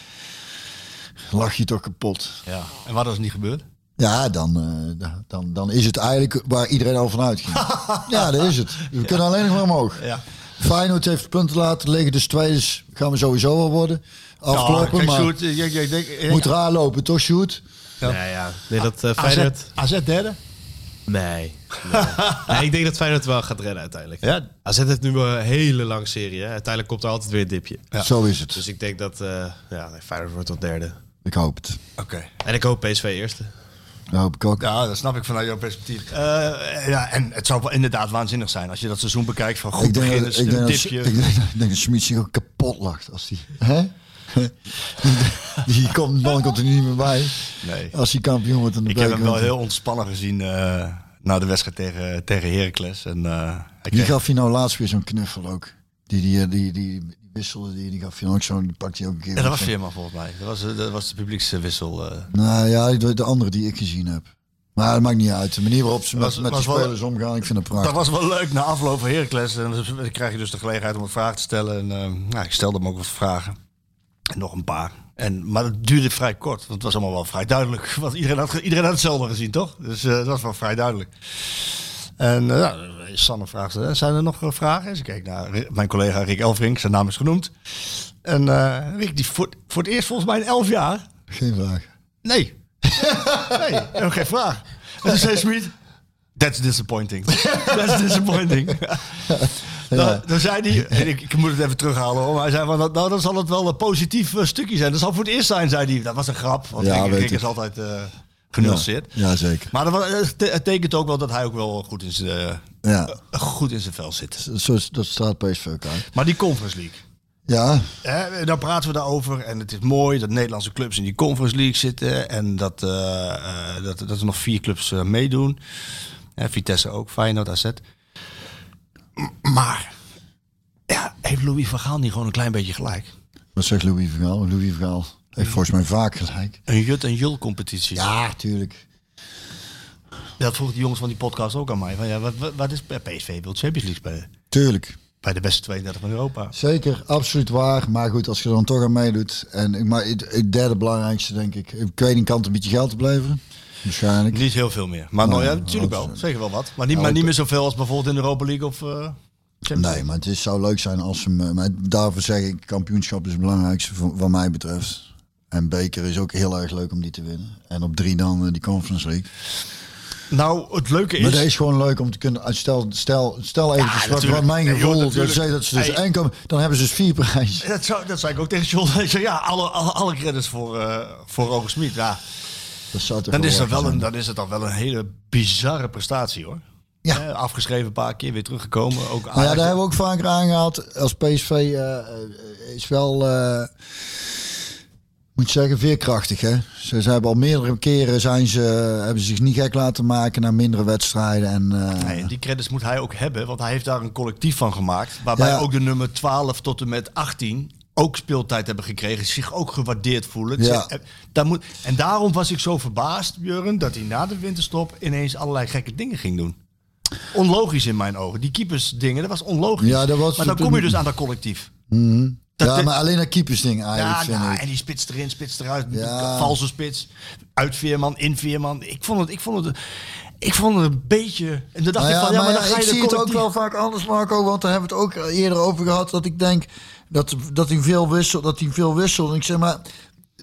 Speaker 10: Lach je toch kapot.
Speaker 9: Ja. En wat is niet gebeurd?
Speaker 10: Ja, dan, eh, da- dan, dan is het eigenlijk waar iedereen al van uitging. ja, dat is het. We kunnen alleen nog maar omhoog.
Speaker 9: Ja.
Speaker 10: Feyenoord heeft punten laten liggen, dus tweede is- gaan we sowieso wel worden. Afkloppen,
Speaker 9: kijk,
Speaker 10: maar
Speaker 9: Sjoerd, eh, jij- jij denkt- jij-
Speaker 10: moet raar lopen, toch Sjoerd?
Speaker 9: Ja.
Speaker 4: Nee, ja. Nee, dat eh,
Speaker 9: AZ,
Speaker 4: Feyenoord...
Speaker 9: AZ derde?
Speaker 4: Nee. nee. Nee, ik denk dat Feyenoord wel gaat redden uiteindelijk.
Speaker 9: Ja.
Speaker 4: AZ heeft nu wel een hele lange serie. Hè. Uiteindelijk komt er altijd weer een dipje.
Speaker 10: Zo is het.
Speaker 4: Dus ik denk dat eh ja, nee, Feyenoord wordt tot derde.
Speaker 10: Ik hoop het.
Speaker 9: Oké.
Speaker 4: En ik hoop PSV eerste.
Speaker 10: Dat hoop ik ook.
Speaker 9: Ja, dat snap ik vanuit jouw perspectief. Eh, ja, en het zou wel inderdaad waanzinnig zijn als je dat seizoen bekijkt van goed
Speaker 10: ik, denk
Speaker 9: begin,
Speaker 10: dat,
Speaker 9: is
Speaker 10: ik,
Speaker 9: een
Speaker 10: denk dat,
Speaker 9: tipje.
Speaker 10: ik denk dat- ik denk dat Smit zich ook kapot lacht als die. Hè? die die komt, dan komt er niet meer bij.
Speaker 9: Nee.
Speaker 10: Als hij kampioen wordt en de
Speaker 9: ik heb
Speaker 10: beker
Speaker 9: hem wel
Speaker 10: wint.
Speaker 9: heel ontspannen gezien eh, na de wedstrijd tegen, tegen Heracles. En, eh, hij
Speaker 10: Wie
Speaker 9: kreeg-
Speaker 10: gaf je nou laatst weer zo'n knuffel ook? Die, die, eh, die, die, die wisselde, die, die gaf je ook zo'n, die pakte je ook een keer.
Speaker 9: Ja, dat was Veerman volgens mij. Dat was, eh, dat was de publiekswissel. eh.
Speaker 10: Nou ja, de, de andere die ik gezien heb. Maar dat maakt niet uit. De manier waarop ze met,
Speaker 9: Was-
Speaker 10: met
Speaker 9: was
Speaker 10: die
Speaker 9: wel-
Speaker 10: spelers omgaan, ik vind het prachtig.
Speaker 9: Dat was wel leuk na afloop van Heracles. En dan krijg je dus de gelegenheid om een vraag te stellen. En, eh, nou, ik stelde hem ook wat vragen. En nog een paar. En, maar dat duurde vrij kort, want het was allemaal wel vrij duidelijk. Want iedereen had, iedereen had hetzelfde gezien, toch? Dus eh, dat was wel vrij duidelijk. En eh, nou, Sanne vraagt, eh, zijn er nog eh, vragen? Ze keek naar Ri- mijn collega Rick Elfrink, zijn naam is genoemd. En eh, Rick, die voor, voor het eerst volgens mij in elf jaar...
Speaker 10: Geen vraag.
Speaker 9: Nee. nee, helemaal geen vraag. En toen zei Smit, that's disappointing. that's disappointing. Dan, dan zei hij, en ik, ik moet het even terughalen hoor, maar hij zei van, nou dan zal het wel een positief eh, stukje zijn. Dat zal voor het eerst zijn, zei hij. Dat was een grap, want
Speaker 10: Ja,
Speaker 9: Rick,
Speaker 10: weet
Speaker 9: Rick
Speaker 10: ik.
Speaker 9: is altijd eh genuanceerd.
Speaker 10: Ja, zeker.
Speaker 9: Maar dat, wa- het te- het tekent ook wel dat hij ook wel goed in zijn, eh,
Speaker 10: Ja,
Speaker 9: goed in zijn vel zit.
Speaker 10: zo, is- dat staat PSV ook uit.
Speaker 9: Maar die Conference League.
Speaker 10: Ja,
Speaker 9: Hè, daar praten we daarover. En het is mooi dat Nederlandse clubs in die Conference League zitten. En dat, eh, eh, dat, dat er nog vier clubs eh, meedoen. Hè, Vitesse ook, Feyenoord, AZ. M- Maar ja, heeft Louis van Gaal niet gewoon een klein beetje gelijk?
Speaker 10: wat zegt Louis Vergaal? Louis Vergaal heeft volgens mij vaak gelijk.
Speaker 9: Een Jut- en Jul-competitie.
Speaker 10: Ja, tuurlijk.
Speaker 9: Dat vroeg de jongens van die podcast ook aan mij. Van, ja, wat, wat- wat is ja, PSV wil Champions League spelen?
Speaker 10: Tuurlijk.
Speaker 9: Bij de beste 32 van Europa.
Speaker 10: Zeker, absoluut waar. Maar goed, als je er dan toch aan meedoet. En ik- maar het, het derde belangrijkste, denk ik. Ik weet niet, kan het een beetje geld opleveren? Waarschijnlijk.
Speaker 9: Niet heel veel meer. Maar nou,
Speaker 10: Nee,
Speaker 9: ja, natuurlijk
Speaker 10: want-
Speaker 9: wel. Zeker wel wat. Maar niet, maar niet meer zoveel als bijvoorbeeld in de Europa League of... eh, Champions League.
Speaker 10: Nee, maar het is, zou leuk zijn als ze hem. Maar daarvoor zeg ik, kampioenschap is het belangrijkste voor, wat mij betreft. En beker is ook heel erg leuk om die te winnen. En op drie dan eh, die Conference League.
Speaker 9: Nou, het leuke is...
Speaker 10: Maar dat is gewoon leuk om te kunnen. uit- Stel, stel, stel even straks
Speaker 9: natuurlijk.
Speaker 10: wat mijn
Speaker 9: Nee, joh,
Speaker 10: gevoel. dat
Speaker 9: natuurlijk.
Speaker 10: zei dat ze dus
Speaker 9: Hey.
Speaker 10: één komen, dan hebben ze dus vier prijzen.
Speaker 9: Dat, zou, dat zei ik ook tegen John. Ik zei, ja, alle, alle, alle credits voor, eh voor Roger Smit. Ja,
Speaker 10: Dat zou toch
Speaker 9: dan is, dat
Speaker 10: lekker
Speaker 9: wel een,
Speaker 10: zijn.
Speaker 9: dan is het dan wel een hele bizarre prestatie, hoor.
Speaker 10: Ja.
Speaker 9: Eh, afgeschreven een paar keer, weer teruggekomen. Ook
Speaker 10: Nou ja,
Speaker 9: Ajax-
Speaker 10: daar hebben we ook vaker aangehaald. Als PSV eh, eh, is wel. eh, moet zeggen, veerkrachtig. Hè? Ze, ze hebben al meerdere keren zijn ze, hebben ze zich niet gek laten maken naar mindere wedstrijden. En, eh,
Speaker 9: Nee, en die credits moet hij ook hebben, want hij heeft daar een collectief van gemaakt. Waarbij
Speaker 10: Ja.
Speaker 9: ook de nummer 12 tot en met 18 ook speeltijd hebben gekregen. Zich ook gewaardeerd voelen.
Speaker 10: Ja.
Speaker 9: Ze- eh, daar moet, en daarom was ik zo verbaasd, Björn, dat hij na de winterstop ineens allerlei gekke dingen ging doen. Onlogisch in mijn ogen. Die keepersdingen, dat was onlogisch.
Speaker 10: Ja, dat was-
Speaker 9: maar dan kom je dus aan dat collectief.
Speaker 10: mhm.
Speaker 9: Dat-
Speaker 10: ja,
Speaker 9: dat-
Speaker 10: maar alleen dat keepersding eigenlijk,
Speaker 9: Ja,
Speaker 10: vind
Speaker 9: nou,
Speaker 10: ik.
Speaker 9: en die spits erin, spits eruit.
Speaker 10: Ja.
Speaker 9: Valse spits. Uit Veerman, in Veerman. Ik vond het, ik vond het, ik vond het een beetje... En dan dacht
Speaker 10: Nou
Speaker 9: ik van, ja, maar,
Speaker 10: ja,
Speaker 9: dan ga
Speaker 10: ik
Speaker 9: je
Speaker 10: zie
Speaker 9: de
Speaker 10: het ook
Speaker 9: collectief-
Speaker 10: wel vaak anders, Marco. Want daar hebben we het ook eerder over gehad. Dat ik denk dat, dat hij veel wisselt. Dat hij veel wisselt. En ik zeg maar,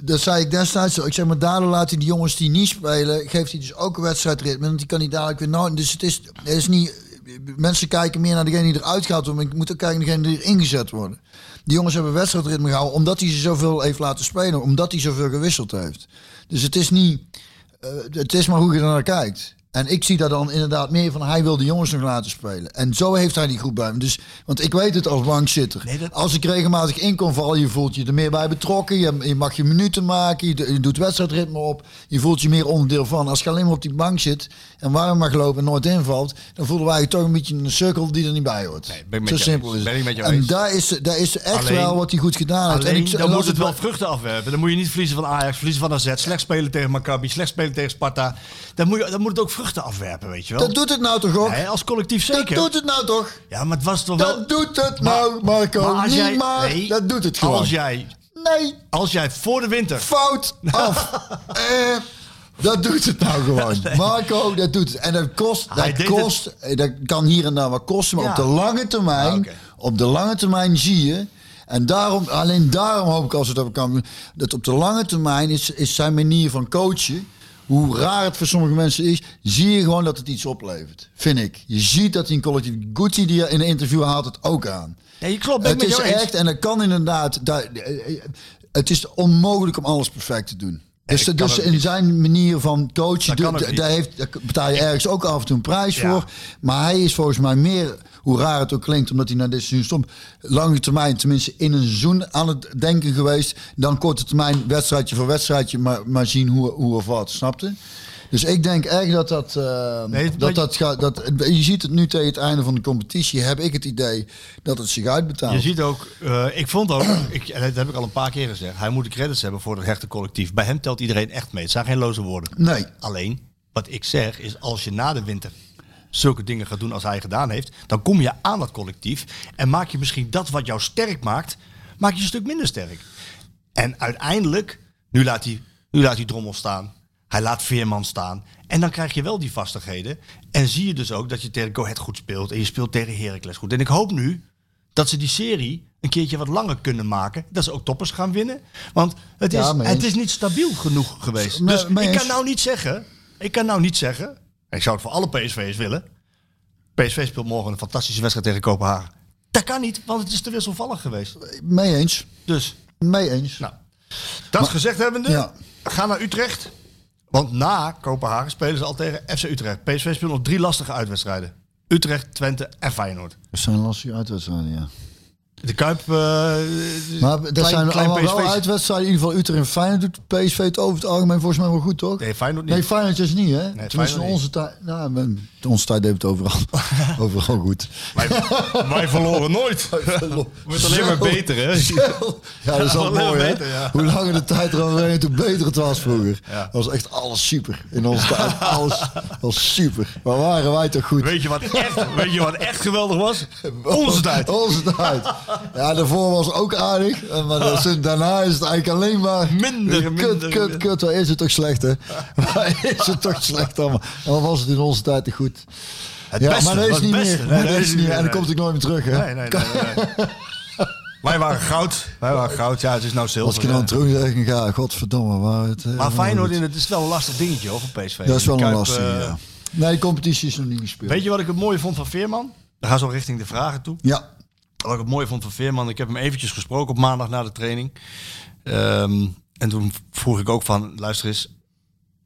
Speaker 10: dat zei ik destijds al. Ik zeg maar, daardoor laat hij die jongens die niet spelen. Geeft hij dus ook een wedstrijdritme. Want die kan hij dadelijk weer nou. Dus het is, het is niet. Mensen kijken meer naar degene die eruit gaat. Maar ik moet ook kijken naar degene die erin gezet worden. Die jongens hebben wedstrijdritme gehouden. Omdat hij ze zoveel heeft laten spelen. Omdat hij zoveel gewisseld heeft. Dus het is niet. Eh, het is maar hoe je er naar kijkt. En ik zie daar dan inderdaad meer van, hij wil de jongens nog laten spelen. En zo heeft hij die groep bij hem. Dus, want ik weet het als bankzitter. Als ik regelmatig in kon vallen, je voelt je er meer bij betrokken. Je, je mag je minuten maken, je, je doet wedstrijdritme op. Je voelt je meer onderdeel van. Als je alleen maar op die bank zit en warm mag lopen en nooit invalt... dan voelen wij je toch een beetje in een cirkel die er niet bij hoort.
Speaker 9: ben ik met
Speaker 10: zo
Speaker 9: jou
Speaker 10: simpel
Speaker 9: eens.
Speaker 10: is het.
Speaker 9: Ben ik met jou
Speaker 10: en
Speaker 9: eens.
Speaker 10: daar is, daar is echt
Speaker 9: Alleen-
Speaker 10: wel wat hij goed gedaan heeft.
Speaker 9: Alleen,
Speaker 10: en Ah, ik,
Speaker 9: dan moet
Speaker 10: las
Speaker 9: het wel
Speaker 10: bij-
Speaker 9: vruchten afwerpen. Dan moet je niet verliezen van Ajax, verliezen van AZ, slecht spelen tegen Maccabi, slecht spelen tegen Sparta. Dan moet, je, dan moet het ook vruchten afwerpen, weet je wel.
Speaker 10: Dat doet het nou toch ook?
Speaker 9: Nee, als collectief zeker.
Speaker 10: Dat doet het nou toch?
Speaker 9: Ja, maar het was toch wel...
Speaker 10: Dat doet het nou, Marco. niet maar,
Speaker 9: Nee,
Speaker 10: dat doet het gewoon.
Speaker 9: Als jij,
Speaker 10: Nee,
Speaker 9: als jij voor de winter...
Speaker 10: fout af. Eh, dat doet het nou gewoon. Marco, dat doet het. En dat kost,
Speaker 9: Hij
Speaker 10: dat,
Speaker 9: deed
Speaker 10: kost eh, dat kan hier en daar wat kosten. Maar
Speaker 9: Ja.
Speaker 10: op de lange termijn,
Speaker 9: Ah, oké.
Speaker 10: op de lange termijn zie je... En daarom, alleen daarom hoop ik als het over kan... dat op de lange termijn is, is zijn manier van coachen... hoe raar het voor sommige mensen is... zie je gewoon dat het iets oplevert. Vind ik. Je ziet dat hij een collectief... Gucci die in een interview haalt het ook aan.
Speaker 9: Nee, klopt, ben ik
Speaker 10: Het
Speaker 9: met
Speaker 10: is
Speaker 9: jou eens.
Speaker 10: echt, en dat kan inderdaad. daar- eh, eh, het is onmogelijk om alles perfect te doen. Dus,
Speaker 9: dat kan
Speaker 10: dus
Speaker 9: ook
Speaker 10: in
Speaker 9: niet.
Speaker 10: zijn manier van coachen,
Speaker 9: Dat kan
Speaker 10: doe-
Speaker 9: ook niet.
Speaker 10: daar, heeft, daar betaal je ergens ook af en toe een prijs
Speaker 9: Ja.
Speaker 10: voor. Maar hij is volgens mij meer, hoe raar het ook klinkt, omdat hij naar dit seizoen stond, lange termijn, tenminste in een seizoen aan het denken geweest, dan korte termijn, wedstrijdje voor wedstrijdje, maar, maar zien hoe, hoe of wat, snapte? Dus ik denk echt dat dat, eh,
Speaker 9: Nee, het-
Speaker 10: dat, dat, gaat, dat... Je ziet het nu tegen het einde van de competitie, heb ik het idee dat het zich uitbetaalt.
Speaker 9: Je ziet ook, eh, ik vond ook, ik, en dat heb ik al een paar keer gezegd, hij moet de credits hebben voor het hechte collectief. Bij hem telt iedereen echt mee. Het zijn geen loze woorden.
Speaker 10: Nee.
Speaker 9: Alleen, wat ik zeg is, als je na de winter zulke dingen gaat doen als hij gedaan heeft, dan kom je aan dat collectief en maak je misschien dat wat jou sterk maakt, maak je een stuk minder sterk. En uiteindelijk, nu laat hij, nu laat hij Drommel staan, hij laat Veerman staan. En dan krijg je wel die vastigheden. En zie je dus ook dat je tegen Go Ahead goed speelt en je speelt tegen Heracles goed. En ik hoop nu dat ze die serie een keertje wat langer kunnen maken. Dat ze ook toppers gaan winnen. Want het is,
Speaker 10: Ja, mee eens.
Speaker 9: het is niet stabiel genoeg geweest.
Speaker 10: Nee,
Speaker 9: dus
Speaker 10: mee
Speaker 9: ik kan
Speaker 10: eens.
Speaker 9: nou niet zeggen. Ik kan nou niet zeggen. Ik zou het voor alle PSV's willen. PSV speelt morgen een fantastische wedstrijd tegen Kopenhagen. Dat kan niet, want het is te wisselvallig geweest.
Speaker 10: Mee eens.
Speaker 9: Dus
Speaker 10: Mee eens.
Speaker 9: Nou, dat gezegd hebbende,
Speaker 10: Ja.
Speaker 9: ga naar Utrecht. Want na Kopenhagen spelen ze al tegen FC Utrecht. PSV speelt nog drie lastige uitwedstrijden. Utrecht, Twente en Feyenoord.
Speaker 10: Dat zijn lastige uitwedstrijden, ja.
Speaker 9: De Kuip... eh,
Speaker 10: Maar dat
Speaker 9: klein-
Speaker 10: zijn
Speaker 9: klein
Speaker 10: allemaal wel
Speaker 9: PSV's.
Speaker 10: uitwedstrijden. In ieder geval Utrecht en Feyenoord doet PSV het over het algemeen volgens mij wel goed, toch?
Speaker 9: Nee, Feyenoord niet.
Speaker 10: Nee, Feyenoord is niet, hè?
Speaker 9: Nee,
Speaker 10: Tenminste, in
Speaker 9: Feyenoord
Speaker 10: onze tijd... Nou, men- in onze tijd deed het overal, overal goed.
Speaker 9: wij, wij verloren nooit.
Speaker 4: Wordt alleen maar
Speaker 10: Oh, Zo.
Speaker 4: beter, hè?
Speaker 10: Ja, dat is al
Speaker 9: Alleen maar
Speaker 10: mooi, hè?
Speaker 9: beter, ja.
Speaker 10: Hoe langer de tijd eroverheen, hoe beter het was vroeger.
Speaker 9: Ja.
Speaker 10: Dat was echt alles super. In onze tijd, alles was super. Maar waren wij toch goed?
Speaker 9: Weet je, wat echt, weet je wat echt geweldig was?
Speaker 10: Oh,
Speaker 9: Onze tijd.
Speaker 10: Onze tijd. Ja, daarvoor was ook aardig. eh, Maar dat is- daarna is het eigenlijk alleen maar...
Speaker 9: Minder,
Speaker 10: Kut,
Speaker 9: minder,
Speaker 10: kut,
Speaker 9: minder.
Speaker 10: kut. Waar is het toch slecht, hè? Waar is het toch slecht allemaal? En wat was het in onze tijd toch goed?
Speaker 9: Het
Speaker 10: ja,
Speaker 9: beste,
Speaker 10: maar dat is
Speaker 9: was het
Speaker 10: niet
Speaker 9: beste.
Speaker 10: meer.
Speaker 9: Nee,
Speaker 10: Maar dat is niet meer. En
Speaker 9: nee.
Speaker 10: dan komt ik nooit meer terug, hè?
Speaker 9: Nee, nee, nee, nee, nee. Wij waren goud. Wij waren goud. Ja, het is nou zilver.
Speaker 10: Als ik er dan
Speaker 9: ja.
Speaker 10: terug zeg, dan ga godverdomme, waar het... eh,
Speaker 9: Maar Feyenoord,
Speaker 10: goed.
Speaker 9: in het is wel een lastig dingetje hoor, voor PSV.
Speaker 10: Dat is wel een
Speaker 9: Kuip,
Speaker 10: lastige,
Speaker 9: eh,
Speaker 10: ja. Nee, de competitie is nog niet gespeeld.
Speaker 9: Weet je wat ik het mooie vond van Veerman? We gaan zo richting de vragen toe.
Speaker 10: Ja,
Speaker 9: Wat ik het mooie vond van Veerman, ik heb hem eventjes gesproken op maandag na de training. Ehm, en toen vroeg ik ook van, luister eens,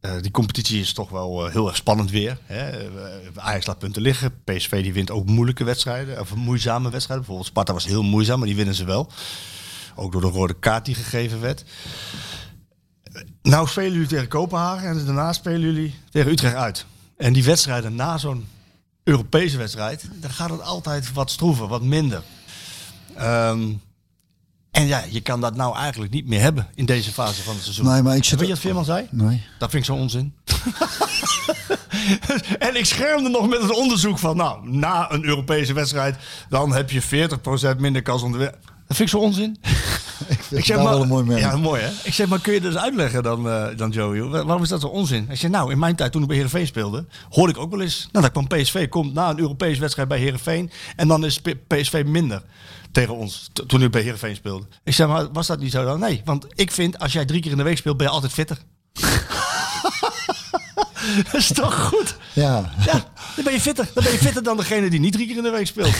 Speaker 9: eh, die competitie is toch wel eh, heel erg spannend weer. Hè? Eh, Ajax laat punten liggen, PSV die wint ook moeilijke wedstrijden, of moeizame wedstrijden. Bijvoorbeeld Sparta was heel moeizaam, maar die winnen ze wel. Ook door de rode kaart die gegeven werd. Nou spelen jullie tegen Kopenhagen en daarna spelen jullie tegen Utrecht uit. En die wedstrijden na zo'n Europese wedstrijd, dan gaat het altijd wat stroever, wat minder. Ehm, en ja, je kan dat nou eigenlijk niet meer hebben in deze fase van het seizoen.
Speaker 10: Nee, maar ik zit-
Speaker 9: Weet je wat Veerman zei?
Speaker 10: Nee.
Speaker 9: Dat vind ik zo onzin. en ik schermde nog met het onderzoek van, nou, na een Europese wedstrijd, dan heb je 40% minder kans om te winnen. Dat vind ik zo onzin.
Speaker 10: Ik vind het wel een mooi merk.
Speaker 9: Ja, mooi hè. Ik zeg, maar kun je dus uitleggen dan, eh, dan Joey? Wa- Waarom is dat zo onzin? Hij zegt, nou, in mijn tijd toen ik bij Heerenveen speelde, hoorde ik ook wel eens. Nou, dat kwam PSV, komt na een Europese wedstrijd bij Heerenveen. En dan is P- PSV minder tegen ons, t- toen ik bij Heerenveen speelde. Ik zeg, maar was dat niet zo dan? Nee, want ik vind, als jij drie keer in de week speelt, ben je altijd fitter. dat is toch goed?
Speaker 10: Ja.
Speaker 9: Ja, dan ben je fitter. Dan ben je fitter dan degene die niet drie keer in de week speelt.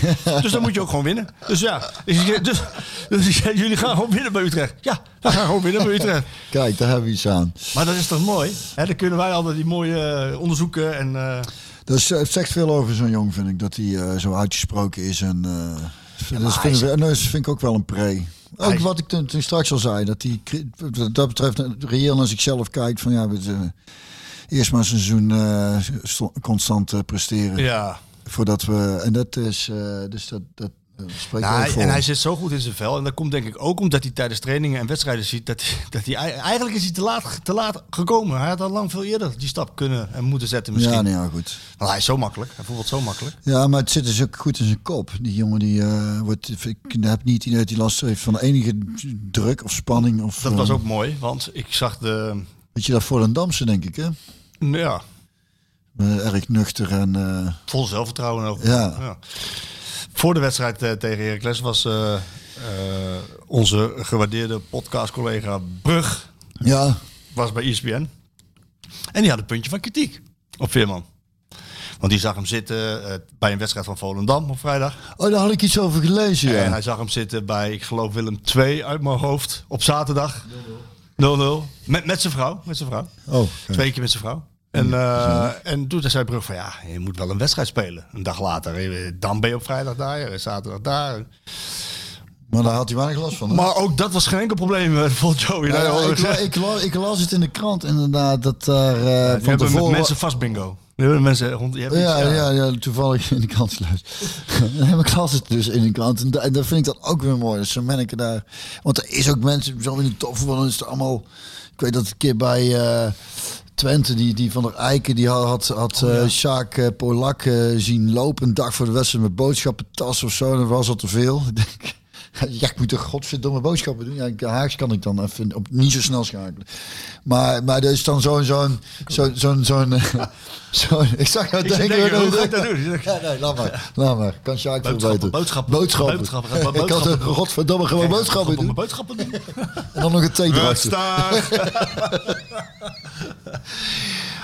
Speaker 9: Dus dan moet je ook gewoon winnen. Dus ja, dus, dus, dus jullie gaan gewoon winnen bij Utrecht. Ja, we gaan gewoon winnen bij Utrecht.
Speaker 10: Kijk, daar hebben we iets aan.
Speaker 9: Maar dat is toch mooi? Hè, dan kunnen wij altijd die mooie eh, onderzoeken en... eh,
Speaker 10: Dus eh, het zegt veel over zo'n jong, vind ik, dat hij eh, zo uitgesproken is. En, eh, dat,
Speaker 9: hij
Speaker 10: vind
Speaker 9: is-
Speaker 10: ik, en dat is- vind ik ook wel een pre. Ook
Speaker 9: Hij-
Speaker 10: wat ik toen, toen straks al zei, dat hij cri- wat dat betreft eh, reëel naar zichzelf kijkt. Van ja, we, eh, eerst maar een seizoen eh, sto- constant eh, presteren.
Speaker 9: ja,
Speaker 10: Voordat we. En dat is. eh, dus dat, dat eh, spreekt
Speaker 9: Nou,
Speaker 10: ook
Speaker 9: hij-
Speaker 10: voor.
Speaker 9: en hij zit zo goed in zijn vel. En dat komt denk ik ook omdat hij tijdens trainingen en wedstrijden ziet dat, hij- dat hij eigenlijk is hij te laat, te laat gekomen. Hij had al lang veel eerder die stap kunnen en moeten zetten misschien.
Speaker 10: Ja, nee, ja, goed.
Speaker 9: Maar hij is zo makkelijk. Hij voelt zo makkelijk.
Speaker 10: Ja, maar het zit dus ook goed in zijn kop. Die jongen die eh, wordt. Ik heb niet het idee dat hij last heeft van enige druk of spanning. Of,
Speaker 9: Dat was
Speaker 10: eh,
Speaker 9: ook mooi, want ik zag de...
Speaker 10: Weet je, dat voor een Damse, denk ik, hè?
Speaker 9: Nou ja,
Speaker 10: Eh, erg nuchter en... eh,
Speaker 9: Vol zelfvertrouwen ook.
Speaker 10: Ja.
Speaker 9: Voor de wedstrijd eh, tegen Heracles was eh, eh, onze gewaardeerde podcastcollega Brug
Speaker 10: ja,
Speaker 9: was bij E ESPN. En die had een puntje van kritiek op Veerman. Want die zag hem zitten eh, bij een wedstrijd van Volendam op vrijdag.
Speaker 10: oh, daar had ik iets over gelezen, ja.
Speaker 9: En hij zag hem zitten bij, ik geloof, Willem 2 uit mijn hoofd op zaterdag. 0-0. Met, met zijn vrouw. Met zijn vrouw.
Speaker 10: Oh, oké.
Speaker 9: Twee keer met zijn vrouw. En, eh, en toen zei Brug van ja, je moet wel een wedstrijd spelen. Een dag later. eh, Dan ben je op vrijdag daar, eh, zaterdag daar.
Speaker 10: Maar daar had hij weinig last van. hè?
Speaker 9: Maar ook dat was geen enkel probleem eh, voor Joey.
Speaker 10: Ja,
Speaker 9: Dat hoor
Speaker 10: ja,
Speaker 9: ik eh,
Speaker 10: ik, la-
Speaker 9: zeggen.
Speaker 10: ik, la- ik las het in de krant inderdaad, dat daar eh,
Speaker 9: We
Speaker 10: van
Speaker 9: hebben met
Speaker 10: tevoren...
Speaker 9: mensen vast bingo. We hebben mensen rond. Je hebt iets,
Speaker 10: ja, ja,
Speaker 9: ja.
Speaker 10: ja, toevallig in de krant geluisterd. nee, maar ik las het dus in de krant. En, da- en dat vind ik dan ook weer mooi. Dus zo merken daar... Want er is ook mensen, zo in de topvoetbal is het allemaal... Ik weet dat een keer bij eh, Twente, die, die van der Eiken, die had, had, had
Speaker 9: Oh,
Speaker 10: eh, Sjaak eh, Polak eh, zien lopen. Een dag voor de wedstrijd met boodschappentas of zo. En dat was al te veel. Ik denk, ja, ik moet toch godverdomme boodschappen doen. Ja, ik- Haaks kan ik dan even op, niet zo snel schakelen. Maar, maar er is dan zo'n... zo'n zo'n zo'n zo'n eh, zo'n- ik zag jou
Speaker 9: Ik zit
Speaker 10: denken...
Speaker 9: te denken, hoe
Speaker 10: dat-
Speaker 9: ga ik dat doen?
Speaker 10: Ja, nee, laat maar. Laat maar. Kan Sjaak veel
Speaker 9: Boodschappen,
Speaker 10: beter.
Speaker 9: boodschappen,
Speaker 10: Boodschappen.
Speaker 9: boodschappen, ga maar
Speaker 10: Ik had er
Speaker 9: boodschappen doen.
Speaker 10: godverdomme gewoon boodschappen
Speaker 9: Om mijn
Speaker 10: doen.
Speaker 9: boodschappen doen.
Speaker 10: En dan nog een thee erachter.
Speaker 9: Rustig.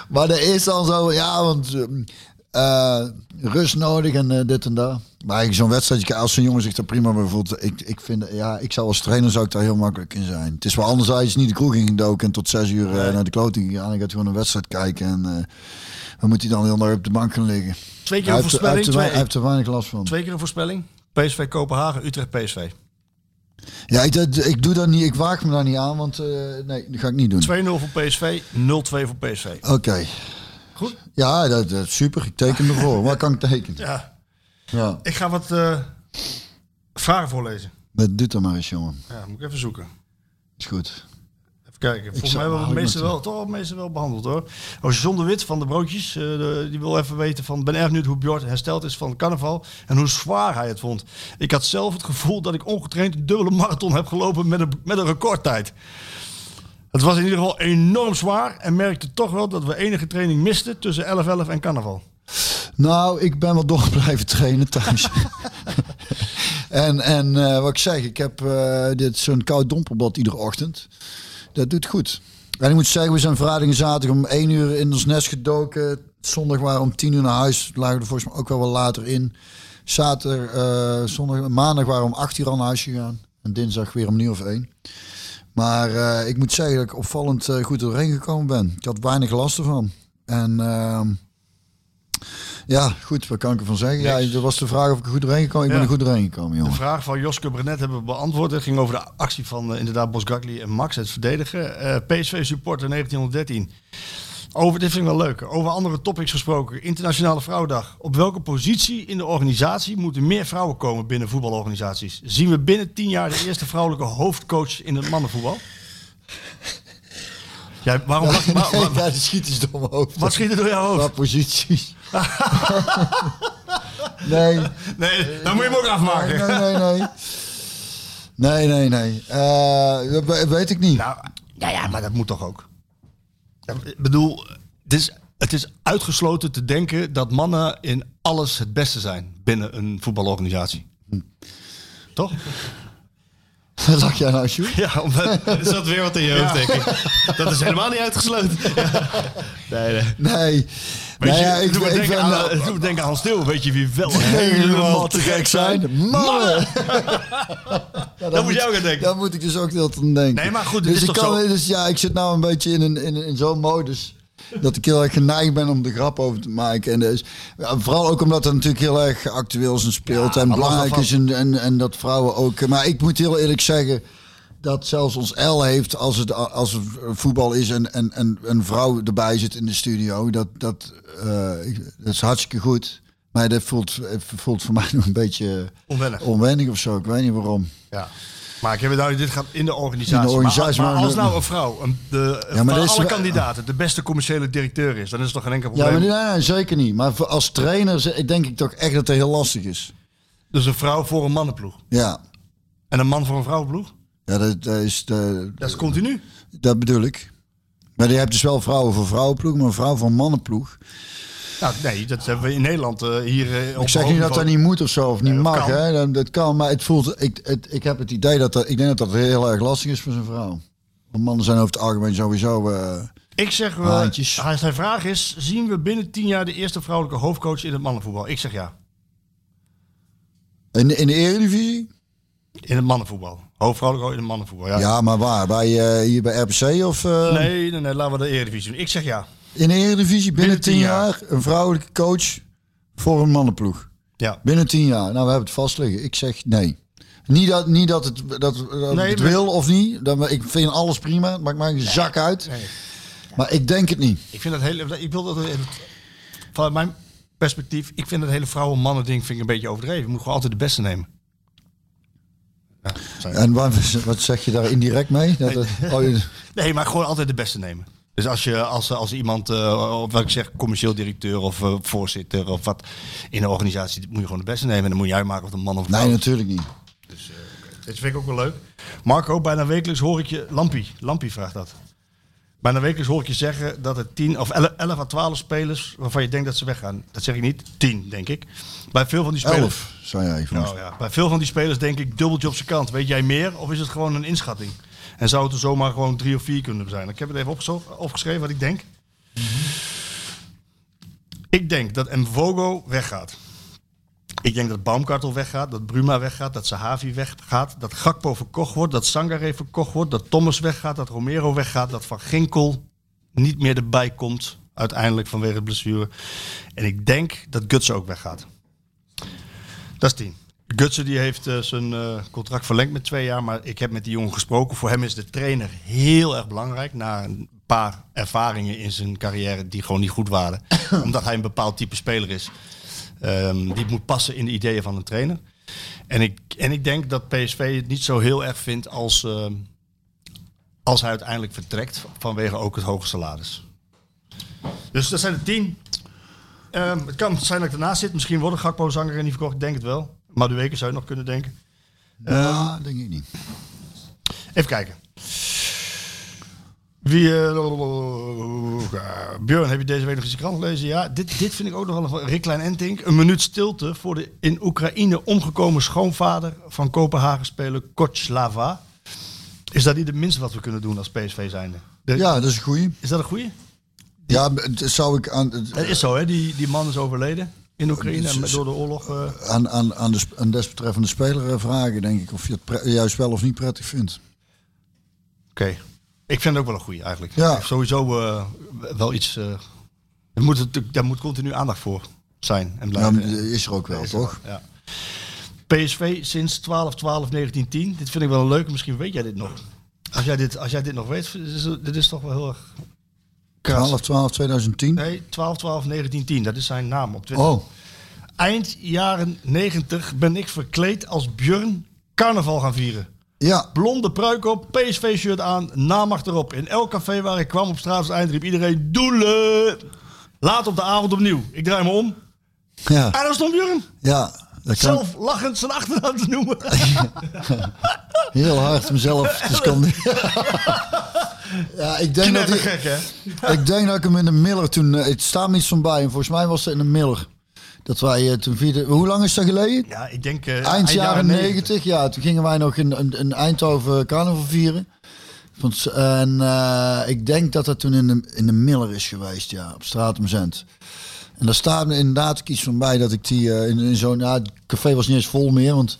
Speaker 10: Maar er is dan zo, ja, want ehm, eh, rust nodig en eh, dit en dat. Maar eigenlijk zo'n wedstrijd, als zo'n jongen zich daar prima bij voelt, ik, ik vind, ja, ik zou als trainer zou ik daar heel makkelijk in zijn. Het is wel anders als je niet de kroeg ingedoken en tot zes uur eh, naar de kloting gegaan. Ik had gewoon een wedstrijd kijken en eh, dan moet hij dan heel naar op de bank gaan liggen.
Speaker 9: Twee keer
Speaker 10: Hij
Speaker 9: een
Speaker 10: heeft, hij heeft
Speaker 9: voorspelling.
Speaker 10: er wei- hij
Speaker 9: twee-
Speaker 10: heeft er weinig last van.
Speaker 9: Twee keer een voorspelling. PSV Kopenhagen, Utrecht PSV. 2-0
Speaker 10: Ja, ik, dat- ik doe dat niet, ik waag me daar niet aan, want eh, nee, dat ga ik niet doen.
Speaker 9: voor PSV, 0-2 voor PSV.
Speaker 10: Oké.
Speaker 9: Goed.
Speaker 10: Ja, dat, dat, super. Ik teken ervoor. Waar kan ik tekenen?
Speaker 9: Ja.
Speaker 10: Ja,
Speaker 9: Ik ga wat eh, vragen voorlezen.
Speaker 10: dat doet dan maar eens, jongen.
Speaker 9: Ja, moet ik even zoeken.
Speaker 10: Is goed.
Speaker 9: Even kijken. Volgens
Speaker 10: zal-
Speaker 9: mij hebben we
Speaker 10: hou
Speaker 9: het
Speaker 10: ik
Speaker 9: meeste
Speaker 10: maar
Speaker 9: wel, toch, het meeste wel behandeld hoor. Oh, John de Wit van de Broodjes, eh, de- die wil even weten van... ben erg benieuwd hoe Björn hersteld is van carnaval en hoe zwaar hij het vond. Ik had zelf het gevoel dat ik ongetraind een dubbele marathon heb gelopen met een, met een recordtijd. Het was in ieder geval enorm zwaar en merkte toch wel dat we enige training misten tussen 11-11 en carnaval.
Speaker 10: Nou, ik ben wel door blijven trainen thuis. en en eh, wat ik zeg, ik heb eh, dit zo'n koud domperbad iedere ochtend. Dat doet goed. En ik moet zeggen, we zijn vrijdag en zaterdag om 1 uur in ons nest gedoken. Zondag waren we om 10 uur naar huis. Lagen we er volgens mij ook wel wat later in. Zaterdag, eh, zondag, maandag waren we om 8 uur al naar huis gegaan. En dinsdag weer om 9 of 1. Maar eh, ik moet zeggen dat ik opvallend eh, goed er doorheen gekomen ben. Ik had weinig last ervan. En ehm, Ja, goed, wat kan ik ervan zeggen? Ja, dat was de vraag of ik er goed doorheen gekomen. Ik ben
Speaker 9: Ja.
Speaker 10: er goed doorheen gekomen,
Speaker 9: De
Speaker 10: jongen.
Speaker 9: vraag van Joske Brenet hebben we beantwoord. Het ging over de actie van eh, inderdaad Bosgagli en Max, het verdedigen. Eh, PSV supporter 1913. Over, dit vind ik wel leuk. Over andere topics gesproken. Internationale Vrouwendag. Op welke positie in de organisatie moeten meer vrouwen komen binnen voetbalorganisaties? Zien we binnen tien jaar de eerste vrouwelijke hoofdcoach in het mannenvoetbal? Ja, waarom lach je? Waar- waar-
Speaker 10: Ja, dat schiet eens door mijn hoofd.
Speaker 9: Wat schiet er door jouw hoofd?
Speaker 10: Qua posities. nee.
Speaker 9: Nee, dan moet je hem ook afmaken.
Speaker 10: Nee, nee, nee. Nee, nee, nee. Eh, dat we- weet ik niet.
Speaker 9: Nou, ja, ja, maar dat moet toch ook? Ja, Ik bedoel, het is, het is uitgesloten te denken dat mannen in alles het beste zijn binnen een voetbalorganisatie. Hm. Toch?
Speaker 10: Wat lach jij nou, Sjoerd?
Speaker 9: Ja, omdat...
Speaker 4: Er zat weer wat in je hoofd, denk ik. Dat is helemaal niet uitgesloten. Nee, nee.
Speaker 10: Nee.
Speaker 9: Weet nou,
Speaker 10: Nou
Speaker 9: je,
Speaker 10: ja, ik,
Speaker 9: doe me
Speaker 10: ik
Speaker 9: denken
Speaker 10: ben... nou
Speaker 9: aan, doe me denken aan Hans Til. Weet je wie wel
Speaker 10: helemaal te gek zijn. Mannen!
Speaker 9: Dat moet jij ook aan denken.
Speaker 10: Daar moet ik dus ook heel aan denken.
Speaker 9: Nee, maar goed, het
Speaker 10: dus
Speaker 9: is
Speaker 10: ik
Speaker 9: toch
Speaker 10: kan,
Speaker 9: zo?
Speaker 10: Dus ja, ik zit nou een beetje in, een, in, in zo'n modus dat ik heel erg geneigd ben om de grap over te maken. En dus, ja, vooral ook omdat het natuurlijk heel erg actueel is en speelt en
Speaker 9: maar los
Speaker 10: belangrijk is en, en, en dat vrouwen ook... Maar ik moet heel eerlijk zeggen dat zelfs ons L heeft als het, als het voetbal is en, en, en een vrouw erbij zit in de studio. Dat, dat, eh, ik- dat is hartstikke goed. Maar dat voelt, voelt voor mij nog een beetje
Speaker 9: Onwennig.
Speaker 10: onwennig of zo. Ik weet niet waarom.
Speaker 9: Ja. Maar ik heb het duidelijk, nou, dit gaat in de organisatie.
Speaker 10: In de organisatie,
Speaker 9: maar, maar
Speaker 10: maar-
Speaker 9: als nou een vrouw een, de,
Speaker 10: maar
Speaker 9: van
Speaker 10: dat is
Speaker 9: alle
Speaker 10: wel-
Speaker 9: kandidaten de beste commerciële directeur is, dan is het toch geen enkel
Speaker 10: Ja,
Speaker 9: probleem.
Speaker 10: maar nee, nee, zeker niet. Maar voor- als trainer ze- denk ik toch echt dat het heel lastig is.
Speaker 9: Dus een vrouw voor een mannenploeg.
Speaker 10: Ja,
Speaker 9: En een man voor een vrouwenploeg?
Speaker 10: ja dat, dat is de,
Speaker 9: Dat is continu.
Speaker 10: dat bedoel ik. Maar je hebt dus wel vrouwen voor vrouwenploeg, maar een vrouw voor mannenploeg.
Speaker 9: Nou, nee, dat hebben we in Nederland eh, hier eh, op
Speaker 10: Ik zeg niet dat dat niet moet of zo, of niet
Speaker 9: Nee, dat
Speaker 10: mag.
Speaker 9: kan.
Speaker 10: Hè? Dat, dat kan, maar het voelt, ik, het, ik heb het idee dat dat, ik denk dat dat heel erg lastig is voor zo'n vrouw. Want mannen zijn over het algemeen sowieso... eh,
Speaker 9: Ik zeg, wel.
Speaker 10: Haantjes.
Speaker 9: hij- zijn vraag is, zien we binnen tien jaar de eerste vrouwelijke hoofdcoach in het mannenvoetbal? Ik zeg ja,
Speaker 10: in, in de Eredivisie?
Speaker 9: in het mannenvoetbal. Hoofdvrouwelijke in het mannenvoetbal, ja.
Speaker 10: Ja, maar waar? Bij, eh, hier bij RPC of... eh,
Speaker 9: Nee, nee, nee, laten we de Eredivisie doen. Ik zeg ja.
Speaker 10: In de Eredivisie binnen
Speaker 9: Binnen
Speaker 10: tien
Speaker 9: tien
Speaker 10: jaar een vrouwelijke coach voor een mannenploeg.
Speaker 9: Ja.
Speaker 10: Binnen tien jaar. Nou, we hebben het vast liggen. Ik zeg nee. Niet dat, niet dat het, dat, dat
Speaker 9: Nee,
Speaker 10: het
Speaker 9: maar-
Speaker 10: wil of niet. Dan, ik vind alles prima. Het maakt mij een zak uit. Maar ik denk het niet.
Speaker 9: Ik vind dat hele, ik wil dat, vanuit mijn perspectief, ik vind dat hele vrouwen-mannen ding vind ik een beetje overdreven. Je moet gewoon altijd de beste nemen. Ja, sorry.
Speaker 10: En wat, wat zeg je daar indirect mee? Dat, het- oh, je-
Speaker 9: Nee, maar gewoon altijd de beste nemen. Dus als je als, als iemand, eh, of wat ik zeg, commercieel directeur of eh, voorzitter of wat in een organisatie, moet je gewoon de beste nemen. En dan moet je uitmaken of het een man of een
Speaker 10: nee,
Speaker 9: vrouw is.
Speaker 10: natuurlijk niet.
Speaker 9: Dit vind ik ook wel leuk. Marco, bijna wekelijks hoor ik je. Lampie, Lampie vraagt dat. Bijna wekelijks hoor ik je zeggen dat er 10 of 11 11 à 12 spelers waarvan je denkt dat ze weggaan. Dat zeg ik niet. 10, denk ik. Bij veel van die spelers.
Speaker 10: Elf, zei jij. volgens
Speaker 9: Nou ja, bij veel van die spelers denk ik dubbeltje op zijn kant. Weet jij meer of is het gewoon een inschatting? En zou het er zomaar gewoon drie of vier kunnen zijn? Ik heb het even opgezo- opgeschreven wat ik denk. Ik denk dat Mvogo weggaat. Ik denk dat Baumkartel weggaat, dat Bruma weggaat, dat Sahavi weggaat, dat Gakpo verkocht wordt, dat Sangare verkocht wordt, dat Thomas weggaat, dat Romero weggaat, dat Van Ginkel niet meer erbij komt uiteindelijk vanwege het blessure. En ik denk dat Guts ook weggaat. Dat is tien. Gutsen die heeft eh, zijn eh, contract verlengd met twee jaar, maar ik heb met die jongen gesproken. Voor hem is de trainer heel erg belangrijk na een paar ervaringen in zijn carrière die gewoon niet goed waren. omdat hij een bepaald type speler is. Ehm, die moet passen in de ideeën van een trainer. En ik, en ik denk dat PSV het niet zo heel erg vindt als, ehm, als hij uiteindelijk vertrekt vanwege ook het hoge salaris. Dus dat zijn de tien. Ehm, het kan zijn dat ik ernaast zit. Misschien worden Gakpo zanger en niet verkocht. Ik denk het wel. Maar de weken zou je nog kunnen denken.
Speaker 10: mij. Ja, denk ik niet.
Speaker 9: Even kijken. Wie, eh, Björn, heb je deze week nog eens de krant gelezen? Ja, dit, dit vind ik ook nog wel een... Rick Klein Entink. Een minuut stilte voor de in Oekraïne omgekomen schoonvader van Kopenhagen-speler Kotslava. Is dat niet het minste wat we kunnen doen als PSV zijnde? De-
Speaker 10: Ja, dat is een goeie.
Speaker 9: Is dat een goeie?
Speaker 10: Ja, het zou ik aan, het-
Speaker 9: Dat is zo, hè? Die, die man is overleden in Oekraïne
Speaker 10: Dus-
Speaker 9: en door de oorlog. eh,
Speaker 10: aan, aan, aan, de, sp- aan desbetreffende speler eh, vragen, denk ik. Of je het pre- juist wel of niet prettig vindt.
Speaker 9: Oké. Ik vind het ook wel een goeie eigenlijk.
Speaker 10: Ja.
Speaker 9: Sowieso eh, wel iets. eh, er moet, natuurlijk- daar moet continu aandacht voor. zijn
Speaker 10: Ja,
Speaker 9: en blijven.
Speaker 10: maar Nou, die is er ook wel, toch?
Speaker 9: Ja. PSV sinds 12-12-1910. Dit vind ik wel een leuke, misschien weet jij dit nog. Als jij dit, als jij dit nog weet, is, dit is toch wel heel erg...
Speaker 10: 12, 12, 2010.
Speaker 9: Nee, 12-12-1910, dat is zijn naam op Twitter.
Speaker 10: Oh.
Speaker 9: Eind jaren 90 ben ik verkleed als Björn carnaval gaan vieren.
Speaker 10: Ja.
Speaker 9: Blonde pruik op, PSV-shirt aan, namacht erop. In elk café waar ik kwam op straat als eind riep iedereen doelen. Laat op de avond opnieuw. Ik draai me om.
Speaker 10: Ja,
Speaker 9: En daar stond Björn.
Speaker 10: ja. Dat kan
Speaker 9: Zelf lachend zijn achternaam te noemen.
Speaker 10: heel hard mezelf te schande. ja, ik denk, dat ik,
Speaker 9: Knettergek, hè?
Speaker 10: ik denk dat ik hem in de Miller toen... eh, Het staat me iets van bij. En volgens mij was het in de Miller. Dat wij eh, toen vierde... Hoe lang is dat geleden?
Speaker 9: Ja, ik denk... eh,
Speaker 10: Eind jaren 90, ja. Toen gingen wij nog in, in, in Eindhoven carnaval vieren. Want, en eh, ik denk dat dat toen in de, in de Miller is geweest, ja. Op straat om Zent. En daar staat me inderdaad ook iets van bij dat ik die eh, in, in zo'n... Ja, het café was niet eens vol meer, want...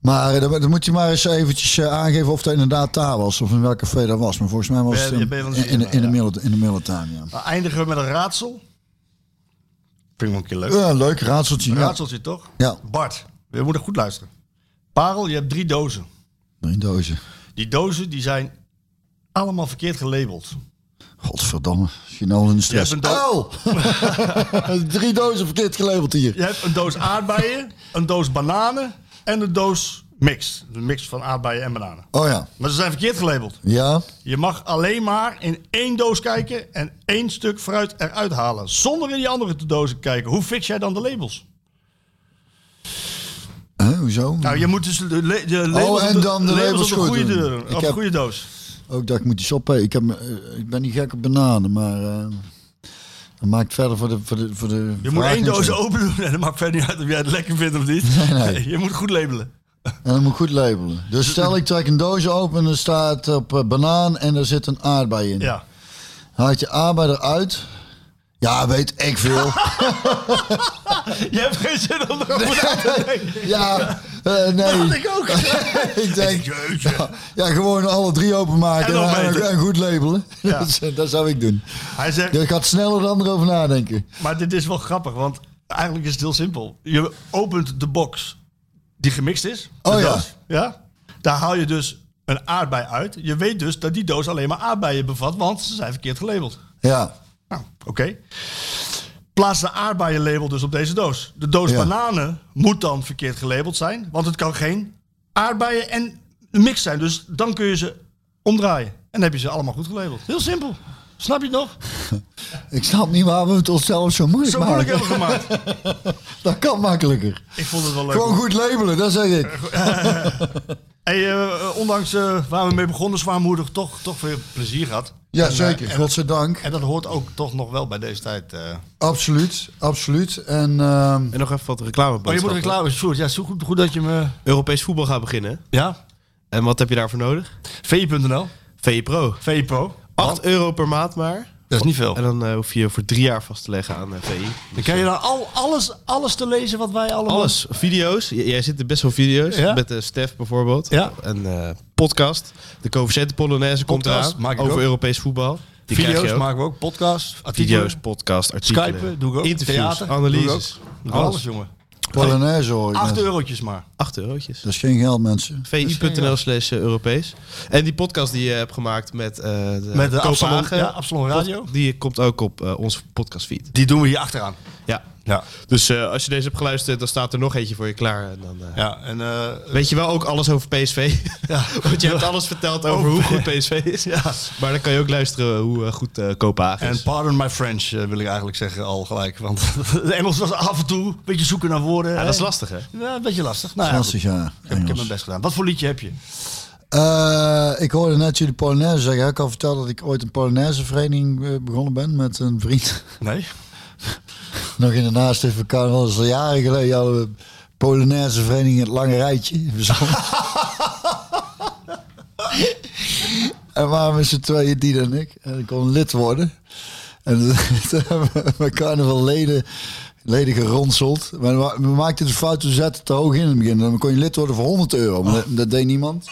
Speaker 10: Maar eh, dan, dan moet je maar eens eventjes eh, aangeven of dat inderdaad daar was. Of in welk café dat was. Maar volgens mij was
Speaker 9: Ben-
Speaker 10: het in,
Speaker 9: ben je van
Speaker 10: in, in, de- in de
Speaker 9: ja.
Speaker 10: Miller- in de Millertuin, ja.
Speaker 9: Nou, eindigen we met een raadsel. Vind ik wel een keer leuk.
Speaker 10: Ja, leuk raadseltje.
Speaker 9: Een
Speaker 10: Ja.
Speaker 9: raadseltje, toch?
Speaker 10: Ja.
Speaker 9: Bart, we moeten goed luisteren. Parel, je hebt drie dozen.
Speaker 10: Drie dozen.
Speaker 9: Die dozen die zijn allemaal verkeerd gelabeld.
Speaker 10: Godverdamme, je al in de stress.
Speaker 9: Je hebt een do-
Speaker 10: Oh! Drie dozen verkeerd gelabeld hier.
Speaker 9: Je hebt een doos aardbeien, een doos bananen en een doos mix. Een mix van aardbeien en bananen.
Speaker 10: Oh ja.
Speaker 9: Maar ze zijn verkeerd gelabeld.
Speaker 10: Ja?
Speaker 9: Je mag alleen maar in één doos kijken en één stuk fruit eruit halen. Zonder in die andere dozen te kijken. Hoe fix jij dan de labels?
Speaker 10: Hè, hoezo?
Speaker 9: Nou, je moet dus de, le- de labels,
Speaker 10: Oh, en
Speaker 9: op de-
Speaker 10: dan de labels
Speaker 9: op de
Speaker 10: goed
Speaker 9: goede,
Speaker 10: doen.
Speaker 9: deur,
Speaker 10: Ik
Speaker 9: op de
Speaker 10: heb-
Speaker 9: goede doos.
Speaker 10: Ook dat ik moet iets op. Ik, heb, me- eh, ik ben niet gek op bananen, maar eh, dat maakt verder voor de voor de voor de.
Speaker 9: Je moet
Speaker 10: vraag
Speaker 9: één
Speaker 10: niks
Speaker 9: doos
Speaker 10: uit.
Speaker 9: open doen en dat maakt verder niet uit of jij het lekker vindt of niet.
Speaker 10: nee.
Speaker 9: Je moet goed labelen.
Speaker 10: En dan moet ik goed labelen. Dus stel ik trek een doos open en er staat op eh, banaan en er zit een aardbei in.
Speaker 9: Ja.
Speaker 10: Haal je aardbei eruit? Ja, weet ik veel.
Speaker 9: Je hebt geen zin om erover na te denken.
Speaker 10: ja, eh, nee.
Speaker 9: Dat had ik ook.
Speaker 10: ik denk,
Speaker 9: Jeetje.
Speaker 10: ja, ja, gewoon alle drie openmaken
Speaker 9: En
Speaker 10: en,
Speaker 9: opeten.
Speaker 10: en goed labelen.
Speaker 9: Ja.
Speaker 10: Dat, is- dat zou ik doen.
Speaker 9: Hij zegt,
Speaker 10: Je gaat sneller dan erover nadenken.
Speaker 9: maar dit is wel grappig, want eigenlijk is het heel simpel. Je opent de box die gemixt is. de
Speaker 10: Oh ja.
Speaker 9: doos, ja. Daar haal je dus een aardbei uit. Je weet dus dat die doos alleen maar aardbeien bevat, want ze zijn verkeerd gelabeld.
Speaker 10: Ja,
Speaker 9: Nou, oké. Plaats de aardbeienlabel dus op deze doos. De doos
Speaker 10: Ja.
Speaker 9: bananen moet dan verkeerd gelabeld zijn, want het kan geen aardbeien en een mix zijn. Dus dan kun je ze omdraaien. En dan heb je ze allemaal goed gelabeld. Heel simpel. Snap je het nog?
Speaker 10: ik snap niet waarom we het onszelf zo moeilijk
Speaker 9: Zo
Speaker 10: maken.
Speaker 9: moeilijk hebben we gemaakt.
Speaker 10: Dat kan makkelijker.
Speaker 9: Ik vond het wel leuk.
Speaker 10: Gewoon goed labelen, dat zeg ik.
Speaker 9: Hey, eh, ondanks eh, waar we mee begonnen, zwaarmoedig, toch, toch veel plezier gehad.
Speaker 10: Ja,
Speaker 9: En, eh,
Speaker 10: zeker.
Speaker 9: en,
Speaker 10: Godzijdank.
Speaker 9: en dat hoort ook toch nog wel bij deze tijd. eh.
Speaker 10: Absoluut, absoluut. En ehm,
Speaker 4: En nog even wat
Speaker 9: Oh, je moet
Speaker 4: reclameboodschappen.
Speaker 9: reclame. Sjoerd, ja, zo goed, goed dat je me...
Speaker 4: Europees voetbal gaat beginnen. hè?
Speaker 9: Ja,
Speaker 4: En wat heb je daarvoor nodig?
Speaker 9: VE.nl,
Speaker 4: VE Pro.
Speaker 9: VE Pro.
Speaker 4: 8 euro per maand maar.
Speaker 9: Dat is niet veel.
Speaker 4: En dan eh, hoef je je voor drie jaar vast te leggen aan eh, VI.
Speaker 9: Dan kan je dan al, alles, alles te lezen wat wij allemaal...
Speaker 4: Alles. Video's. J- Jij zit er best wel video's.
Speaker 9: Ja.
Speaker 4: Met de Stef bijvoorbeeld.
Speaker 9: Ja.
Speaker 4: En eh, podcast. De Coefficiënte Polonaise komt
Speaker 9: Podcast
Speaker 4: eraan.
Speaker 9: maak ik
Speaker 4: over
Speaker 9: ook.
Speaker 4: Europees voetbal. Die krijg je
Speaker 9: Video's
Speaker 4: ook.
Speaker 9: maken we ook. Podcast, artikelen.
Speaker 4: Video's, podcast, artikelen.
Speaker 9: Skypen doe ik ook.
Speaker 4: Interviews,
Speaker 9: Theater,
Speaker 4: analyses.
Speaker 9: doe ik ook. Doe Alles, jongen.
Speaker 10: Polonaise hoor ik net.
Speaker 9: Acht eurotjes maar.
Speaker 4: 8 eurotjes.
Speaker 10: Dat is geen geld, mensen.
Speaker 4: VI.nl slash eh, Europees. En die podcast die je hebt gemaakt met, eh de
Speaker 9: Met de Absalon,
Speaker 4: Kopenhagen,
Speaker 9: ja, Absalon Radio.
Speaker 4: Die komt ook op eh, onze podcastfeed.
Speaker 9: Die doen we hier achteraan.
Speaker 4: Ja.
Speaker 9: Ja.
Speaker 4: Dus eh, als je deze hebt geluisterd, dan staat er nog eentje voor je klaar. En dan, eh,
Speaker 9: Ja, en... eh,
Speaker 4: Weet je wel ook alles over PSV?
Speaker 9: Ja.
Speaker 4: Want je hebt alles verteld over hoe goed PSV is.
Speaker 9: Ja.
Speaker 4: Maar dan kan je ook luisteren hoe eh, goed eh, Kopenhagen
Speaker 9: En
Speaker 4: is.
Speaker 9: pardon my French, eh, wil ik eigenlijk zeggen al gelijk. Want het Engels was af en toe een beetje zoeken naar woorden.
Speaker 4: Ja, dat is lastig, hè?
Speaker 9: Ja, een beetje lastig. Nou, ja, goed.
Speaker 10: Lastig, ja.
Speaker 9: Ik heb- ik heb mijn best gedaan. Wat voor liedje heb je?
Speaker 10: Eh, ik hoorde net jullie Polonaise zeggen. Heb Ik al verteld dat ik ooit een Polonaise vereniging eh, begonnen ben met een vriend.
Speaker 9: Nee.
Speaker 10: Nog in de naaste even carnaval. Dat is al jaren geleden. Hadden we Polonaise vereniging Het Lange Rijtje. verzonnen. en waren we z'n tweeën, die en ik. En ik kon lid worden. En toen hebben we met carnaval leden, leden geronseld. Maar we- we maakten de fout, we zetten het te hoog in in het begin. Dan kon je lid worden voor 100 euro. Maar dat, dat deed niemand.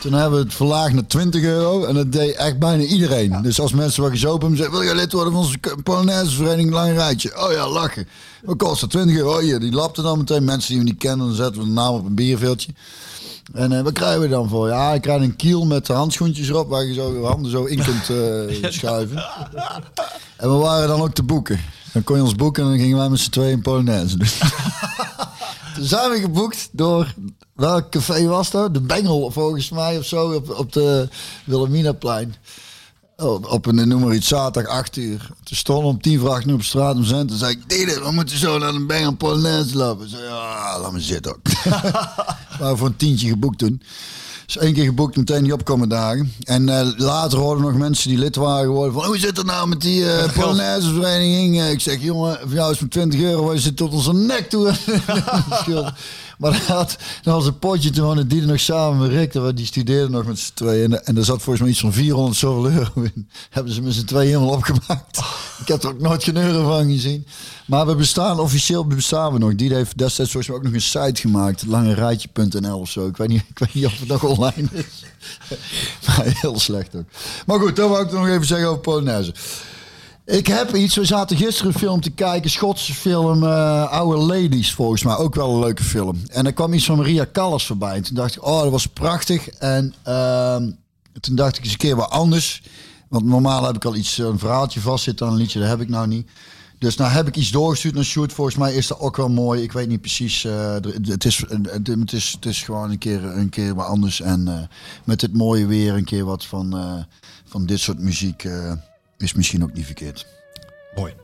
Speaker 10: Toen hebben we het verlaagd naar 20 euro en dat deed echt bijna iedereen. Dus als mensen wat gezopen hebben, zeiden, wil je lid worden van onze Polonaise Vereniging Lang Rijtje? Oh ja, lachen. Wat kost dat? 20 euro. Oh ja, die lapte dan meteen. Mensen die we niet kennen, dan zetten we de naam op een bierveeltje. En eh, wat krijgen we dan voor? Ja, ik krijg een kiel met handschoentjes erop waar je zo je handen zo in kunt eh, schuiven. En we waren dan ook te boeken. Dan kon je ons boeken en dan gingen wij met z'n tweeën in Polonaise doen. Toen zijn we geboekt door, welk café was dat? De Bengel volgens mij of zo, op, op de Wilhelminaplein. Op, op een, noem maar iets, zaterdag 8 uur. Toen stonden om tien voor acht uur op straat om zijn. Toen zei ik, Dede, we moeten zo naar de Bengel Polonaise lopen. Ze zei, ja, laat me zitten ook. maar voor een tientje geboekt toen. Dus één keer geboekt, meteen die opkomende dagen. En eh, later hoorden nog mensen die lid waren geworden van... Hoe zit het nou met die eh Polonaise vereniging? Eh, ik zeg, jongen, voor jou is het 20 euro. Wij zitten tot onze nek toe. Schuld. maar dat, had, dat was een potje. Toen woonde die er nog samen met Rick. dat we- Die studeerden nog met z'n tweeën. En, en er zat volgens mij iets van 400 zoveel euro in. Hebben ze met z'n tweeën helemaal opgemaakt. Ik heb er ook nooit geen euro van gezien. Maar we bestaan, officieel bestaan we nog. Die heeft destijds volgens mij ook nog een site gemaakt. Langerijtje.nl of zo. Ik weet, niet, ik weet niet of het nog online is. Maar heel slecht ook. Maar goed, dat wou ik nog even zeggen over Polonaise. Ik heb iets, we zaten gisteren een film te kijken, Schotse film, eh Oude Ladies volgens mij, ook wel een leuke film. En er kwam iets van Maria Callas voorbij. En toen dacht ik, oh dat was prachtig. En ehm, toen dacht ik eens een keer wat anders. Want normaal heb ik al iets, eh, een verhaaltje vastzitten aan een liedje, dat heb ik nou niet. Dus nou heb ik iets doorgestuurd naar Shoot. Volgens mij is dat ook wel mooi. Ik weet niet precies. eh, d- d- het, is, eh, d- het, is, het is gewoon een keer, een keer wat anders. En eh, met dit mooie weer een keer wat van, eh, van dit soort muziek eh, is misschien ook niet verkeerd.
Speaker 9: Mooi.